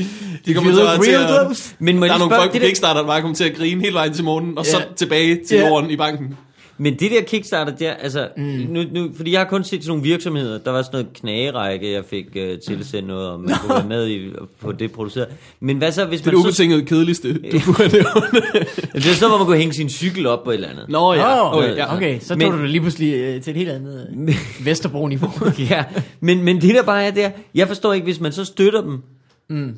Speaker 3: You
Speaker 1: kommer så
Speaker 3: look
Speaker 1: bare til
Speaker 3: real
Speaker 1: at...
Speaker 3: close.
Speaker 2: Men, må jeg
Speaker 1: Der er
Speaker 2: lige
Speaker 1: nogle
Speaker 2: spørge,
Speaker 1: folk på
Speaker 2: det der-
Speaker 1: Kickstarter, der bare kommer til at grine hele vejen til morgenen, og
Speaker 3: Ja.
Speaker 1: så tilbage til
Speaker 3: Ja.
Speaker 1: jorden i banken.
Speaker 2: Men det der Kickstarter der, altså, mm. nu, nu, fordi jeg har kun set sådan nogle virksomheder, der var sådan noget knagerække, jeg fik uh, tilsendt noget om, man kunne være med i, på det produceret. Men hvad så, hvis
Speaker 1: Det er
Speaker 2: man
Speaker 1: det
Speaker 2: så...
Speaker 1: ubetinget kedeligste, du kunne have nævnt.
Speaker 2: Det er så, hvor man kunne hænge sin cykel op på et eller andet.
Speaker 1: Nå ja,
Speaker 3: Oh,
Speaker 1: okay, ja.
Speaker 3: okay, så tog
Speaker 2: Men-
Speaker 3: du det lige pludselig øh, til et helt andet øh, Vesterbro-niveau.
Speaker 2: ja, men, men det der bare er der, jeg forstår ikke, hvis man så støtter dem, mm. øh,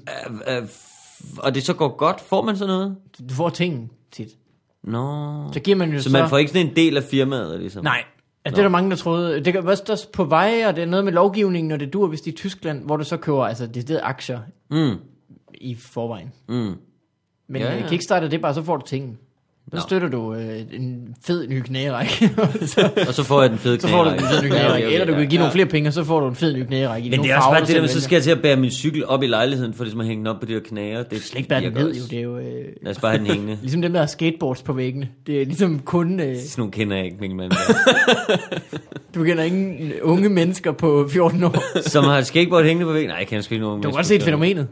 Speaker 2: øh, f- og det så går godt, får man så noget?
Speaker 3: Du får ting tit.
Speaker 2: Nå.
Speaker 3: Så giver man jo så...
Speaker 2: Så man får ikke sådan en del af firmaet, ligesom?
Speaker 3: Nej, Ja, det er der mange, der troede. Det kan også der er på vej, og det er noget med lovgivningen, og det dur, hvis det er i Tyskland, hvor du så køber altså, det er aktier
Speaker 2: Mm,
Speaker 3: i forvejen.
Speaker 2: mm.
Speaker 3: Men
Speaker 2: Ja,
Speaker 3: ja, ja.
Speaker 2: ja.
Speaker 3: Kickstarter, det er bare, så får du ting. Så
Speaker 2: Nå.
Speaker 3: støtter du øh, en fed ny knærække. så,
Speaker 2: Og så får jeg den fede
Speaker 3: så får du en
Speaker 2: knagerække.
Speaker 3: fed ny
Speaker 2: Ja,
Speaker 3: knærække.
Speaker 2: okay,
Speaker 3: Eller du
Speaker 2: ja.
Speaker 3: kan give nogle flere penge, og så får du en fed ny knærække. i
Speaker 2: Men
Speaker 3: nogle
Speaker 2: det er også
Speaker 3: farver,
Speaker 2: bare det der med,
Speaker 3: selv
Speaker 2: så skal jeg til at bære min cykel op i lejligheden, for ligesom at hænge den op på de der knager. Det
Speaker 3: vælger. Slik bære den
Speaker 2: virker
Speaker 3: ned,
Speaker 2: også.
Speaker 3: jo. Det er jo øh,
Speaker 2: Lad os bare have den hængende.
Speaker 3: ligesom dem, der har skateboards på væggene. Det er ligesom kun... Øh,
Speaker 2: Sådan nogle kender jeg ikke, min mand.
Speaker 3: du kender ingen unge mennesker på 14 år.
Speaker 2: Som har et skateboard hængende på væggen. Nej, jeg kender sgu ikke nogen.
Speaker 3: Du
Speaker 2: mennesker,
Speaker 3: kan godt se et
Speaker 2: der-
Speaker 3: fænomenet.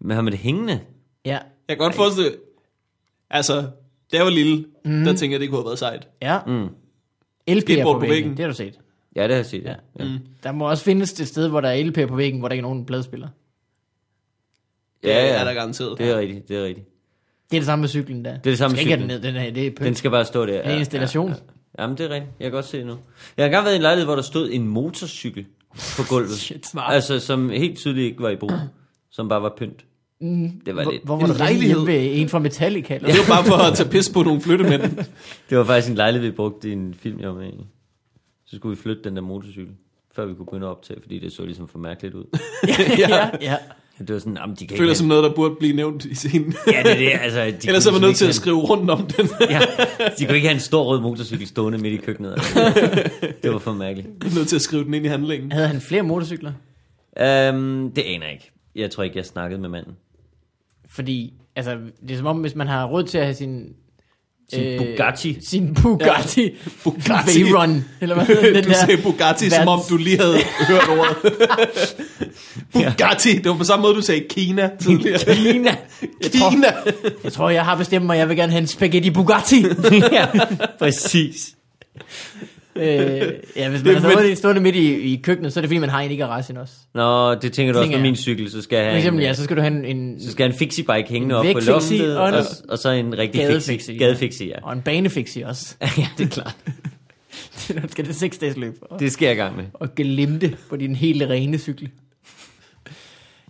Speaker 2: Men har man det hængende?
Speaker 3: Ja.
Speaker 1: Jeg kan godt forestille... Altså, da jeg var lille, der tænkte jeg, det kunne have været sejt.
Speaker 3: Ja.
Speaker 2: Mm.
Speaker 3: LP'er på,
Speaker 1: Skateboard på
Speaker 3: væggen.
Speaker 1: væggen.
Speaker 3: Det har du set.
Speaker 2: Ja, det har jeg set. Ja. Ja.
Speaker 3: Der må også findes et sted, hvor der er LP'er på væggen, hvor der ikke er nogen pladespiller.
Speaker 2: ja,
Speaker 1: Det
Speaker 2: ja.
Speaker 1: er der garanteret.
Speaker 2: Det er rigtigt, det er rigtigt.
Speaker 3: Det er det samme med cyklen der. Det
Speaker 2: er det samme med
Speaker 3: med cyklen. Den
Speaker 2: cyklen.
Speaker 3: ned, den her, det er
Speaker 2: Den
Speaker 3: pønt.
Speaker 2: skal bare stå der.
Speaker 3: Det er en installation.
Speaker 2: Ja, ja. Jamen, det er rigtigt. Jeg kan godt se det nu. Jeg har engang været i en lejlighed, hvor der stod en motorcykel på gulvet.
Speaker 3: Shit.
Speaker 2: Altså, som helt tydeligt ikke var i brug. Som bare var pynt.
Speaker 1: Mm-hmm.
Speaker 2: Mm. Det var
Speaker 3: Hvor,
Speaker 2: lidt.
Speaker 3: hvor var
Speaker 1: En
Speaker 3: der lejlighed.
Speaker 1: lejlighed.
Speaker 3: ved en fra Metallica? Eller?
Speaker 1: Det er jo bare for at tage pis på nogle flyttemænd.
Speaker 2: Det var faktisk en lejlighed, vi brugte i en film, jeg var med i. Så skulle vi flytte den der motorcykel, før vi kunne begynde at optage, fordi det så ligesom for mærkeligt ud.
Speaker 3: ja, ja.
Speaker 2: Det var sådan, jamen de kan
Speaker 1: Føler
Speaker 2: ikke...
Speaker 1: som noget, der burde blive nævnt i scenen.
Speaker 2: Ja, det er det, altså... De kunne
Speaker 1: Ellers er man
Speaker 2: ligesom
Speaker 1: nødt til
Speaker 2: ikke
Speaker 1: at skrive rundt om den.
Speaker 2: have- Ja, de kunne ikke have en stor rød motorcykel stående midt i køkkenet. Altså. Det var for mærkeligt.
Speaker 1: Man er nødt til at skrive den ind i handlingen.
Speaker 3: Havde han flere motorcykler?
Speaker 2: Um, det aner jeg ikke. Jeg tror ikke, jeg snakkede med manden.
Speaker 3: Fordi, altså, det er som om, hvis man har råd til at have sin... øh,
Speaker 2: Sin
Speaker 1: Øh.
Speaker 2: Bugatti.
Speaker 3: Sin Bugatti. Ja.
Speaker 1: Bugatti.
Speaker 3: Veyron, eller hvad hedder den
Speaker 1: du
Speaker 3: der?
Speaker 1: sagde Bugatti, som om
Speaker 3: verdens-
Speaker 1: du lige havde hørt ordet. Bugatti, det var på samme måde, du sagde Kina tidligere.
Speaker 2: Lina!
Speaker 1: Kina!
Speaker 3: Jeg tror, jeg har bestemt mig, jeg vil gerne have en spaghetti Bugatti.
Speaker 2: ja, præcis.
Speaker 3: øh, ja, hvis man har
Speaker 1: men-
Speaker 3: så det stående midt i, i køkkenet, så er det fordi, man har en i garagen også.
Speaker 2: Nå, det tænker du også
Speaker 3: Tænker
Speaker 2: med
Speaker 3: jeg.
Speaker 2: min cykel, så skal jeg
Speaker 3: For
Speaker 2: have
Speaker 3: eksempel,
Speaker 2: en,
Speaker 3: ja, så skal du have en, en
Speaker 2: så skal jeg have en fixie-bike hængende op på
Speaker 3: vægtfixie
Speaker 2: loftet,
Speaker 3: og en-
Speaker 2: og, og, så en rigtig
Speaker 3: gadefixie.
Speaker 2: gadefixie. Gadefixie, ja.
Speaker 3: og en banefixie også.
Speaker 2: ja, det er klart.
Speaker 3: Når du skal det seks dages løb. Og,
Speaker 2: Det skal jeg i gang med.
Speaker 3: og glimte på din helt rene cykel.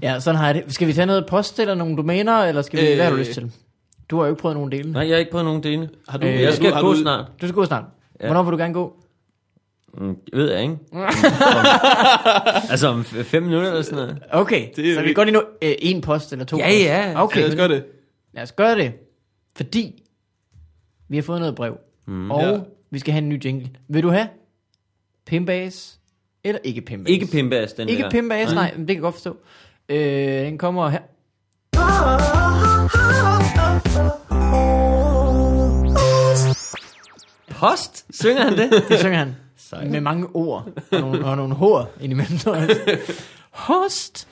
Speaker 3: Ja, sådan har jeg det. Skal vi tage noget post eller nogle domæner, eller skal vi, øh, hvad har du lyst til? Du har jo ikke prøvet nogen dele.
Speaker 2: Nej, jeg har ikke prøvet nogen dele.
Speaker 1: Har
Speaker 3: Øh,
Speaker 2: Øh, jeg skal
Speaker 1: har
Speaker 2: gå snart.
Speaker 3: Du skal gå snart. Ja. Hvornår vil du gerne gå?
Speaker 2: Mm, det ved jeg ikke. om, altså om f- fem minutter eller sådan noget.
Speaker 3: Okay,
Speaker 1: Det er
Speaker 3: så vi
Speaker 1: vildt.
Speaker 3: går lige nu øh, en post eller to
Speaker 2: Ja,
Speaker 3: post.
Speaker 2: ja.
Speaker 1: Okay.
Speaker 3: Okay,
Speaker 1: Lad os gøre det.
Speaker 3: Lad os gøre det. Fordi vi har fået noget brev. Mm. Og
Speaker 1: Ja.
Speaker 3: ja. vi skal have en ny jingle. Vil du have Pimbas eller ikke Pimbas?
Speaker 2: Ikke pimpas, den
Speaker 3: Ikke
Speaker 2: der.
Speaker 3: Pimbas, nej. Men det kan jeg godt forstå. Øh, den kommer her.
Speaker 2: Post? Synger han det?
Speaker 3: Det synger han. Med mange ord. Og nogle, og nogle hår indimellem. tror jeg. Host.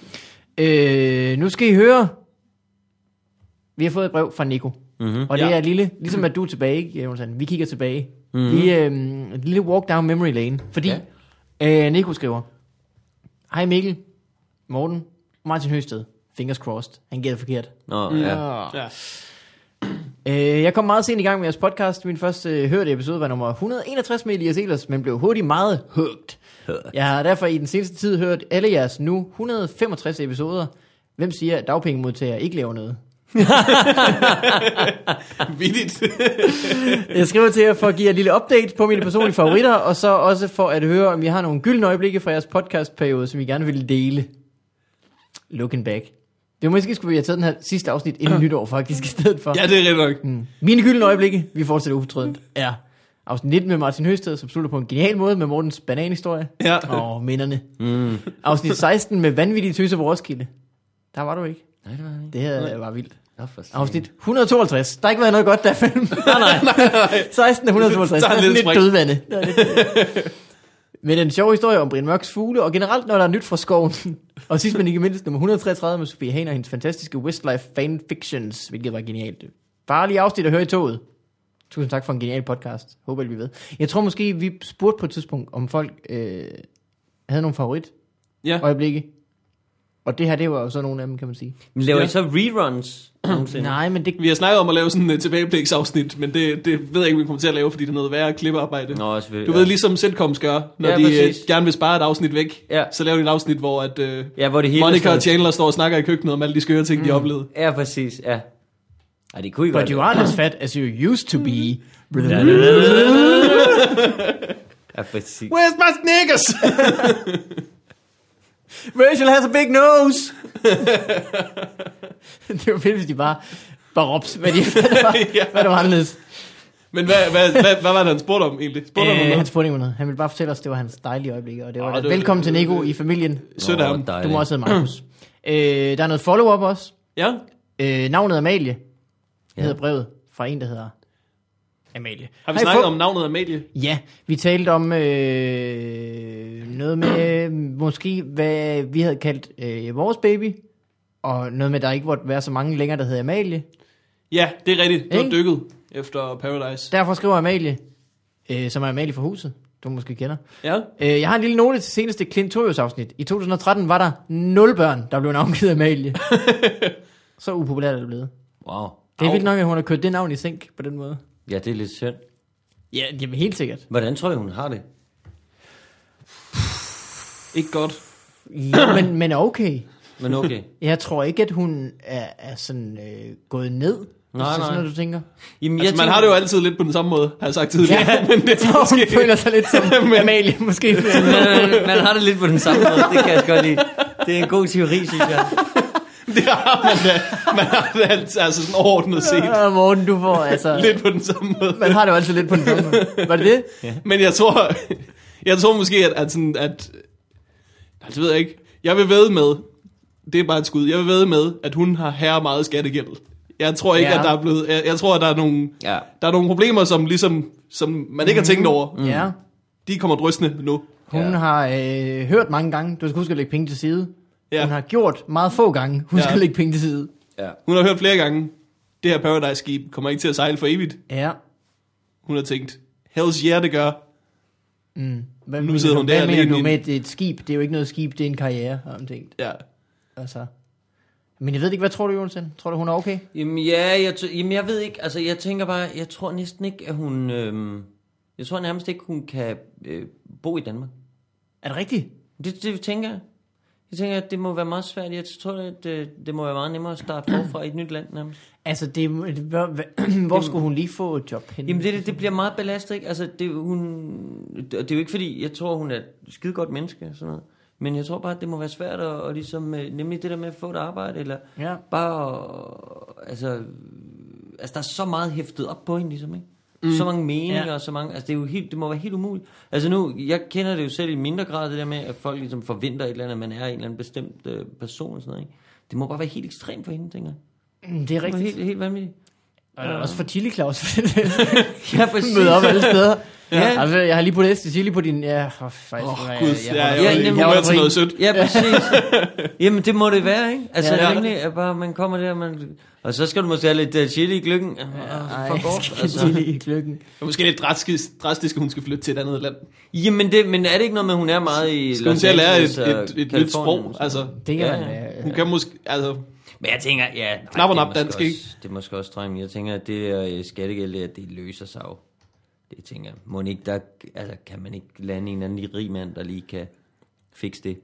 Speaker 3: Øh, nu skal I høre. Vi har fået et brev fra Nico. Mm-hmm, og det
Speaker 1: ja.
Speaker 3: ja. er et lille, ligesom at du er tilbage, ikke, Jonathan? Vi kigger tilbage. Mm-hmm. Vi øh, et lille walk down memory lane. Fordi ja. øh, Nico skriver, Hej Mikkel, Morten, Martin Høsted. Fingers crossed. Han gætter forkert.
Speaker 2: Nå, ja.
Speaker 3: Ah.
Speaker 1: Ja.
Speaker 3: Øh, jeg kom meget sent i gang med jeres podcast. Min første øh, hørte episode var nummer 161 med Elias Elers, men blev hurtigt meget hooked. Jeg har derfor i den seneste tid hørt alle jeres nu 165 episoder. Hvem siger, at dagpengemodtagere ikke laver noget?
Speaker 1: Vildt.
Speaker 3: Jeg skriver til jer for at give jer et lille update på mine personlige favoritter, og så også for at høre, om I har nogle gyldne øjeblikke fra jeres podcastperiode, som I gerne vil dele. Looking back. Det var måske skulle vi have taget den her sidste afsnit inden nytår faktisk i stedet for.
Speaker 1: ja, det er rigtig nok.
Speaker 3: Mm. Mine gyldne øjeblikke, vi fortsætter ufortrødent, er afsnit 19 med Martin Høsted, som slutter på en genial måde med Mortens bananhistorie
Speaker 1: Ja.
Speaker 3: og minderne. Mm. Afsnit 16 med vanvittige tøser på Roskilde. Der var du ikke.
Speaker 2: Nej, det var han ikke.
Speaker 3: Det her øh, var vildt.
Speaker 2: Nå, for satan.
Speaker 3: Afsnit 152. Der har ikke været noget godt der, film. nej, nej. 16 af 152.
Speaker 1: Så
Speaker 3: Der
Speaker 1: er
Speaker 3: er
Speaker 1: det lidt
Speaker 3: sådan lidt
Speaker 1: spring.
Speaker 3: dødvande. Der er lidt, med den sjove historie om Brian Mørks fugle, og generelt, når der er nyt fra skoven. og sidst men ikke mindst, nummer 133 med Sofie Haner og hendes fantastiske Westlife fanfictions, hvilket var genialt. Bare lige afsnit at høre i toget. Tusind tak for en genial podcast. Håber, I bliver ved. Jeg tror måske, vi spurgte på et tidspunkt, om folk øh, havde nogle favorit
Speaker 1: Ja.
Speaker 3: øjeblikke. Og det her, det var jo så nogle af dem, kan man sige.
Speaker 2: Men laver
Speaker 1: Ja.
Speaker 2: I så reruns nogensinde?
Speaker 3: Nej, men det,
Speaker 1: Vi har snakket om at lave sådan et tilbagebliksafsnit, men det, det ved jeg ikke, om vi kommer til at lave, fordi det er noget værre klippearbejde.
Speaker 2: Nå, også ved,
Speaker 1: Du ved, ligesom sitcoms gør, når
Speaker 2: Ja,
Speaker 1: ja, de øh,
Speaker 2: præcis.
Speaker 1: gerne vil spare et afsnit væk,
Speaker 2: Ja.
Speaker 1: så laver de et afsnit, hvor at, øh,
Speaker 2: Ja, hvor det hele...
Speaker 1: Monica
Speaker 2: sådan-
Speaker 1: og Chandler står og snakker i køkkenet om alle de skøre ting, mm. de oplevede.
Speaker 2: Ja, præcis, ja. Ej, det kunne I
Speaker 3: But
Speaker 2: godt.
Speaker 3: you aren't as fat as you used to be.
Speaker 1: Mm.
Speaker 2: Ja, præcis.
Speaker 1: Where's my Snickers?
Speaker 3: Rachel has a big nose! det var fedt, hvis de bare, bare råbte, hvad, de, hvad, der var,
Speaker 1: Ja.
Speaker 3: hvad der var anderledes.
Speaker 1: men hvad, hvad, hvad, hvad var det, han spurgte om egentlig? Spurgte øh, om
Speaker 3: Øh, han
Speaker 1: noget?
Speaker 3: spurgte ikke om noget. Han ville bare fortælle os, det var hans dejlige øjeblikke. Og det var
Speaker 1: Åh,
Speaker 3: det,
Speaker 1: det var-
Speaker 3: Velkommen til Nico i familien.
Speaker 1: Sødt af ham.
Speaker 3: Du må også hedde Markus. øh, der er noget follow-up også.
Speaker 1: Ja,
Speaker 3: Øh, navnet Amalie
Speaker 2: Ja.
Speaker 3: ja. hedder brevet fra en, der hedder Amalie.
Speaker 1: har vi
Speaker 3: Hej,
Speaker 1: snakket
Speaker 3: fo-
Speaker 1: om navnet Amalie?
Speaker 3: Ja, vi talte om øh, noget med, øh, måske hvad vi havde kaldt øh, vores baby, og noget med, der ikke måtte være så mange længere, der hedder Amalie.
Speaker 1: Ja, det er rigtigt. Du har
Speaker 3: Ikke?
Speaker 1: dykket efter Paradise.
Speaker 3: Derfor skriver Amalie, øh, som er Amalie fra huset, du måske kender.
Speaker 1: Ja,
Speaker 3: Øh, jeg har en lille note til seneste Clintorius afsnit. I 2013 var der 0 børn, der blev navngivet Amalie. så upopulært er det blevet.
Speaker 2: Wow.
Speaker 3: Det er
Speaker 1: Au.
Speaker 3: vildt nok, at hun har kørt det navn i sænk på den måde.
Speaker 2: Ja, det er lidt synd.
Speaker 3: Ja, jamen helt sikkert.
Speaker 2: Hvordan tror I, hun har det?
Speaker 1: ikke godt.
Speaker 3: Ja, men, men okay.
Speaker 2: Men okay.
Speaker 3: Jeg tror ikke, at hun er, er sådan øh, gået ned. Nej, hvis det er
Speaker 2: nej.
Speaker 3: sådan noget, du tænker.
Speaker 2: Jamen,
Speaker 1: Altså, man har det jo altid lidt på den samme måde, har jeg sagt tidligere.
Speaker 3: Ja,
Speaker 1: men det er
Speaker 3: Hun
Speaker 1: måske...
Speaker 3: føler sig lidt som Amalie, måske.
Speaker 2: man, man, man har det lidt på den samme måde. Det kan jeg godt lide. Det er en god teori, synes jeg.
Speaker 1: Det har man da. Man har det altid, altså sådan overordnet set.
Speaker 3: Ja, Ah, Morten, du får altså...
Speaker 1: Lidt Mm. på den samme måde.
Speaker 3: Man har det jo altid lidt på den samme måde. Var det det?
Speaker 1: Men jeg tror, jeg tror måske, at, at, sådan, at nej, det ved jeg ikke. Jeg vil ved med, det er bare et skud, jeg vil ved med, at hun har herre meget skattegæld. Jeg tror ikke,
Speaker 3: Ja.
Speaker 1: ja. at der er blevet, jeg, jeg tror, at der er nogle,
Speaker 2: Ja. Mhm.
Speaker 1: der er nogle problemer, som ligesom, som man ikke har tænkt over.
Speaker 3: Mm. Ja.
Speaker 1: De kommer drøsende nu.
Speaker 3: Hun
Speaker 2: Ja.
Speaker 3: ja. har øh, hørt mange gange, du skal huske at lægge penge til side.
Speaker 1: Ja.
Speaker 3: Ja. Hun har gjort meget få gange, hun
Speaker 1: Ja.
Speaker 3: ja. skal lægge penge til side.
Speaker 2: Ja.
Speaker 1: Hun har hørt flere gange, det her Paradise-skib kommer ikke til at sejle for evigt.
Speaker 3: Ja.
Speaker 1: Hun har tænkt, hells yeah, det gør.
Speaker 3: Hvad
Speaker 1: Nu
Speaker 3: mener
Speaker 1: sidder
Speaker 3: du-
Speaker 1: hun
Speaker 3: hvad
Speaker 1: der
Speaker 3: mener
Speaker 1: alene
Speaker 3: du
Speaker 1: i
Speaker 3: med et, et skib? Det er jo ikke noget skib, det er en karriere, har hun tænkt.
Speaker 1: Ja.
Speaker 3: Altså. Men jeg ved det ikke, hvad tror du, Jonsen? Tror du, hun er okay?
Speaker 2: Jamen ja, jeg, t- jamen, jeg ved ikke, altså jeg tænker bare, jeg tror næsten ikke, at hun, øhm, jeg tror nærmest ikke, hun kan øh, bo i Danmark.
Speaker 3: Er det rigtigt?
Speaker 2: Det, det tænker jeg. Jeg tænker, at det må være meget svært. Jeg tror, at øh, det, det må være meget nemmere at starte forfra i et nyt land nærmest.
Speaker 3: Altså, det, hvor, hvor skulle hun lige få et job henne?
Speaker 2: Jamen det, det, det bliver meget belastet, ikke? Altså det, hun, det, det er jo ikke fordi, jeg tror hun er et skide godt menneske, sådan noget. Men jeg tror bare, at det må være svært at, at ligesom, øh, nemlig det der med at få et arbejde, eller
Speaker 3: Ja.
Speaker 2: bare, at- altså, øh, altså der er så meget hæftet op på hende, ligesom, ikke? Mm. Så mange meninger,
Speaker 3: Ja.
Speaker 2: ja. og så mange, altså det, er jo helt, det må være helt umuligt. Altså nu, jeg kender det jo selv i mindre grad, det der med, at folk ligesom forventer et eller andet, at man er en eller anden bestemt øh, person, og sådan noget, ikke? Det må bare være helt ekstremt for hende, tænker jeg.
Speaker 3: Mm, det er
Speaker 2: Det må være
Speaker 3: rigtigt.
Speaker 2: helt, helt vanvittigt.
Speaker 3: Og også for Chili Claus, for det
Speaker 2: Ja, præcis.
Speaker 3: møder op alle steder.
Speaker 2: Ja.
Speaker 3: Altså, jeg har lige puttet til Chili på din... Ja, for faktisk.
Speaker 1: Åh,
Speaker 3: nu er jeg-
Speaker 1: gud,
Speaker 3: jeg
Speaker 1: ja,
Speaker 3: holder
Speaker 1: jeg var
Speaker 2: ja,
Speaker 1: i
Speaker 3: fri.
Speaker 2: nemlig.
Speaker 1: humør til
Speaker 3: fri.
Speaker 1: noget sødt.
Speaker 2: Ja, præcis. Jamen, det må det være, ikke? Altså,
Speaker 3: Ja.
Speaker 2: ja, nemlig, at bare man kommer der, man, og så skal du måske have lidt uh, chili i gløggen. Ja,
Speaker 3: Ej,
Speaker 2: fuck off,
Speaker 3: skal
Speaker 2: altså.
Speaker 3: Chili i gløkken.
Speaker 1: Det er Måske lidt drastisk, drastisk, at hun skal flytte til et andet land.
Speaker 2: Jamen, det, men er det ikke noget med, at hun er meget i
Speaker 1: Skal hun
Speaker 2: Los
Speaker 1: til at lære et,
Speaker 2: Angeles og
Speaker 1: et, et nyt
Speaker 2: Californien?
Speaker 1: sprog? Altså,
Speaker 3: Det kan
Speaker 2: Ja,
Speaker 3: man...
Speaker 2: ja.
Speaker 3: øh,
Speaker 1: hun kan måske... Altså,
Speaker 2: Men jeg tænker, ja... Nej,
Speaker 1: Knap og
Speaker 2: det er
Speaker 1: nap
Speaker 2: måske
Speaker 1: dansk,
Speaker 2: også-
Speaker 1: ikke?
Speaker 2: Det er måske også drømmen. Jeg tænker, at det der øh, skattegæld, det, er, at det løser sig jo. Det tænker jeg. Må ikke, der, altså, kan man ikke lande en eller anden rig mand, der lige kan fikse det?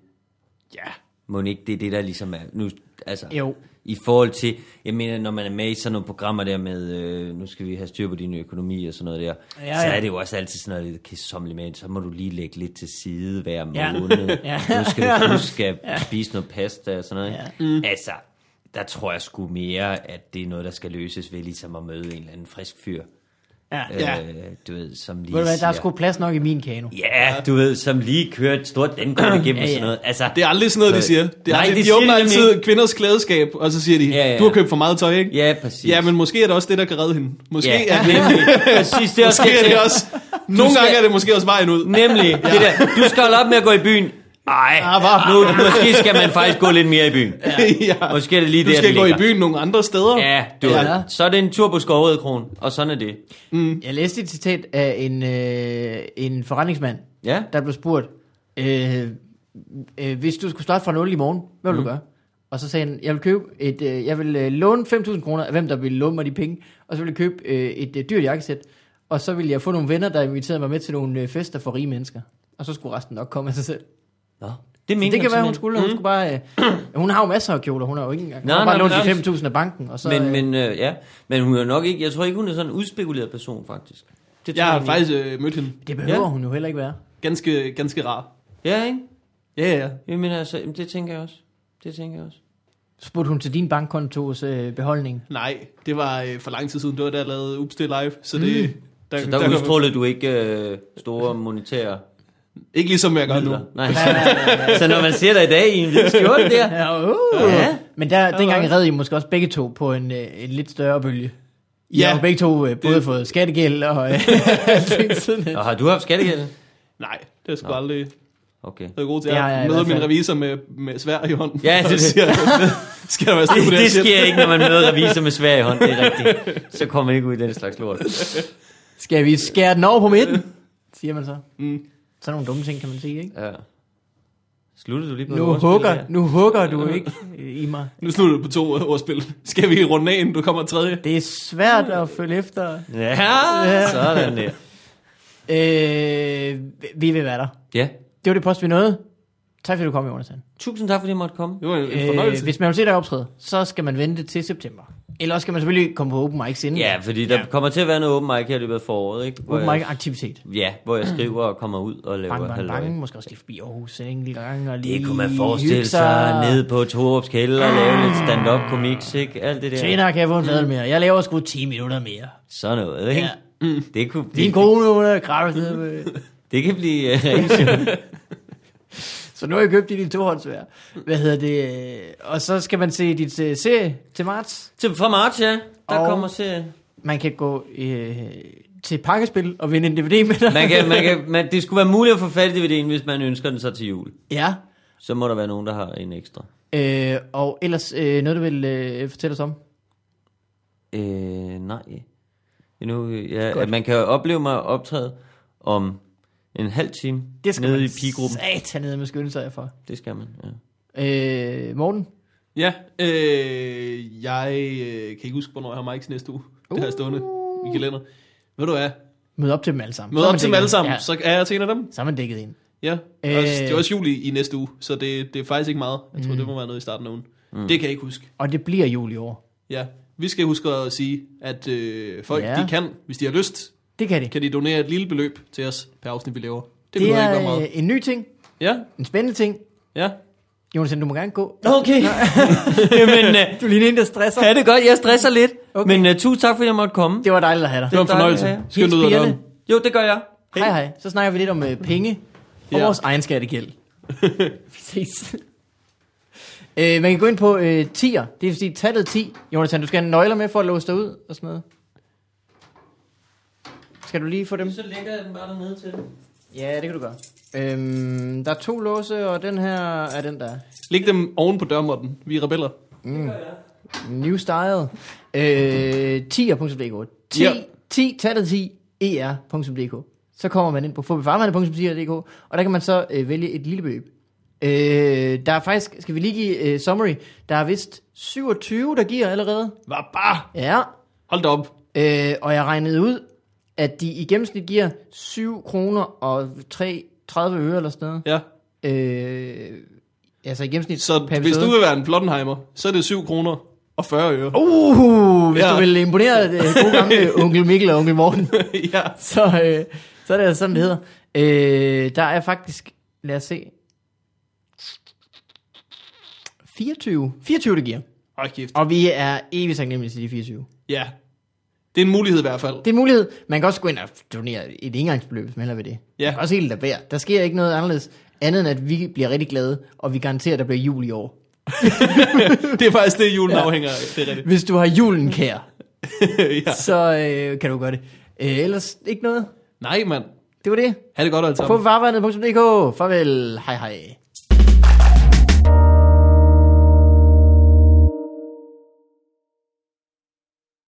Speaker 1: ja,
Speaker 2: Må ikke, det er det, der ligesom er... Nu, altså,
Speaker 3: Jo.
Speaker 2: I forhold til, jeg mener, når man er med i sådan nogle programmer der med, øh, nu skal vi have styr på din økonomi og sådan noget der,
Speaker 3: Ja,
Speaker 2: ja, så
Speaker 3: ja.
Speaker 2: er det jo også altid sådan noget lidt kedsommeligt med, så må du lige lægge lidt til side hver
Speaker 3: Ja.
Speaker 2: måned.
Speaker 3: Ja.
Speaker 2: Nu skal du huske at spise noget pasta og sådan noget. Ja. Mm. Altså, der tror jeg sgu mere, at det er noget, der skal løses ved ligesom at møde en eller anden frisk fyr.
Speaker 3: Ja.
Speaker 1: Ja.
Speaker 2: Øh, du ved, som lige
Speaker 3: Ved du hvad, der er
Speaker 2: siger-
Speaker 3: sgu plads nok i min kano.
Speaker 2: Ja, du ved, som lige kører et stort dankort igennem ja, ja.
Speaker 3: Ja,
Speaker 2: og
Speaker 3: ja.
Speaker 2: sådan noget. Altså,
Speaker 1: det er aldrig sådan noget, de
Speaker 2: Så-
Speaker 1: siger. Det er
Speaker 2: Nej,
Speaker 1: aldrig,
Speaker 2: det
Speaker 1: de
Speaker 2: siger
Speaker 1: åbner
Speaker 2: de nemlig
Speaker 1: altid klædeskab, klædeskab, og så siger de,
Speaker 2: Ja, ja.
Speaker 1: du har købt for meget tøj, ikke?
Speaker 2: Ja, præcis.
Speaker 1: Ja, men måske er det også det, der kan redde hende. Måske
Speaker 2: Ja,
Speaker 1: er det,
Speaker 2: nemlig. Præcis, det er også
Speaker 1: måske er
Speaker 2: det,
Speaker 1: det også... Nogle
Speaker 2: skal-
Speaker 1: gange er det måske også vejen ud.
Speaker 2: Nemlig, ja. det der, du skal holde op med at gå i byen. Nej,
Speaker 1: hvad?
Speaker 2: nu, måske skal man faktisk gå lidt mere i byen.
Speaker 1: Ah, ja.
Speaker 2: Måske er det lige
Speaker 1: Du
Speaker 2: der,
Speaker 1: skal
Speaker 2: den
Speaker 1: gå i
Speaker 2: ligger.
Speaker 1: byen nogle andre steder.
Speaker 2: Ja, du
Speaker 3: Ja.
Speaker 2: ja. Så er det en tur på Skovrød Kron, og sådan er det.
Speaker 1: Mm.
Speaker 3: Jeg læste et citat af en, øh, en forretningsmand,
Speaker 2: Ja,
Speaker 3: der blev spurgt, øh, øh, hvis du skulle starte fra 0 i morgen, hvad
Speaker 2: Mhm.
Speaker 3: ville mm. du gøre? Og så sagde han, jeg vil købe et, øh, jeg vil øh, låne 5.000 kroner af hvem, der vil låne mig de penge, og så vil jeg købe øh, et øh, dyrt jakkesæt, og så vil jeg få nogle venner, der inviterede mig med til nogle øh, fester for rige mennesker. Og så skulle resten nok komme af sig selv. Så
Speaker 2: Nå, det mener
Speaker 3: det kan være, hun skulle, hun skulle bare, øh, hun har jo masser af kjoler, hun har jo ikke engang,
Speaker 2: Mhm. Nej,
Speaker 3: hun har bare
Speaker 2: nej, men
Speaker 3: lånt
Speaker 2: også-
Speaker 3: de 5.000 af banken, og så... øh,
Speaker 2: men, men, øh, ja. men hun er nok ikke, jeg tror ikke, hun er sådan en udspekuleret person, faktisk. Det tror
Speaker 1: Jeg har
Speaker 2: ikke.
Speaker 1: faktisk øh, mødt hende.
Speaker 3: det behøver
Speaker 2: ja.
Speaker 3: hun jo heller ikke være.
Speaker 1: Ganske, ganske rar.
Speaker 2: Ja, ikke?
Speaker 1: Ja, ja.
Speaker 2: Jeg mener, altså, jamen, det tænker jeg også. Det tænker jeg også.
Speaker 3: Spurgte hun til din bankkontos øh, beholdning?
Speaker 1: Nej, det var øh, for lang tid siden. Det var da jeg lavede Oops, det er live. Så det... Mm.
Speaker 2: Så der, der udstrålede du ikke øh, store monetære
Speaker 1: Ikke ligesom jeg gør nu.
Speaker 2: midler. Nej, så når man ser dig i dag i en hvid skjorte der,
Speaker 3: Ja, uh.
Speaker 2: Ja.
Speaker 3: Men der, dengang red I måske også begge to på en, øh, en lidt større bølge. I
Speaker 1: Ja.
Speaker 3: har jo begge to øh, både
Speaker 1: Det-
Speaker 3: fået skattegæld og øh, ting siden hen.
Speaker 2: Og har du haft skattegæld?
Speaker 1: Nej, det er sgu Nå. aldrig
Speaker 2: Okay.
Speaker 1: været god til.
Speaker 3: Det har jeg
Speaker 1: Jeg
Speaker 3: i
Speaker 1: møder
Speaker 3: hvert fald.
Speaker 1: min revisor med, med svær i hånden.
Speaker 2: Ja, det er
Speaker 1: Og
Speaker 2: det.
Speaker 1: siger, skal der være styr på
Speaker 2: Det,
Speaker 1: det, her
Speaker 2: det
Speaker 1: shit?
Speaker 2: sker ikke, når man møder revisor med svær i hånd, det er rigtigt. Så kommer man ikke ud i den slags lort.
Speaker 3: Skal vi skære den over på midten? Siger man så.
Speaker 1: Mm.
Speaker 3: Sådan nogle dumme ting kan man sige, ikke?
Speaker 2: Ja. Slutter du lige på
Speaker 3: Nu
Speaker 2: et ordspil
Speaker 3: hugger,
Speaker 2: der?
Speaker 3: nu hugger du ikke øh, i mig.
Speaker 1: Nu slutter du på to øh, ordspil. Skal vi runde af, inden du kommer tredje?
Speaker 3: Det er svært at følge efter.
Speaker 2: Ja, sådan der.
Speaker 3: Øh, vi vil være der.
Speaker 2: Ja.
Speaker 3: Det var det post, vi nåede. Tak fordi du kom, Jonathan.
Speaker 2: Tusind tak, fordi jeg måtte komme.
Speaker 1: Det var en, en
Speaker 3: Øh,
Speaker 1: fornøjelse.
Speaker 3: hvis man vil se dig optræde, så skal man vente til september. Eller også skal man selvfølgelig komme på open mics inden.
Speaker 2: Ja, fordi der kommer til at være noget open mic her i løbet af foråret, ikke? Hvor
Speaker 3: Mm. Open mic
Speaker 2: jeg,
Speaker 3: aktivitet.
Speaker 2: Ja, hvor jeg skriver og kommer ud og laver
Speaker 3: Bang, bang,
Speaker 2: halløj.
Speaker 3: bang. Måske også lige forbi Aarhus en enkelt gang. Og lige
Speaker 2: Det kunne man forestille
Speaker 3: hygge Ah.
Speaker 2: sig nede på Torups kælder og lave lidt stand-up komiks, ikke? Alt det der.
Speaker 3: Senere kan jeg få en fad mere. Jeg laver sgu 10 minutter mere.
Speaker 2: Sådan noget, ikke?
Speaker 3: Ja.
Speaker 2: Det, kunne, det,
Speaker 3: Din kone, hun er kraftet.
Speaker 2: det kan blive øh, rigtig sjovt.
Speaker 3: Så nu har jeg købt i din tohåndsvær. Hvad hedder det? Og så skal man se dit uh, serie til marts.
Speaker 2: Til fra marts, ja. Der
Speaker 3: Og-
Speaker 2: og... kommer serien.
Speaker 3: Man kan gå øh, til pakkespil og vinde en DVD med dig.
Speaker 2: Man kan, man kan, man, det skulle være muligt at få fat i DVD'en, hvis man ønsker den så til jul.
Speaker 3: Ja.
Speaker 2: Så må der være nogen, der har en ekstra.
Speaker 3: Øh, og ellers øh, noget, du vil øh, fortælle os om?
Speaker 2: Øh, nej. Nu, ja, at man kan opleve mig optræde om en halv time
Speaker 3: Det skal
Speaker 2: nede
Speaker 3: man
Speaker 2: i pigruppen.
Speaker 3: satanede med skynde sig for.
Speaker 2: Det skal man, ja.
Speaker 3: Øh, Morten?
Speaker 1: Ja, øh, jeg øh, kan ikke huske, hvornår jeg har Mike's næste uge. Det har jeg stående i kalender. Ved du hvad?
Speaker 3: Mød op til dem alle sammen.
Speaker 1: Mød
Speaker 3: Så er
Speaker 1: op
Speaker 3: man
Speaker 1: til dem
Speaker 3: dækket
Speaker 1: alle
Speaker 3: ind.
Speaker 1: sammen,
Speaker 3: Ja,
Speaker 1: så er jeg til en af dem.
Speaker 3: så er man dækket ind.
Speaker 1: Ja, øh...
Speaker 3: Øh.
Speaker 1: det er også juli i næste uge, så det, det er faktisk ikke meget. Jeg tror, mm. det må være noget i starten af ugen. Mm. Det kan jeg ikke huske.
Speaker 3: Og det bliver jul i år.
Speaker 1: Ja, vi skal huske at sige, at øh, folk
Speaker 3: Ja.
Speaker 1: ja. de kan, hvis de har lyst,
Speaker 3: Det kan det.
Speaker 1: kan de donere et lille beløb til os per afsnit, vi laver. Det,
Speaker 3: Det
Speaker 1: behøver
Speaker 3: er
Speaker 1: ikke være meget.
Speaker 3: øh, en ny ting,
Speaker 1: Ja,
Speaker 3: en spændende ting.
Speaker 1: ja.
Speaker 3: Jonas, du må gerne gå.
Speaker 2: Okay. Jamen, øh,
Speaker 3: Du ligner en, der stresser.
Speaker 2: ha' det godt. Jeg stresser lidt.
Speaker 3: Okay.
Speaker 2: Okay. Men øh, tusind tak, fordi jeg måtte komme.
Speaker 3: Det var dejligt at have dig.
Speaker 1: Det var en fornøjelse.
Speaker 2: dejligt, ja.
Speaker 1: Skynd
Speaker 3: Hils
Speaker 1: ud af
Speaker 3: pigerne.
Speaker 1: døren.
Speaker 2: Jo, det gør jeg.
Speaker 3: Hej hej. Så snakker vi lidt om øh, penge og
Speaker 1: Ja.
Speaker 3: vores egen skattegæld. vi ses. Øh, man kan gå ind på øh, 10'er. Det vil sige tallet 10. Jonathan, du skal have nøgler med for at låse dig ud og sådan noget. Skal du lige få dem?
Speaker 2: Så lægger jeg den bare dernede til
Speaker 3: Ja, det kan du gøre. Øhm, der er to låse, og den her er den der.
Speaker 1: Læg dem oven på dørmåtten. Vi er rebeller.
Speaker 3: New style. Øh, 10er.dk. 10,
Speaker 1: Ja.
Speaker 3: 10, tallet 10, er.dk. Så kommer man ind på fobifarmerne.dk, og der kan man så øh, vælge et lille beløb. Øh, der er faktisk, skal vi lige give øh, summary, der er vist 27, der giver allerede.
Speaker 1: Var bare.
Speaker 3: Ja,
Speaker 1: Hold da op.
Speaker 3: øh, og jeg regnede ud, at de i gennemsnit giver 7 kroner og 3, 30 øre eller sådan noget.
Speaker 1: Ja.
Speaker 3: Øh, altså i gennemsnit
Speaker 1: Så hvis du vil være en Plottenheimer, så er det 7 kroner og 40 øre.
Speaker 3: Uh, hvis ja.
Speaker 1: Ja.
Speaker 3: du vil imponere øh, gode gamle onkel Mikkel og onkel Morten,
Speaker 1: ja.
Speaker 3: så, øh, så er det altså sådan, det hedder. Øh, der er faktisk, lad os se, 24. 24 det giver.
Speaker 1: Hold kæft.
Speaker 3: Og vi er evigt taknemmelige til de 24.
Speaker 1: Ja. Det er en mulighed i hvert fald.
Speaker 3: Det er en mulighed. Man kan også gå ind og donere et engangsbeløb, hvis man heller vil det.
Speaker 1: Ja.
Speaker 3: Man kan også helt lade være. Der sker ikke noget anderledes, andet end at vi bliver rigtig glade, og vi garanterer, at der bliver jul i år.
Speaker 1: Det er faktisk det, julen ja. afhænger af. Det er rigtigt.
Speaker 3: Hvis du har julen kær,
Speaker 1: ja.
Speaker 3: så øh, kan du gøre det. Øh, ellers ikke noget.
Speaker 1: Nej, mand.
Speaker 3: Det var det.
Speaker 1: Ha' det godt, altså.
Speaker 3: På farvandet.dk. Farvel. Hej hej.